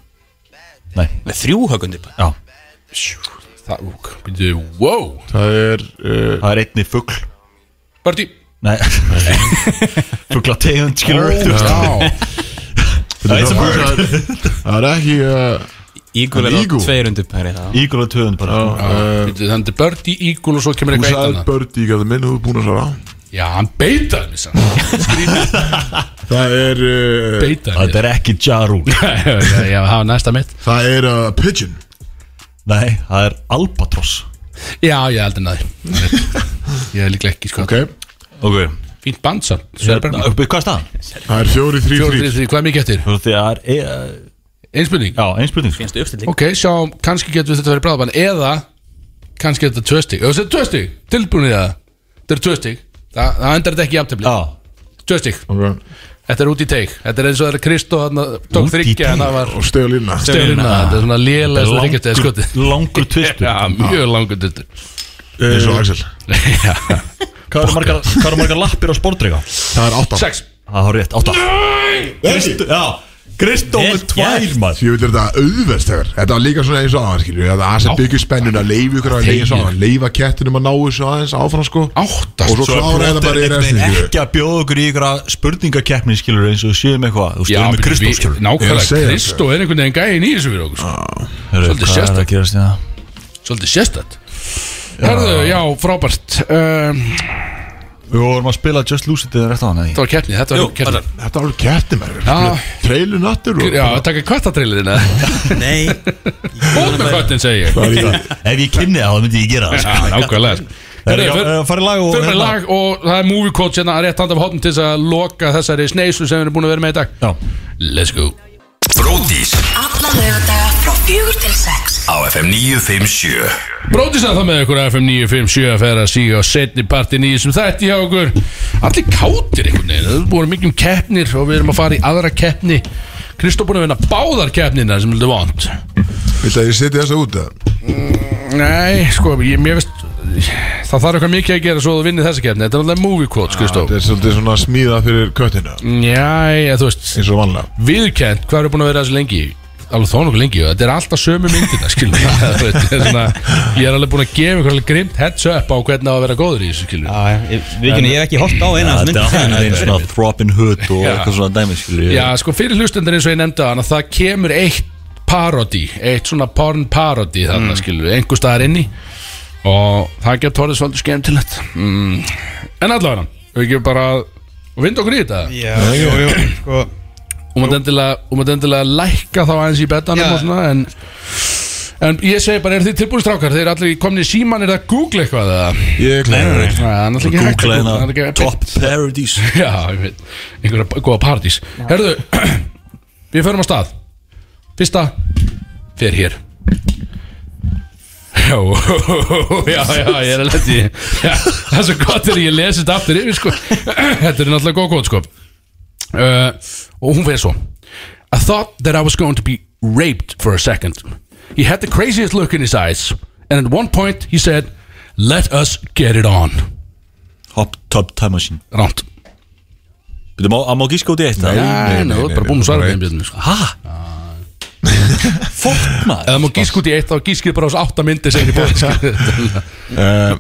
Speaker 4: Nei,
Speaker 2: Með þrjú högundi bara
Speaker 4: já
Speaker 3: Það, úk, býttu, wow
Speaker 1: Það er, uh,
Speaker 4: Það er einni fugl
Speaker 3: Parti
Speaker 4: Nei Fugla tegund,
Speaker 3: Já,
Speaker 4: skilur við
Speaker 1: þetta
Speaker 4: Nei,
Speaker 1: er
Speaker 4: sem
Speaker 1: það- það er ekki, uh,
Speaker 2: Eagle
Speaker 1: En
Speaker 2: er á
Speaker 1: Eagle?
Speaker 2: tveir undir pæri það
Speaker 4: Ígurlega töðun bara
Speaker 1: uh,
Speaker 3: býttu, þannig er Birdie, Eagle og svo kemur
Speaker 1: þú
Speaker 3: eitthvað eitt
Speaker 1: sagði
Speaker 3: annað
Speaker 1: bördi, ég gæti minn, þú er búin að svara
Speaker 3: Já, hann beitaði mig sann Skrýt,
Speaker 1: Það er, uh,
Speaker 3: beitaði
Speaker 4: Þetta
Speaker 3: mig
Speaker 4: er ekki Jarul
Speaker 3: Já, já, já, það var næsta mitt
Speaker 1: það er uh, pigeon
Speaker 4: Nei, það er Albatross
Speaker 3: Já, ég er aldrei næði Ég er líklega ekki sko
Speaker 1: Ok,
Speaker 4: Ok,
Speaker 3: Fínt band sann
Speaker 4: hérna, uppi hvað er staðan?
Speaker 1: það er fjóri, þrý,
Speaker 3: Fjóri,
Speaker 1: þrý
Speaker 3: þrý, þrý, hvað er mikið eftir?
Speaker 4: Þú veist, Það er, e,
Speaker 3: Einspurning
Speaker 4: já, einn spurning sko.
Speaker 7: Finnst þið uppstilling?
Speaker 3: Ok, sjáum, kannski getur þetta verið bráðabann Eða, kannski getur þetta tvö stig Ef þetta er tvö stig, tilbúinu það Þetta er tvö stig, Þa, það endar þetta ekki jafntefli
Speaker 4: Já,
Speaker 3: Tvö stig,
Speaker 1: Ok.
Speaker 3: þetta er út í teik Þetta er eins og það er Kristó þarna,
Speaker 4: Út í
Speaker 3: Tók þryggja,
Speaker 4: teig?
Speaker 3: en það var
Speaker 1: Og stegu lína
Speaker 3: stjórna Hérna, Þetta er svona lélega þryggja
Speaker 4: Langur-
Speaker 3: steg skotið
Speaker 4: Langur tvistur
Speaker 3: Já, mjög langur duttur
Speaker 1: Eins og Axel
Speaker 3: Já.
Speaker 4: Hvað eru margar, hvað eru margar lappir á sportreika?
Speaker 1: Það er átta
Speaker 3: Sex
Speaker 4: Það er rétt, átta Kristu- Já, Kristófur
Speaker 7: Vel
Speaker 4: tvær
Speaker 7: gert.
Speaker 4: maður
Speaker 1: Ég vil þetta auðvest þegar Þetta var líka svona eins og aðan skilju Það er sem byggjur spennun að leifa ykkur að leifa svona Leifa kettinum að ná þessu aðeins áfram sko
Speaker 3: Átta
Speaker 1: Og svo
Speaker 4: Svo
Speaker 1: klára
Speaker 4: er
Speaker 1: þetta bara í
Speaker 4: Plóter einhvern
Speaker 1: restin
Speaker 4: veginn
Speaker 1: skilju
Speaker 4: ekki að bjóða okkur í ykkur spurningakeppni skilur eins og séum eitthvað Þú veist, við
Speaker 3: Já,
Speaker 4: erum með
Speaker 3: við-
Speaker 4: Kristó
Speaker 3: við-
Speaker 1: Ég
Speaker 4: skilur
Speaker 1: er að
Speaker 3: Nákvæmlega,
Speaker 1: segja
Speaker 3: Kristó er einhvern veginn gæðin í þessu fyrir okkur sko. svolítið
Speaker 4: Hvað er
Speaker 3: sérstakt.
Speaker 4: að gerast í það?
Speaker 3: Svolítið sérstætt Herðu, já, frábært um,
Speaker 4: Við vorum að spila Just Lose It eða rétt á hann
Speaker 3: Þetta var keppni, þetta var keppni
Speaker 1: Þetta var alveg kettin
Speaker 3: Já.
Speaker 1: mér Trailu nattur og
Speaker 3: Já, taka kvartatrillin Út
Speaker 7: Nei
Speaker 3: með kvartin, segi ég
Speaker 1: Það er í það
Speaker 4: Ef ég kynni það, þá myndi ég gera það
Speaker 3: Já, nákvæmlega sko. Herðu,
Speaker 4: Það
Speaker 3: fyr-
Speaker 4: farið lag og
Speaker 3: Fyrir með
Speaker 4: hérna-
Speaker 3: lag og það er movie coach hérna rétt handa af hotn til þess að loka þessari sneislu sem við erum búin að vera með í dag
Speaker 4: Já.
Speaker 3: Let's go
Speaker 5: Bródís
Speaker 9: Alla lögadaga frá fjögur til sex
Speaker 5: á FM 957
Speaker 3: Bróðis að það með ykkur FM 957 að færa að síga á setni partin í þessum þætti hjá okkur Allir kátir einhvern veginn, það er búin mikið um keppnir og við erum að fara í aðra keppni Kristó búin að vinna báðar keppnina sem þetta vant
Speaker 1: Vil að ég setja þessa út eða?
Speaker 3: Nei, sko, ég, mér veist, það þarf eitthvað mikið að gera svo þú vinnir þessa keppni Þetta er alltaf movie quotes, Kristó
Speaker 1: Þetta er svolítið svona smíða fyrir köttina
Speaker 3: Jæja, þú veist,
Speaker 1: Eins og vanlega
Speaker 3: viðurkend, hvað eru búin að vera þessu lengi alveg þó nokkuð lengi, og þetta er alltaf sömu myndina skilur, þú veit, þetta er svona, ég er alveg búin að gefa einhverjum grimt heads up á hvernig á að vera góður í þessu skilur
Speaker 7: Við kynni, ég hef ekki hort á eina af
Speaker 4: Þetta er
Speaker 7: þessum
Speaker 4: alltaf
Speaker 7: myndum.
Speaker 4: einn svona Robin Hood og
Speaker 3: Já.
Speaker 4: eitthvað svona dæmi skilur
Speaker 3: Já, sko fyrir hlustendur eins og ég nefndi að það kemur eitt parodi, eitt svona porn parodi þarna mm. skilur, einhver staðar inni og það getur orðið svolítið skemmtilegt mm. En allavega, við gefum bara og vinda okkur í þetta
Speaker 2: Já, jú, jú, sko
Speaker 3: og maður endilega, og maður endilega lækka þá aðeins í betanum
Speaker 2: Já.
Speaker 3: og svona en, en ég segi bara, er þið tilbúin strákar? Þeir eru allir komni í síman, er það að googla eitthvað eða?
Speaker 1: Ég er
Speaker 4: Nei, nei,
Speaker 1: klæður
Speaker 4: nei.
Speaker 3: Það er náttúrulega ekki hægt að googla,
Speaker 4: Google
Speaker 3: það er
Speaker 4: hérna
Speaker 3: ekki-
Speaker 4: Top Parodies
Speaker 3: Já, ég veit Einhverja góða partís Herðu, við förum á stað Fyrsta Fer hér Já, já, já, ég er að leta í já, Það er svo gott er ég lesi þetta aftur yfir sko. Þetta er náttúrulega góð góð sko. uh, Og hún fer svo I thought that I was going to be raped for a second He had the craziest look in his eyes And at one point he said Let us get it on
Speaker 4: Hop Top Time Machine
Speaker 3: Ránt
Speaker 4: Byrjum á, að má gíska út í eitt eða?
Speaker 3: Nei, nei, þú er bara búin að svara þeim björnum sko.
Speaker 4: Ha? Fólk
Speaker 3: Ef
Speaker 4: maður
Speaker 3: maður gísk út í eitt þá gískir bara á þessu átta myndi sem ég bóði sko.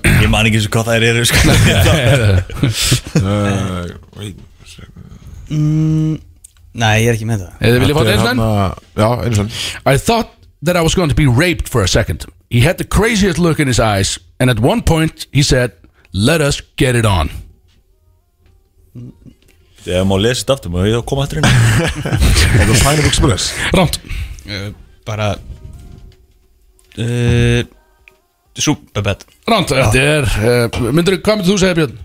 Speaker 4: Ég man ekki eins og hvað þær eru sko.
Speaker 7: Nei, ég er ekki með það
Speaker 3: Eða viljið fá þetta einn
Speaker 1: Já, einu sann
Speaker 3: I thought that I was going to be raped for a second He had the craziest look in his eyes And at one point he said Let us get it on
Speaker 4: Ég má lesa þetta aftur, má ég koma eftir inn
Speaker 1: Þetta er Pineapple Express
Speaker 3: Rámt
Speaker 7: Bara uh, Superbad
Speaker 3: Rámt, þetta er uh, myndir, Hvað myndir þú segja Björn?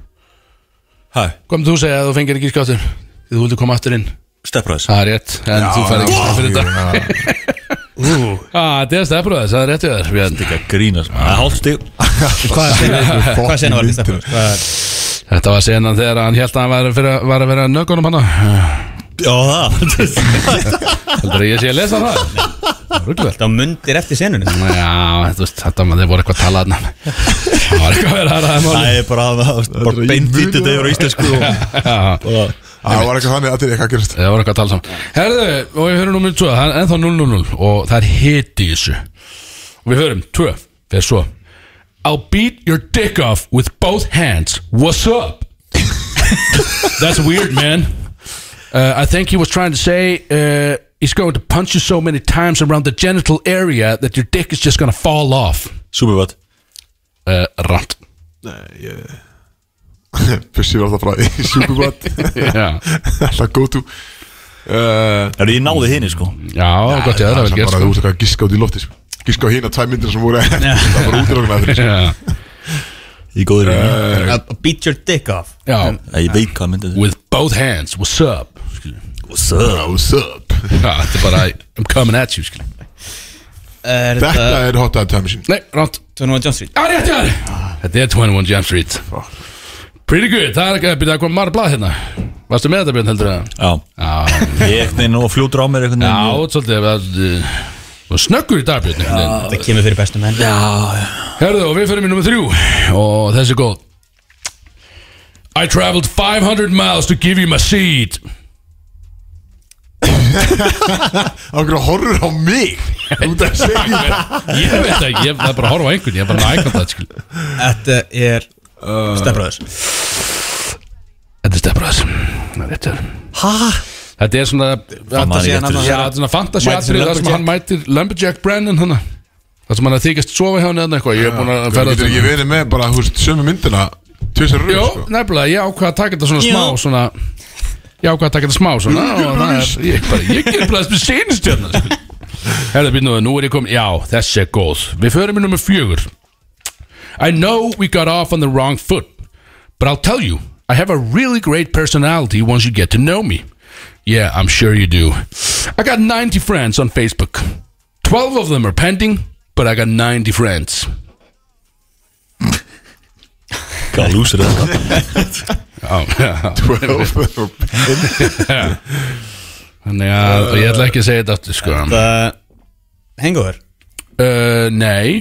Speaker 4: Hæ,
Speaker 3: Hvað myndir þú segja að þú fengir ekki skjáttur? Þú vildi koma aftur inn
Speaker 4: steppræðis
Speaker 3: Það er rétt En þú fær ekki skjáttur fyrir þetta
Speaker 1: þetta
Speaker 3: Ah, Það er stefnbröðis, það er rétt við þér Björn
Speaker 4: Grínast maður. Það er hálft stig
Speaker 7: Hvað hvað sena var þetta? Hvað er-
Speaker 3: Þetta var senan þegar hann held að hann var, fyrir, var að vera nöggunum hann
Speaker 4: Já það
Speaker 3: Heldur að ég sé að lesa það? Ruggvel
Speaker 7: Þetta var mundir eftir senunum
Speaker 3: Já, þú veist, þetta maður, þeir voru eitthvað að tala þarna Það var eitthvað að vera aðraða máli
Speaker 4: Það er bara
Speaker 1: er
Speaker 4: Bara
Speaker 1: í
Speaker 4: beint
Speaker 1: munur.
Speaker 4: ít þetta yfir á íslensku og-
Speaker 3: Já,
Speaker 4: og-
Speaker 1: Það var eitthvað þannig að þetta er eitthvað að gerast
Speaker 3: Það voru eitthvað að tala saman Herðu, og við höfum nú minn 2, það er ennþá 0-0-0 Og það er hiti í þessu Og við höfum 2, fyrir svo I'll beat your dick off with both hands What's up? That's weird, man uh, I think he was trying to say uh, He's going to punch you so many times around the genital area That your dick is just gonna fall off
Speaker 4: Superbad
Speaker 3: uh, Rant
Speaker 1: Pussi var það frá í Superbad
Speaker 3: Já,
Speaker 1: Alltaf go to
Speaker 4: Er ég náði henni sko
Speaker 3: já gott ég aðra vel
Speaker 1: Það er
Speaker 3: gert
Speaker 1: bara
Speaker 3: sko.
Speaker 1: að þú ert eitthvað að giska út í lofti sko. gíska á hína tæmyndir sem voru það voru útilóknar fyrir sig.
Speaker 3: Já.
Speaker 4: Í góður uh,
Speaker 7: Beat your dick off
Speaker 3: Já.
Speaker 4: Ég veit hvað myndið
Speaker 3: With both hands, what's up
Speaker 1: What's up? What's up?
Speaker 3: Já, þetta er bara I'm coming at you, skil
Speaker 2: Er
Speaker 1: Þetta
Speaker 2: þetta
Speaker 1: er hot dog time machine
Speaker 3: Nei, rátt
Speaker 2: 21 Jump Street?
Speaker 3: Já, rétt, já Þetta er 21 Jump Street Pretty good, það er ekki að byrja að koma marg blað hérna Varstu með þetta Björn heldur það?
Speaker 4: Já,
Speaker 3: Já,
Speaker 4: ég ekkert neina og fljótur á mér einhvern
Speaker 3: já,
Speaker 4: veginn
Speaker 3: svolítið að Og snöggur í dag Björn einhvern veginn.
Speaker 2: Það kemur fyrir bestu menn
Speaker 3: Herðu, og við fyrir mér nummer þrjú Og þessi er góð I traveled 500 miles to give you my seed
Speaker 1: Ákveður horfur á mig Út að segja
Speaker 3: Ég veit það, ekki, ég það er bara að horfa á einhvern Ég er bara að ægna það, skil
Speaker 2: Þetta er Stefbröðus
Speaker 3: Þetta er stefbraðs Það er rétt, já
Speaker 4: Hæ?
Speaker 3: Þetta er svona
Speaker 4: maður
Speaker 3: fantasy
Speaker 4: ekki
Speaker 3: annað-
Speaker 4: eftir þessu.
Speaker 3: Já, þetta er svona fantasy atrið Það sem hann mætir Lumberjack Brennan hana Það sem hann er að þykjast sofa hjá hann eða eitthvað Ég er búin að um-
Speaker 1: Það
Speaker 3: ferða
Speaker 1: getur ekki verið með bara, þú veist, sömu myndina Tvisar
Speaker 3: Jó,
Speaker 1: röð, sko
Speaker 3: nefnilega, ég ákvað að taka þetta svona smá svona Ég ákvað að taka þetta smá svona og það er, ég, bara, ég ger bara þess með seinist hérna sko. Herðu, býtnum, nú er ég komin Já, þessi er góð Við förum í nummer fjögur I know we got off on the wrong foot But I'll tell you I have a really great personality once you get to know me Yeah, I'm sure you do I got 90 friends on Facebook 12 of them are pending But I got 90 friends
Speaker 4: Hvað lúsir þetta?
Speaker 3: Já, já
Speaker 1: Jó
Speaker 3: Þannig að ég ætla ekki að segja þetta aftur sko
Speaker 2: Hangover
Speaker 3: Uh, nei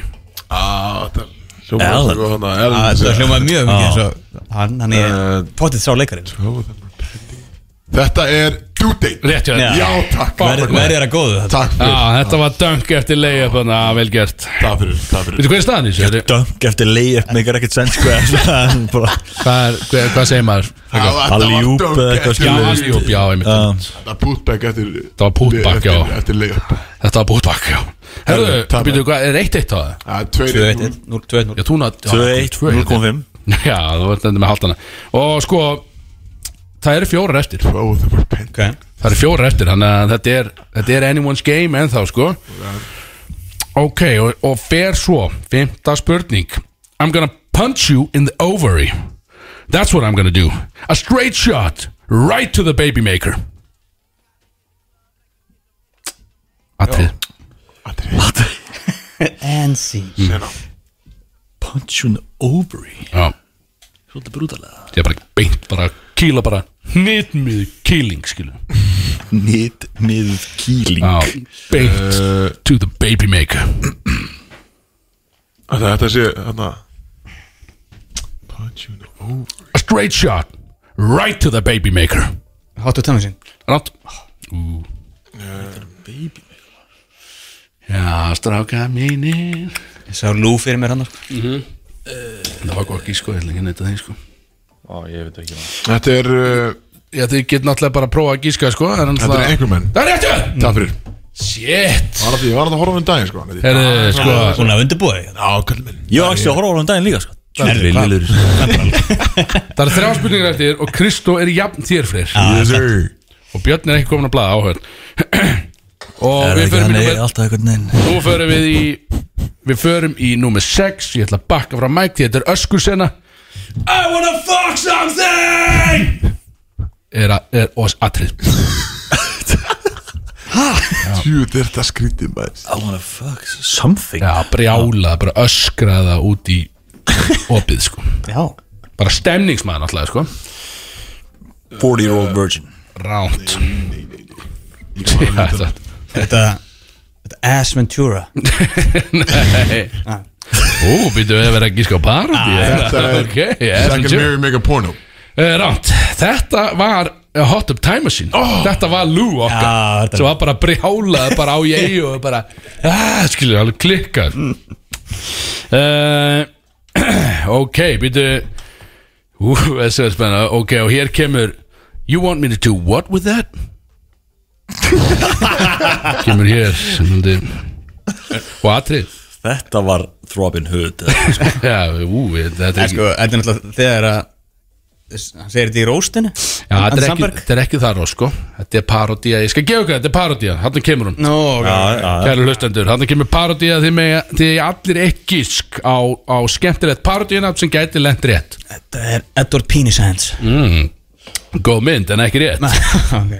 Speaker 1: Hljómaður sko hana
Speaker 2: Ah, Þetta
Speaker 1: Ellen
Speaker 2: hljómaði mjög
Speaker 4: Ah.
Speaker 2: mikið eins og Hann, hann er potið sá leikarinn
Speaker 1: Þetta er due date
Speaker 3: Rétt hjá þér.
Speaker 1: Já, takk
Speaker 2: Verðið er að góðu þetta
Speaker 1: Takk
Speaker 3: Já,
Speaker 1: fyrir
Speaker 3: þetta var dunk eftir leið Þannig að vel gert
Speaker 1: Takk fyrir Takk fyrir
Speaker 3: Veitu hvað er staðan í þessu?
Speaker 4: Dunk eftir layup meikar ekkert sens sko en bara-
Speaker 3: Hvað, er- hvað, hvað segir maður?
Speaker 1: Já, þetta var
Speaker 4: Alley-oop
Speaker 1: dunk
Speaker 4: eða eitthvað
Speaker 1: eftir
Speaker 3: Já,
Speaker 1: leik.
Speaker 4: skilur.
Speaker 3: alljóp, já, einmitt
Speaker 4: Já.
Speaker 1: Þetta var putback eftir
Speaker 3: var putback,
Speaker 1: eftir-
Speaker 3: já.
Speaker 1: Eftir leik
Speaker 3: Þetta var búið bakk, já Herðu,
Speaker 1: takk.
Speaker 3: býtu, hvað, er eitt eitt á það?
Speaker 1: Það er tveir
Speaker 2: 2-1, 0-2-1
Speaker 3: Já, þú nátt
Speaker 4: 2-1, 0.5
Speaker 3: Já, þú ert endur með haldana Og sko, það eru fjórar eftir
Speaker 1: Oh, það var pen
Speaker 2: Ok
Speaker 3: Það eru fjórar eftir, þannig að þetta er, þetta er anyone's game ennþá, sko Ok, og, og fer svo Fymta spurning I'm gonna punch you in the ovary That's what I'm gonna do A straight shot Right to the baby maker Atrið
Speaker 2: And see
Speaker 4: Punch you in the ovary
Speaker 3: Já,
Speaker 4: Svolítið brútalega
Speaker 3: ég er bara beint bara Kýla bara Nýtmið kýling, skilu
Speaker 4: Nýtt með
Speaker 3: Já,
Speaker 4: kýling
Speaker 3: beint
Speaker 1: Eh.
Speaker 3: To the baby maker
Speaker 1: Þetta þetta sé hana Punch you in the over
Speaker 3: A straight shot Right to the baby maker
Speaker 2: Háttu tæmi sín
Speaker 3: Rátt Ú
Speaker 1: Eh.
Speaker 4: um
Speaker 3: Já, stráka mínir
Speaker 2: Ég sá Lú fyrir mér hann sko.
Speaker 3: Það var góð ekki sko, ég ætla ekki að neyta því sko
Speaker 1: Þetta er uh,
Speaker 3: Já, þið get náttúrulega bara að prófa að gíska sko en
Speaker 1: Þetta er
Speaker 3: náttúrulega-
Speaker 1: einhver menn
Speaker 3: Það er réttu!
Speaker 1: Takk fyrir
Speaker 3: Shit!
Speaker 1: Var þetta- Ég var að horfa um en daginn sko hann er-
Speaker 3: Herðu, sko
Speaker 2: Hún hafði undirbúið þig.
Speaker 1: Já, kallum minn
Speaker 4: Ég var ekki að horfa á hann um daginn líka sko Tjúri lillur
Speaker 3: Það er þrjá spurningar eftir og Kristó er jafn þér frér
Speaker 1: Yes sir
Speaker 3: og Björn er ekki komin að blaða áhörn og
Speaker 4: Það er
Speaker 3: við
Speaker 4: ekki
Speaker 3: förum
Speaker 2: hérna
Speaker 3: í
Speaker 4: hann er
Speaker 3: númer
Speaker 4: alltaf eitthvað neinn
Speaker 3: Nú förum við í Við förum í númer 6 Ég ætla að bakka frá Mike Því þetta er öskursena I wanna fuck something Er að er os atrið
Speaker 1: Tjú, þetta er þetta skrítið maður
Speaker 4: I wanna fuck something
Speaker 3: Já, brjála, bara öskraða út í opið sko
Speaker 2: Já
Speaker 3: Bara stemningsmaður náttúrulega sko
Speaker 4: 40 year old virgin
Speaker 3: Ránt
Speaker 2: Þetta Þetta Ass Ventura
Speaker 3: Ú, býttu við að vera að gíska á
Speaker 1: Ah, Þetta
Speaker 3: parandi
Speaker 1: er
Speaker 3: Ok, yes,
Speaker 1: Second
Speaker 3: sure.
Speaker 1: Mary Mega Porno
Speaker 3: Eh, Rámt, þetta var eh, Hot Up Time Machine
Speaker 1: Oh.
Speaker 3: Þetta var Lou
Speaker 1: Ah.
Speaker 2: Já,
Speaker 3: okkar
Speaker 2: Ah, þetta-
Speaker 3: Svo var bara brjálað bara á ég og bara ah, Skilur, alveg klikkað uh, Ok, býtu Ú, þessi er spenna Ok, og hér kemur You want me to do what with that? kemur hér sem myndi Og atrið
Speaker 4: Þetta var Robin Hood
Speaker 3: Já, ú, þetta er
Speaker 2: En
Speaker 3: ekki
Speaker 2: sko, þetta er náttúrulega þegar að Hann segir þetta í róstinu
Speaker 3: Já, þetta er, ekki,
Speaker 2: Sandberg.
Speaker 3: þetta er ekki það rós, sko Þetta er parodía, ég skal gefa ykkur, þetta er parodía Þannig kemur hún,
Speaker 2: Nó, ok
Speaker 3: kæru hlustendur Þannig kemur parodía því með því allir eitt gísk á, á skemmtilegt parodíuna sem gæti lent rétt
Speaker 2: Þetta er Edward Penis Hands
Speaker 3: mm. Góð mynd, en ekki rétt
Speaker 2: Ok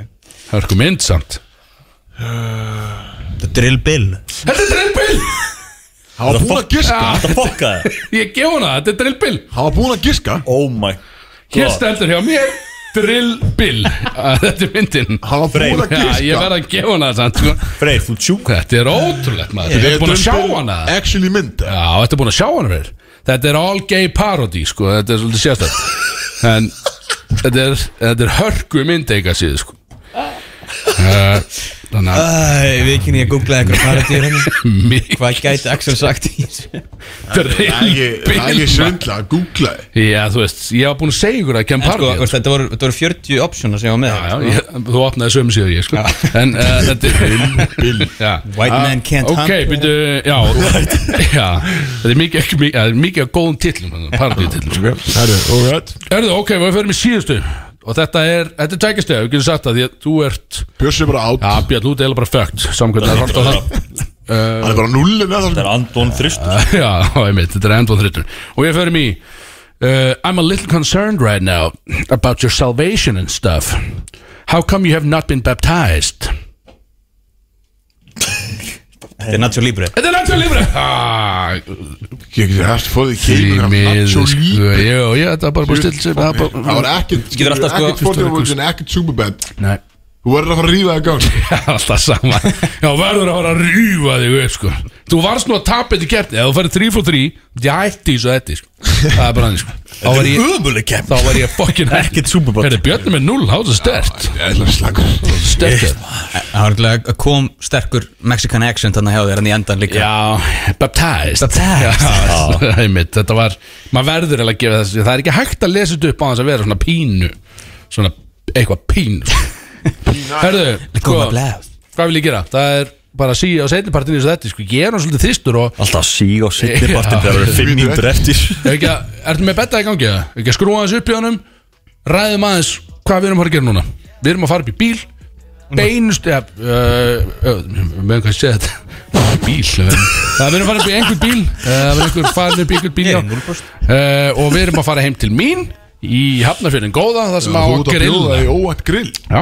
Speaker 3: Það er sko mynd samt
Speaker 7: Þetta er Drill Bill
Speaker 3: Þetta er drillbill
Speaker 1: Hann var búin að giska
Speaker 4: Þetta fokkaði
Speaker 3: Ég gef hún það, þetta er drillbill
Speaker 1: Hann var búin að giska
Speaker 4: Oh my
Speaker 3: Hér
Speaker 4: God.
Speaker 3: stendur hjá mér drillbill Að Þetta er myndin
Speaker 1: Hann var búin að
Speaker 3: Já, Ég
Speaker 1: giska
Speaker 3: verð að gefa hún það samt sko.
Speaker 4: Freyr, þú sjúk
Speaker 3: Þetta er ótrúlegt maður Þetta er búin að sjá hana
Speaker 1: Actually mynd
Speaker 3: Já, þetta er búin að sjá hann verið Þetta er all gay parody, sko Þetta er svolítið sérstætt En þetta er, þetta er hörku myndega síðu, sko Eh, Þannig að
Speaker 2: Æ, vikinni ég googlaði eitthvað parodíur henni
Speaker 3: mikið
Speaker 2: Hvað gæti Axel sagt í þessu?
Speaker 1: Það er svindla, googlaði
Speaker 3: Já, þú veist, ég var búin að segja ykkur að kem
Speaker 2: En sko,
Speaker 3: parody
Speaker 2: veist, þetta voru, þetta voru 40 optioner sem ég var með
Speaker 3: Já, ég, þú opnaði sömu síðu ég, sko En uh, þetta er Bill
Speaker 2: White man can't
Speaker 3: Ok,
Speaker 2: hunt
Speaker 3: býttu, já, já Þetta er mikið, ekki, mikið, það er mikið af góðum tillum Parody tillum, sko
Speaker 1: Það er órætt
Speaker 3: Erðu, ok, við förum í síðustu Og þetta er, þetta er tækistöð, við getum sagt það Því að þú ert,
Speaker 1: Bjössi er bara átt
Speaker 3: já, Björn, þú ert eiginlega bara fucked Samkvæmt að hort á það
Speaker 1: Hann er bara nullin eða
Speaker 4: Það
Speaker 1: það
Speaker 4: er Andón Þristur
Speaker 3: Já, einmitt, þetta er endvan þrjóttur Og ég förum í uh, I'm a little concerned right now About your salvation and stuff How come you have not been baptized?
Speaker 2: Þetta er Nacho Libre
Speaker 3: Þetta er náttúrulega lífri ah,
Speaker 1: Ég geti hægt fóðið í
Speaker 3: Því
Speaker 1: keimur hann
Speaker 3: miður,
Speaker 1: Nacho
Speaker 3: sko
Speaker 1: Libre.
Speaker 3: Já, já, þetta er bara búið stilt sig það er bara-
Speaker 1: Það var ekkert
Speaker 2: Getur alltaf, sko,
Speaker 1: Ekkert fórtjóðvöldin, ekkert superband
Speaker 3: Nei
Speaker 1: Þú verður að fara að rífa það gang
Speaker 3: Það er alltaf sama Já, verður að fara að rýfa þig upp sko Þú varst nú að tapa þetta í keppni Ef þú færi 3 frá 3 Ég hætti þessu þetta sko. Það er bara hann sko. Þá var ég
Speaker 4: Ömuleg kepp
Speaker 3: Þá var ég fokkin
Speaker 4: Ekkert Superbot.
Speaker 3: Hérna björnum með 0 Há það er stert
Speaker 1: Ég ætla að slaka
Speaker 3: Stert
Speaker 2: Það var örugglega að kom sterkur Mexican accent hann að hjá þér hann í endan líka
Speaker 3: Já, baptized
Speaker 2: Baptized.
Speaker 3: Já, einmitt, Þetta var Maður verður eiginlega að gefa þessu Það er ekki hægt að lesa þetta upp á þess að vera svona pínu Svona eitthvað pínu Herðu
Speaker 2: Góða
Speaker 3: sko,
Speaker 2: blæð
Speaker 3: Hvað vil ég gera? Það er bara að síja á setnipartinu eins og þetta sko. Ég er hann svolítið þýstur og
Speaker 4: Alltaf síg á sittir partin Það eru fimm mínútur eftir
Speaker 3: Ef ekki að, ertu með betta í gangi eða? Ef Ekki að skrúa aðeins upp í honum Ræðum aðeins hvað við erum að fara að gera núna Við erum að fara upp í bíl Beinust ja, uh, uh, Með hvað ég sé þetta Bíl eh, Það við erum að fara upp í einhver bíl eh, Það við erum einhver farin upp í einhver bíl já. Eh, Og við erum að fara heim til mín Í Hafnarfjörðin góða Það sem á
Speaker 1: Þú
Speaker 3: að
Speaker 1: ert að bjóða
Speaker 3: grilla
Speaker 1: í óætt grill
Speaker 3: Já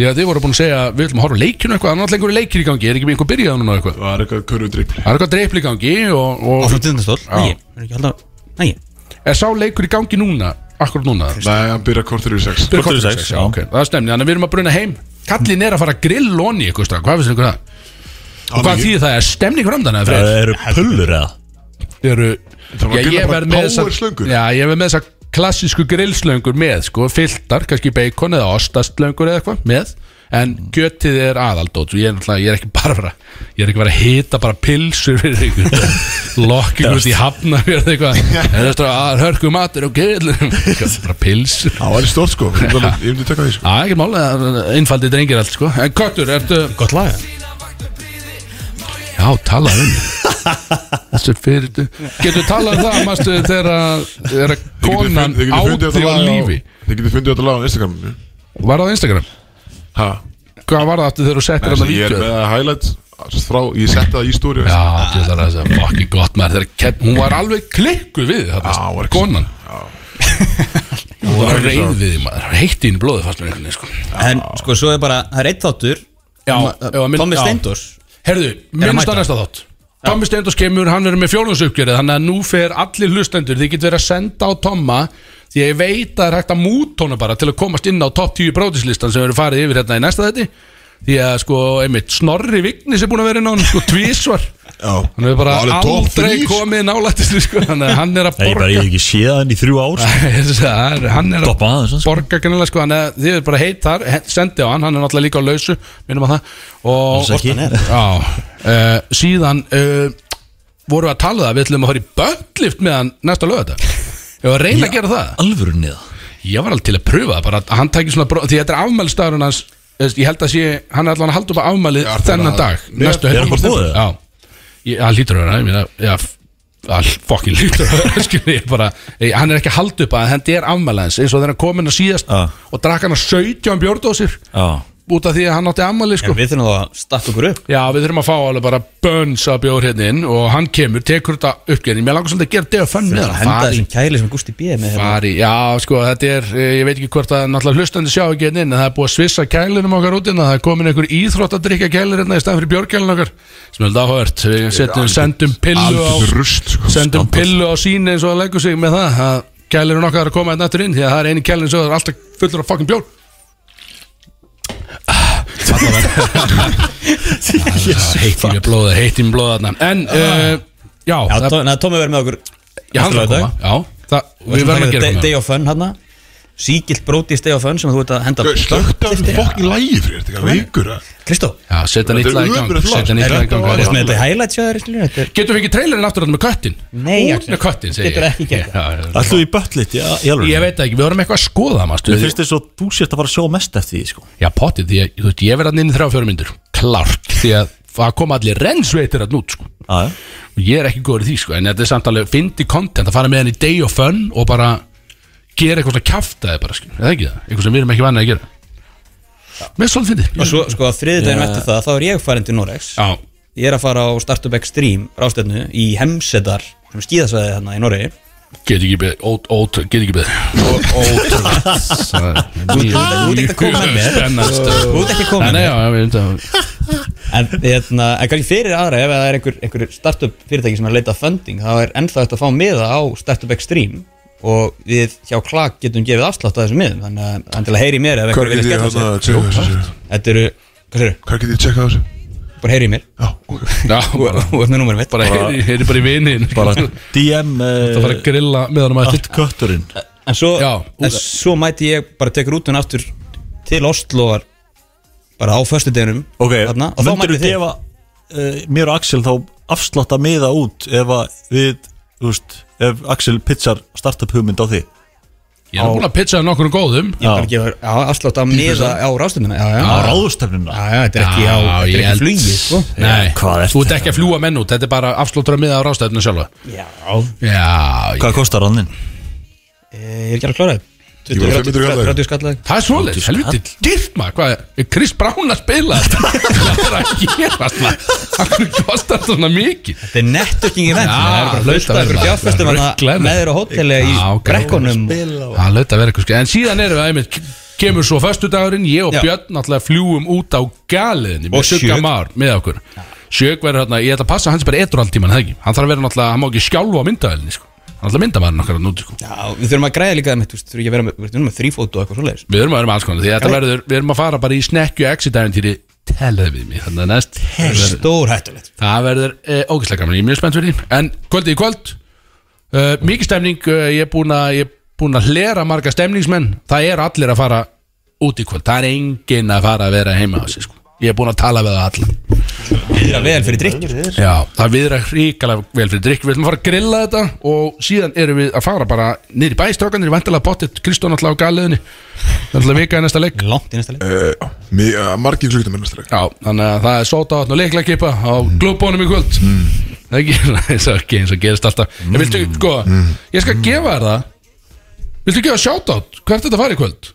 Speaker 3: Því að þið voru búin að segja Við ætlum að horfa á leikinu eitthvað Annars lengur leikir í gangi Er ekki með einhver byrjað núna eitthvað
Speaker 1: Það er eitthvað körfudripl
Speaker 3: Það er eitthvað dreipli í gangi og, og
Speaker 2: Áfram tindastól Nei, er ekki alltaf Nei
Speaker 3: Er sá leikur í gangi núna? Akkurat núna?
Speaker 1: Nei, hann byrja kortur í sex
Speaker 3: Fyrir
Speaker 4: Korter í
Speaker 3: korter í
Speaker 4: sex,
Speaker 3: sex, já,
Speaker 4: já.
Speaker 3: ok Það er stemni, þannig að við erum að bruna heim Kallin er að fara að grill onni ykkur stað Hvað finnst ykkur um það? Og hvað
Speaker 1: því?
Speaker 3: þýðir það? Er stemning framdann eða
Speaker 4: Það
Speaker 3: fyrir?
Speaker 4: eru pullur eða
Speaker 3: Það eru
Speaker 1: Það var
Speaker 3: Já,
Speaker 1: grill
Speaker 3: ég
Speaker 1: bara
Speaker 3: verð með þessa
Speaker 1: powerslöngur.
Speaker 3: Já, ég verð með þessa klassísku grillslöngur með sko, Fylltar, kannski bacon eða ostastlöngur eða eitthvað Með En kjötið er aðaldótt Ég er, náttúrulega- ég er ekki bara að fara Ég er ekki bara að hita bara pilsur fyrir ykkur Lokk ykkur út í hafna fyrir eitthvað En þetta er hörku matur og grill Bara pilsur
Speaker 1: Það var stórt sko Ég myndi alveg- ég myndi taka því sko
Speaker 3: Já, ekki mál, einfaldið drengir allt sko En Köttur, ertu
Speaker 2: Gott laga
Speaker 3: Já, talað um Þessu fyrir Getur talað um það, mástu, þegar að- þegar að
Speaker 1: Þið getið
Speaker 3: konan
Speaker 1: fund- þið getið fundið
Speaker 3: átti
Speaker 1: þetta
Speaker 3: á
Speaker 1: lag
Speaker 3: lífi
Speaker 1: Þið getur fundið þetta lag á Instagram
Speaker 3: Var það á Instagram?
Speaker 1: Ha?
Speaker 3: Hvað var það aftur þegar þú settir hann að
Speaker 1: Ég er
Speaker 3: vítjóð?
Speaker 1: með highlights frá, ég setti það í stóri
Speaker 3: Já, þetta er þess að fokki gott maður Þegar kepp- hún var alveg klikkuð við þarna,
Speaker 1: Já, var ekki-
Speaker 3: Konan Hún var
Speaker 1: ekki
Speaker 3: reyð
Speaker 1: svo.
Speaker 3: við því maður Heitti inn í blóðið fast með einhvern veginn sko
Speaker 2: En sko, svo er bara Það er eitt þáttur
Speaker 3: Já,
Speaker 2: um,
Speaker 3: ef að minn-
Speaker 2: Tommy
Speaker 3: já.
Speaker 2: Steindors
Speaker 3: Herðu,
Speaker 2: að
Speaker 3: minnst
Speaker 2: mæta.
Speaker 3: á næsta þátt Tommi Steindors kemur, hann verður með fjólungsuppgjörið Þannig að nú fer allir hlustendur Þið getur verið að senda á Tomma Því að ég veit að það er hægt að mút honum bara Til að komast inn á topp 10 brótislistan Sem verður farið yfir hérna í næsta þetti Því að sko, einmitt, Snorri Vignis er búin að vera inn á hann Sko, tvísvar
Speaker 1: Já
Speaker 3: Hann hefur bara
Speaker 1: Það er topp
Speaker 3: aldrei
Speaker 1: þrír, sko.
Speaker 3: komið nálættist sko, Þannig að hann er að
Speaker 4: Nei, ég bara
Speaker 3: borga
Speaker 4: ég hef ekki séð hann í þrjú ár sko.
Speaker 3: Ég segi það, er- hann er
Speaker 4: Doppa aðeins,
Speaker 3: að
Speaker 4: sko.
Speaker 3: borga kannilega sko, hann er, þið er bara heit þar he- sendi á hann, hann er náttúrulega líka á lausu minnum að það og,
Speaker 4: Alls ekki.
Speaker 3: já, uh, síðan uh, vorum við að tala um það, við ætlum að fara í böndlift með hann næsta lögða ég var að reyna að gera það
Speaker 4: Alvöru niða
Speaker 3: ég var alveg til að pröfa það, bara að hann tæki svona bró- því þetta er afmælstafurinn hans þú veist, ég held að sé, hann er allan að halda upp á afmælið
Speaker 1: Já,
Speaker 3: þennan
Speaker 1: bara-
Speaker 3: dag, næstu
Speaker 4: er hann bara búið?
Speaker 3: já, Ég- hann lítur að vera, ég meina, já, all fokkin lítur skilur ég bara ég, hann er ekki að halda upp að þetta er afmælaðins eins og þegar hann kom inn að síðast
Speaker 4: Ah.
Speaker 3: og drakk hann að 17 bjórdósir
Speaker 4: Já,
Speaker 3: út af því að hann átti afmæli sko.
Speaker 2: Ah. En við þurfum þá að stappa okkur upp
Speaker 3: Já, við þurfum að fá alveg bara bönns að bjóður hérna inn og hann kemur, tekur þetta uppgerðin Mér langar svolítið að gera dega fönn með
Speaker 2: Henda
Speaker 3: hann
Speaker 2: þessum kæli sem Gusti B. er með hérna.
Speaker 3: fari, já, sko, þetta er eh, ég veit ekki hvort að náttúrulega hlustandi sjá ekki hérna inn en það er búið að svissa kælinum okkar út inn það er komin einhver íþróttadrykja kælir hérna í staðan fyrir björkælin okkar sem er dáhört, við setjum, sendum pillu á
Speaker 1: Algjörn rust sko.
Speaker 3: sendum pillu á síni eins og að leggur sig með það að kælirinn okkar er að koma einn aftur inn því að það er eini kælirinn sem er alltaf fullur af fucking bjór heitti mér blóða, heitti mér blóða þarna. en, uh, já,
Speaker 2: Já,
Speaker 3: það,
Speaker 2: Tó- neða, Tómi verður með okkur
Speaker 3: já, hann er að koma Sko, já, það, við verðum að gera
Speaker 2: eitthvað
Speaker 3: komið
Speaker 2: Day of Fun hérna Síkilt brótis Day of Fun sem þú ert að henda
Speaker 1: Slögt af þessu fokkin lægi fyrir þetta Veikur að
Speaker 2: Kristó,
Speaker 3: já, setja nýtt
Speaker 1: Þetta er
Speaker 3: lag í gang
Speaker 1: ömurlegt lag.
Speaker 3: setja nýtt lag í gang
Speaker 2: þú veist með þetta í highlights hjá þér, skilur, þetta er-
Speaker 3: Getur við ekki trailerinn aftur hann með köttin?
Speaker 2: Nei,
Speaker 3: Út
Speaker 2: Axel.
Speaker 3: með köttin, segi ég
Speaker 2: Getur ekki gert
Speaker 3: það
Speaker 4: alltaf í böllit, já, í alvöru.
Speaker 3: Ég veit það ekki, við vorum eitthvað að skoða það
Speaker 4: Mér
Speaker 3: maður
Speaker 4: finnst þess að þú sért að fara að sjá mest eftir því sko.
Speaker 3: Já, potið, því að, þú veist, ég verði hann inn í þrjá fjórum myndur Klart, því að það kom allir rennsveitir hann út, sko
Speaker 4: Já, já.
Speaker 3: Og ég er ekki góður í því, sko, en þetta er samt alveg fyndi content að fara með hann í day of fun og bara gera eitthvað svona kjaftaði bara, sko, eða ekki það, eitthvað sem við erum ekki vannið að gera Mér er svolítið fyndið.
Speaker 2: Og svo, sko, að þriðdæðinu eftir það, þá er ég farin til Norex
Speaker 3: Já,
Speaker 2: Ég er að fara á Startup Extreme rástefnu í Hemsedar, sem skíðasvæði hérna í Noregi
Speaker 3: get ekki beð, ót, ót, get ekki beð
Speaker 2: Þú ert ekki að koma með mér.
Speaker 3: Spennast
Speaker 2: Þú ert ekki að koma
Speaker 3: Nei,
Speaker 2: með
Speaker 3: nei, já, já, við erum það
Speaker 2: En, hérna, en kannski fyrir aðra ef það er einhver, einhver startup fyrirtæki sem er að leita að funding þá er ennþá þetta að fá miða á Startup Extreme og við hjá Klak getum gefið afslátt að þessum miðum þannig að hann til að heyri mér ef
Speaker 1: Hvað
Speaker 2: einhver
Speaker 1: get
Speaker 2: vilja
Speaker 1: ég
Speaker 2: skella
Speaker 1: hérna
Speaker 2: sér
Speaker 1: að tjekka þessu?
Speaker 2: Þetta eru, hvað eru,
Speaker 1: Hvað get ég að tjekka þessu?
Speaker 2: bara heyri mér
Speaker 1: Já, ok
Speaker 3: Já,
Speaker 2: Þú
Speaker 3: bara,
Speaker 2: þú ert með númerum mitt
Speaker 3: bara heyri, heyri bara í vinin
Speaker 4: Bara DM
Speaker 3: Það fara að grilla með honum að
Speaker 4: Allt kötturinn
Speaker 2: En svo,
Speaker 3: Já,
Speaker 2: en svo mæti ég bara tekur út hún aftur til Osloar bara á föstudeginum
Speaker 4: Ok,
Speaker 2: þarna, og þá
Speaker 4: myndir
Speaker 2: mæti
Speaker 4: þú
Speaker 2: þið
Speaker 4: gefa uh, mér og Axel þá afslátt að miða út ef að við, þú veist ef Axel pitchar startup hugmynd á því
Speaker 3: Ég er búin að pitcha það nokkur góðum
Speaker 2: Ég bara gefa já, afslátt að miða á rástefnuna Já, já,
Speaker 4: á
Speaker 2: já,
Speaker 4: ráðustefnuna
Speaker 2: já, þetta er ekki á,
Speaker 3: Já,
Speaker 2: þetta er
Speaker 3: ég
Speaker 2: ekki
Speaker 3: held-
Speaker 2: flugið, sko
Speaker 3: Nei,
Speaker 4: hvað er
Speaker 3: þú ert ekki að fljúa menn út Þetta er bara afslóttur að miða á rástæðinu sjálfa
Speaker 2: Já,
Speaker 3: Já, ég-
Speaker 4: Hvað kostar hann þinn?
Speaker 2: Eh, Ég er ekki alveg klárað
Speaker 1: Jú,
Speaker 2: 20, 30,
Speaker 1: 500 kallar.
Speaker 2: 30 skallar
Speaker 3: það er svolítið Helviti, dyrft maður Hvað er Chris Brown að spila þetta? Það er að gerast maður Það hvernig kostar þetta svona mikið
Speaker 2: Þetta er networking event Það
Speaker 3: Já,
Speaker 2: er bara að
Speaker 3: þetta
Speaker 2: hlusta Það er bara
Speaker 3: verður bara-
Speaker 2: fjárfestum
Speaker 3: verður ruglað.
Speaker 2: Með þeirra hóteli í
Speaker 3: Já, ok.
Speaker 2: brekkunum
Speaker 3: Það lögta að vera eitthvað skil En síðan erum við einmitt Kemur svo föstudagurinn Ég og
Speaker 2: Já.
Speaker 3: Björn náttúrulega fljúum út á galiðinni
Speaker 2: Og
Speaker 3: Með sjugga
Speaker 2: Sjögg.
Speaker 3: már með okkur Sjögg verður hérna Ég ætla að passa hans bara eitthvað alltíman Það ekki Hann þarf að vera náttúrulega Hann má ekki skjálfa á myndavælinni sko. Hann er alltaf myndamæðurinn okkar að núti sko.
Speaker 2: Já, við þurfum að græða líka það mitt Þú þurfum ekki að vera með- við þurfum með þrýfót og eitthvað svoleiðis
Speaker 3: Við erum að vera með alls konar Því þetta verður Við erum að fara bara í snekju exit-æventýri Telðið við mig Þannig að næst
Speaker 2: Stór hættulegt
Speaker 3: Það verður eh, ógæslega gaman, ég er mjög spennt fyrir því En kvöldið í kvöld uh, Mikið stemning, uh, ég er búinn að- ég er búinn að hlera marga stemningsmenn Það er allir að fara út í kvöld Það er enginn að fara að vera heima á sig sko. Ég er búinn að tala við það alla
Speaker 2: Það er vel fyrir drikk
Speaker 3: Já, það viðra hrikalega vel fyrir drikk Við ætlum að fara að grilla þetta Og síðan erum við að fara bara niður í bæstrákanir Vantilega bóttið Kristón alltaf á galiðinni Þannig að vika í næsta leik
Speaker 2: Langt í næsta leik
Speaker 1: Mér, uh, margir klukkutum er næsta leik
Speaker 3: Já, þannig að það er sótavatn og leiklakipa á glóbónum í kvöld Það er ekki, eins og ekki eins og gerist alltaf En viltu, sko, ég skal gefa þér það Viltu gefa sjátátt? Hvert þetta fara í kvöld?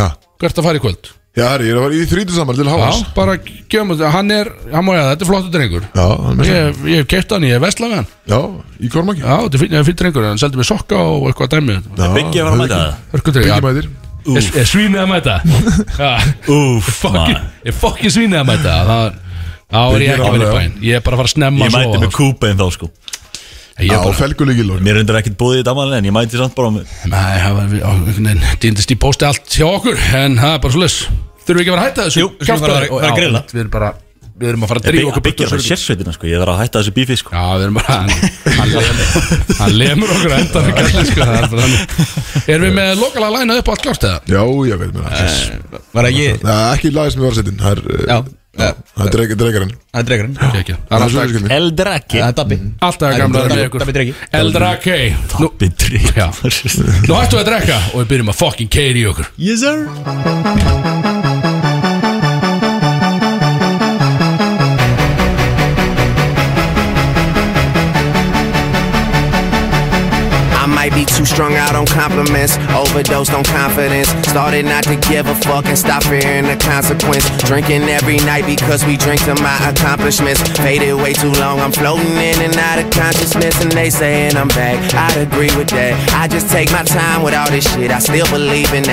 Speaker 1: Ha.
Speaker 3: Hvert þetta fara í kvöld?
Speaker 1: Já, herri, ég er að fara í þrítu saman til
Speaker 3: Já,
Speaker 1: Háas
Speaker 3: bara gefa mér það Hann er, hann má ég að þetta er flottur drengur
Speaker 1: Já, hann er með það.
Speaker 3: Ég, ég hef keitt hann, ég hef vestlað við hann
Speaker 1: Já, í Kormaki
Speaker 3: Já, þetta er fínn- þetta er fínn drengur Hann seldi mér sokka og eitthvað dæmi
Speaker 4: Biggi að fara að mæta það
Speaker 3: Hörkudrengur
Speaker 1: Byggi mætir
Speaker 3: Ég ég svínið að mæta Já.
Speaker 4: Úff,
Speaker 3: Fucking-
Speaker 4: maður.
Speaker 3: Ég fokkin svínið að mæta Það- Þá er ég
Speaker 1: Ég er
Speaker 3: ekki verið í
Speaker 1: alveg-
Speaker 3: bæinn Ég er bara að fara að snemma
Speaker 4: Ég
Speaker 3: að sofa
Speaker 4: mæti
Speaker 3: þá,
Speaker 4: með kúpein þá sko
Speaker 3: Ég
Speaker 1: Já,
Speaker 3: er bara,
Speaker 1: felgulegi lóri
Speaker 4: Mér reyndar ekkert búið í þetta ammæli en ég mæti samt bara með
Speaker 3: nei, það var við, á, einhvern veginn, dýndist í pósti allt hjá okkur, en það er bara svo les. Þurfum við ekki að vera að hætta þessu?
Speaker 2: Jú, við þurfum bara að-
Speaker 3: Kjaftaði-
Speaker 2: bara að
Speaker 3: já,
Speaker 2: grilla.
Speaker 3: Við erum bara, við erum að fara að drífa okkur
Speaker 4: Biggi að fara í
Speaker 3: sér.
Speaker 4: sérsveitina sko Ég þarf að hætta þessu bífi sko
Speaker 3: Já, við erum bara, hann, hann, lemur, hann lemur okkur að enda fyrir gæli, sko, það er bara þannig. Erum við með lokala að læna upp á allt klárt eða?
Speaker 1: Já, ég veit mér það
Speaker 2: Var það ég
Speaker 1: Það er ekki lagið sem ég var að setja inn Það er,
Speaker 2: Eh. Já,
Speaker 1: uh, já, það er dreg- dregarinn
Speaker 2: Það er drekkurinn
Speaker 3: Ekki, ekki. Það er
Speaker 1: Það er
Speaker 3: alltaf,
Speaker 1: svo
Speaker 4: El Draki
Speaker 2: Það er Dabbi
Speaker 3: alltaf að gamla að vera með ykkur.
Speaker 2: Dabbi drekki
Speaker 3: Eldra K. Nú,
Speaker 4: Bitri
Speaker 3: Já. nú hættum við að drekka og við byrjum að fucking keiri í okkur.
Speaker 4: Yes sir
Speaker 9: Bróðis
Speaker 10: Might be too strung out on compliments, overdosed on confidence. Started not to give a fuck and stop fearing the consequence. Drinking every night because we drink to my accomplishments. Faded way too long, I'm floating in and out of consciousness, and they saying I'm back. I'd agree with that. I just take my time with all this shit. I still believe in that.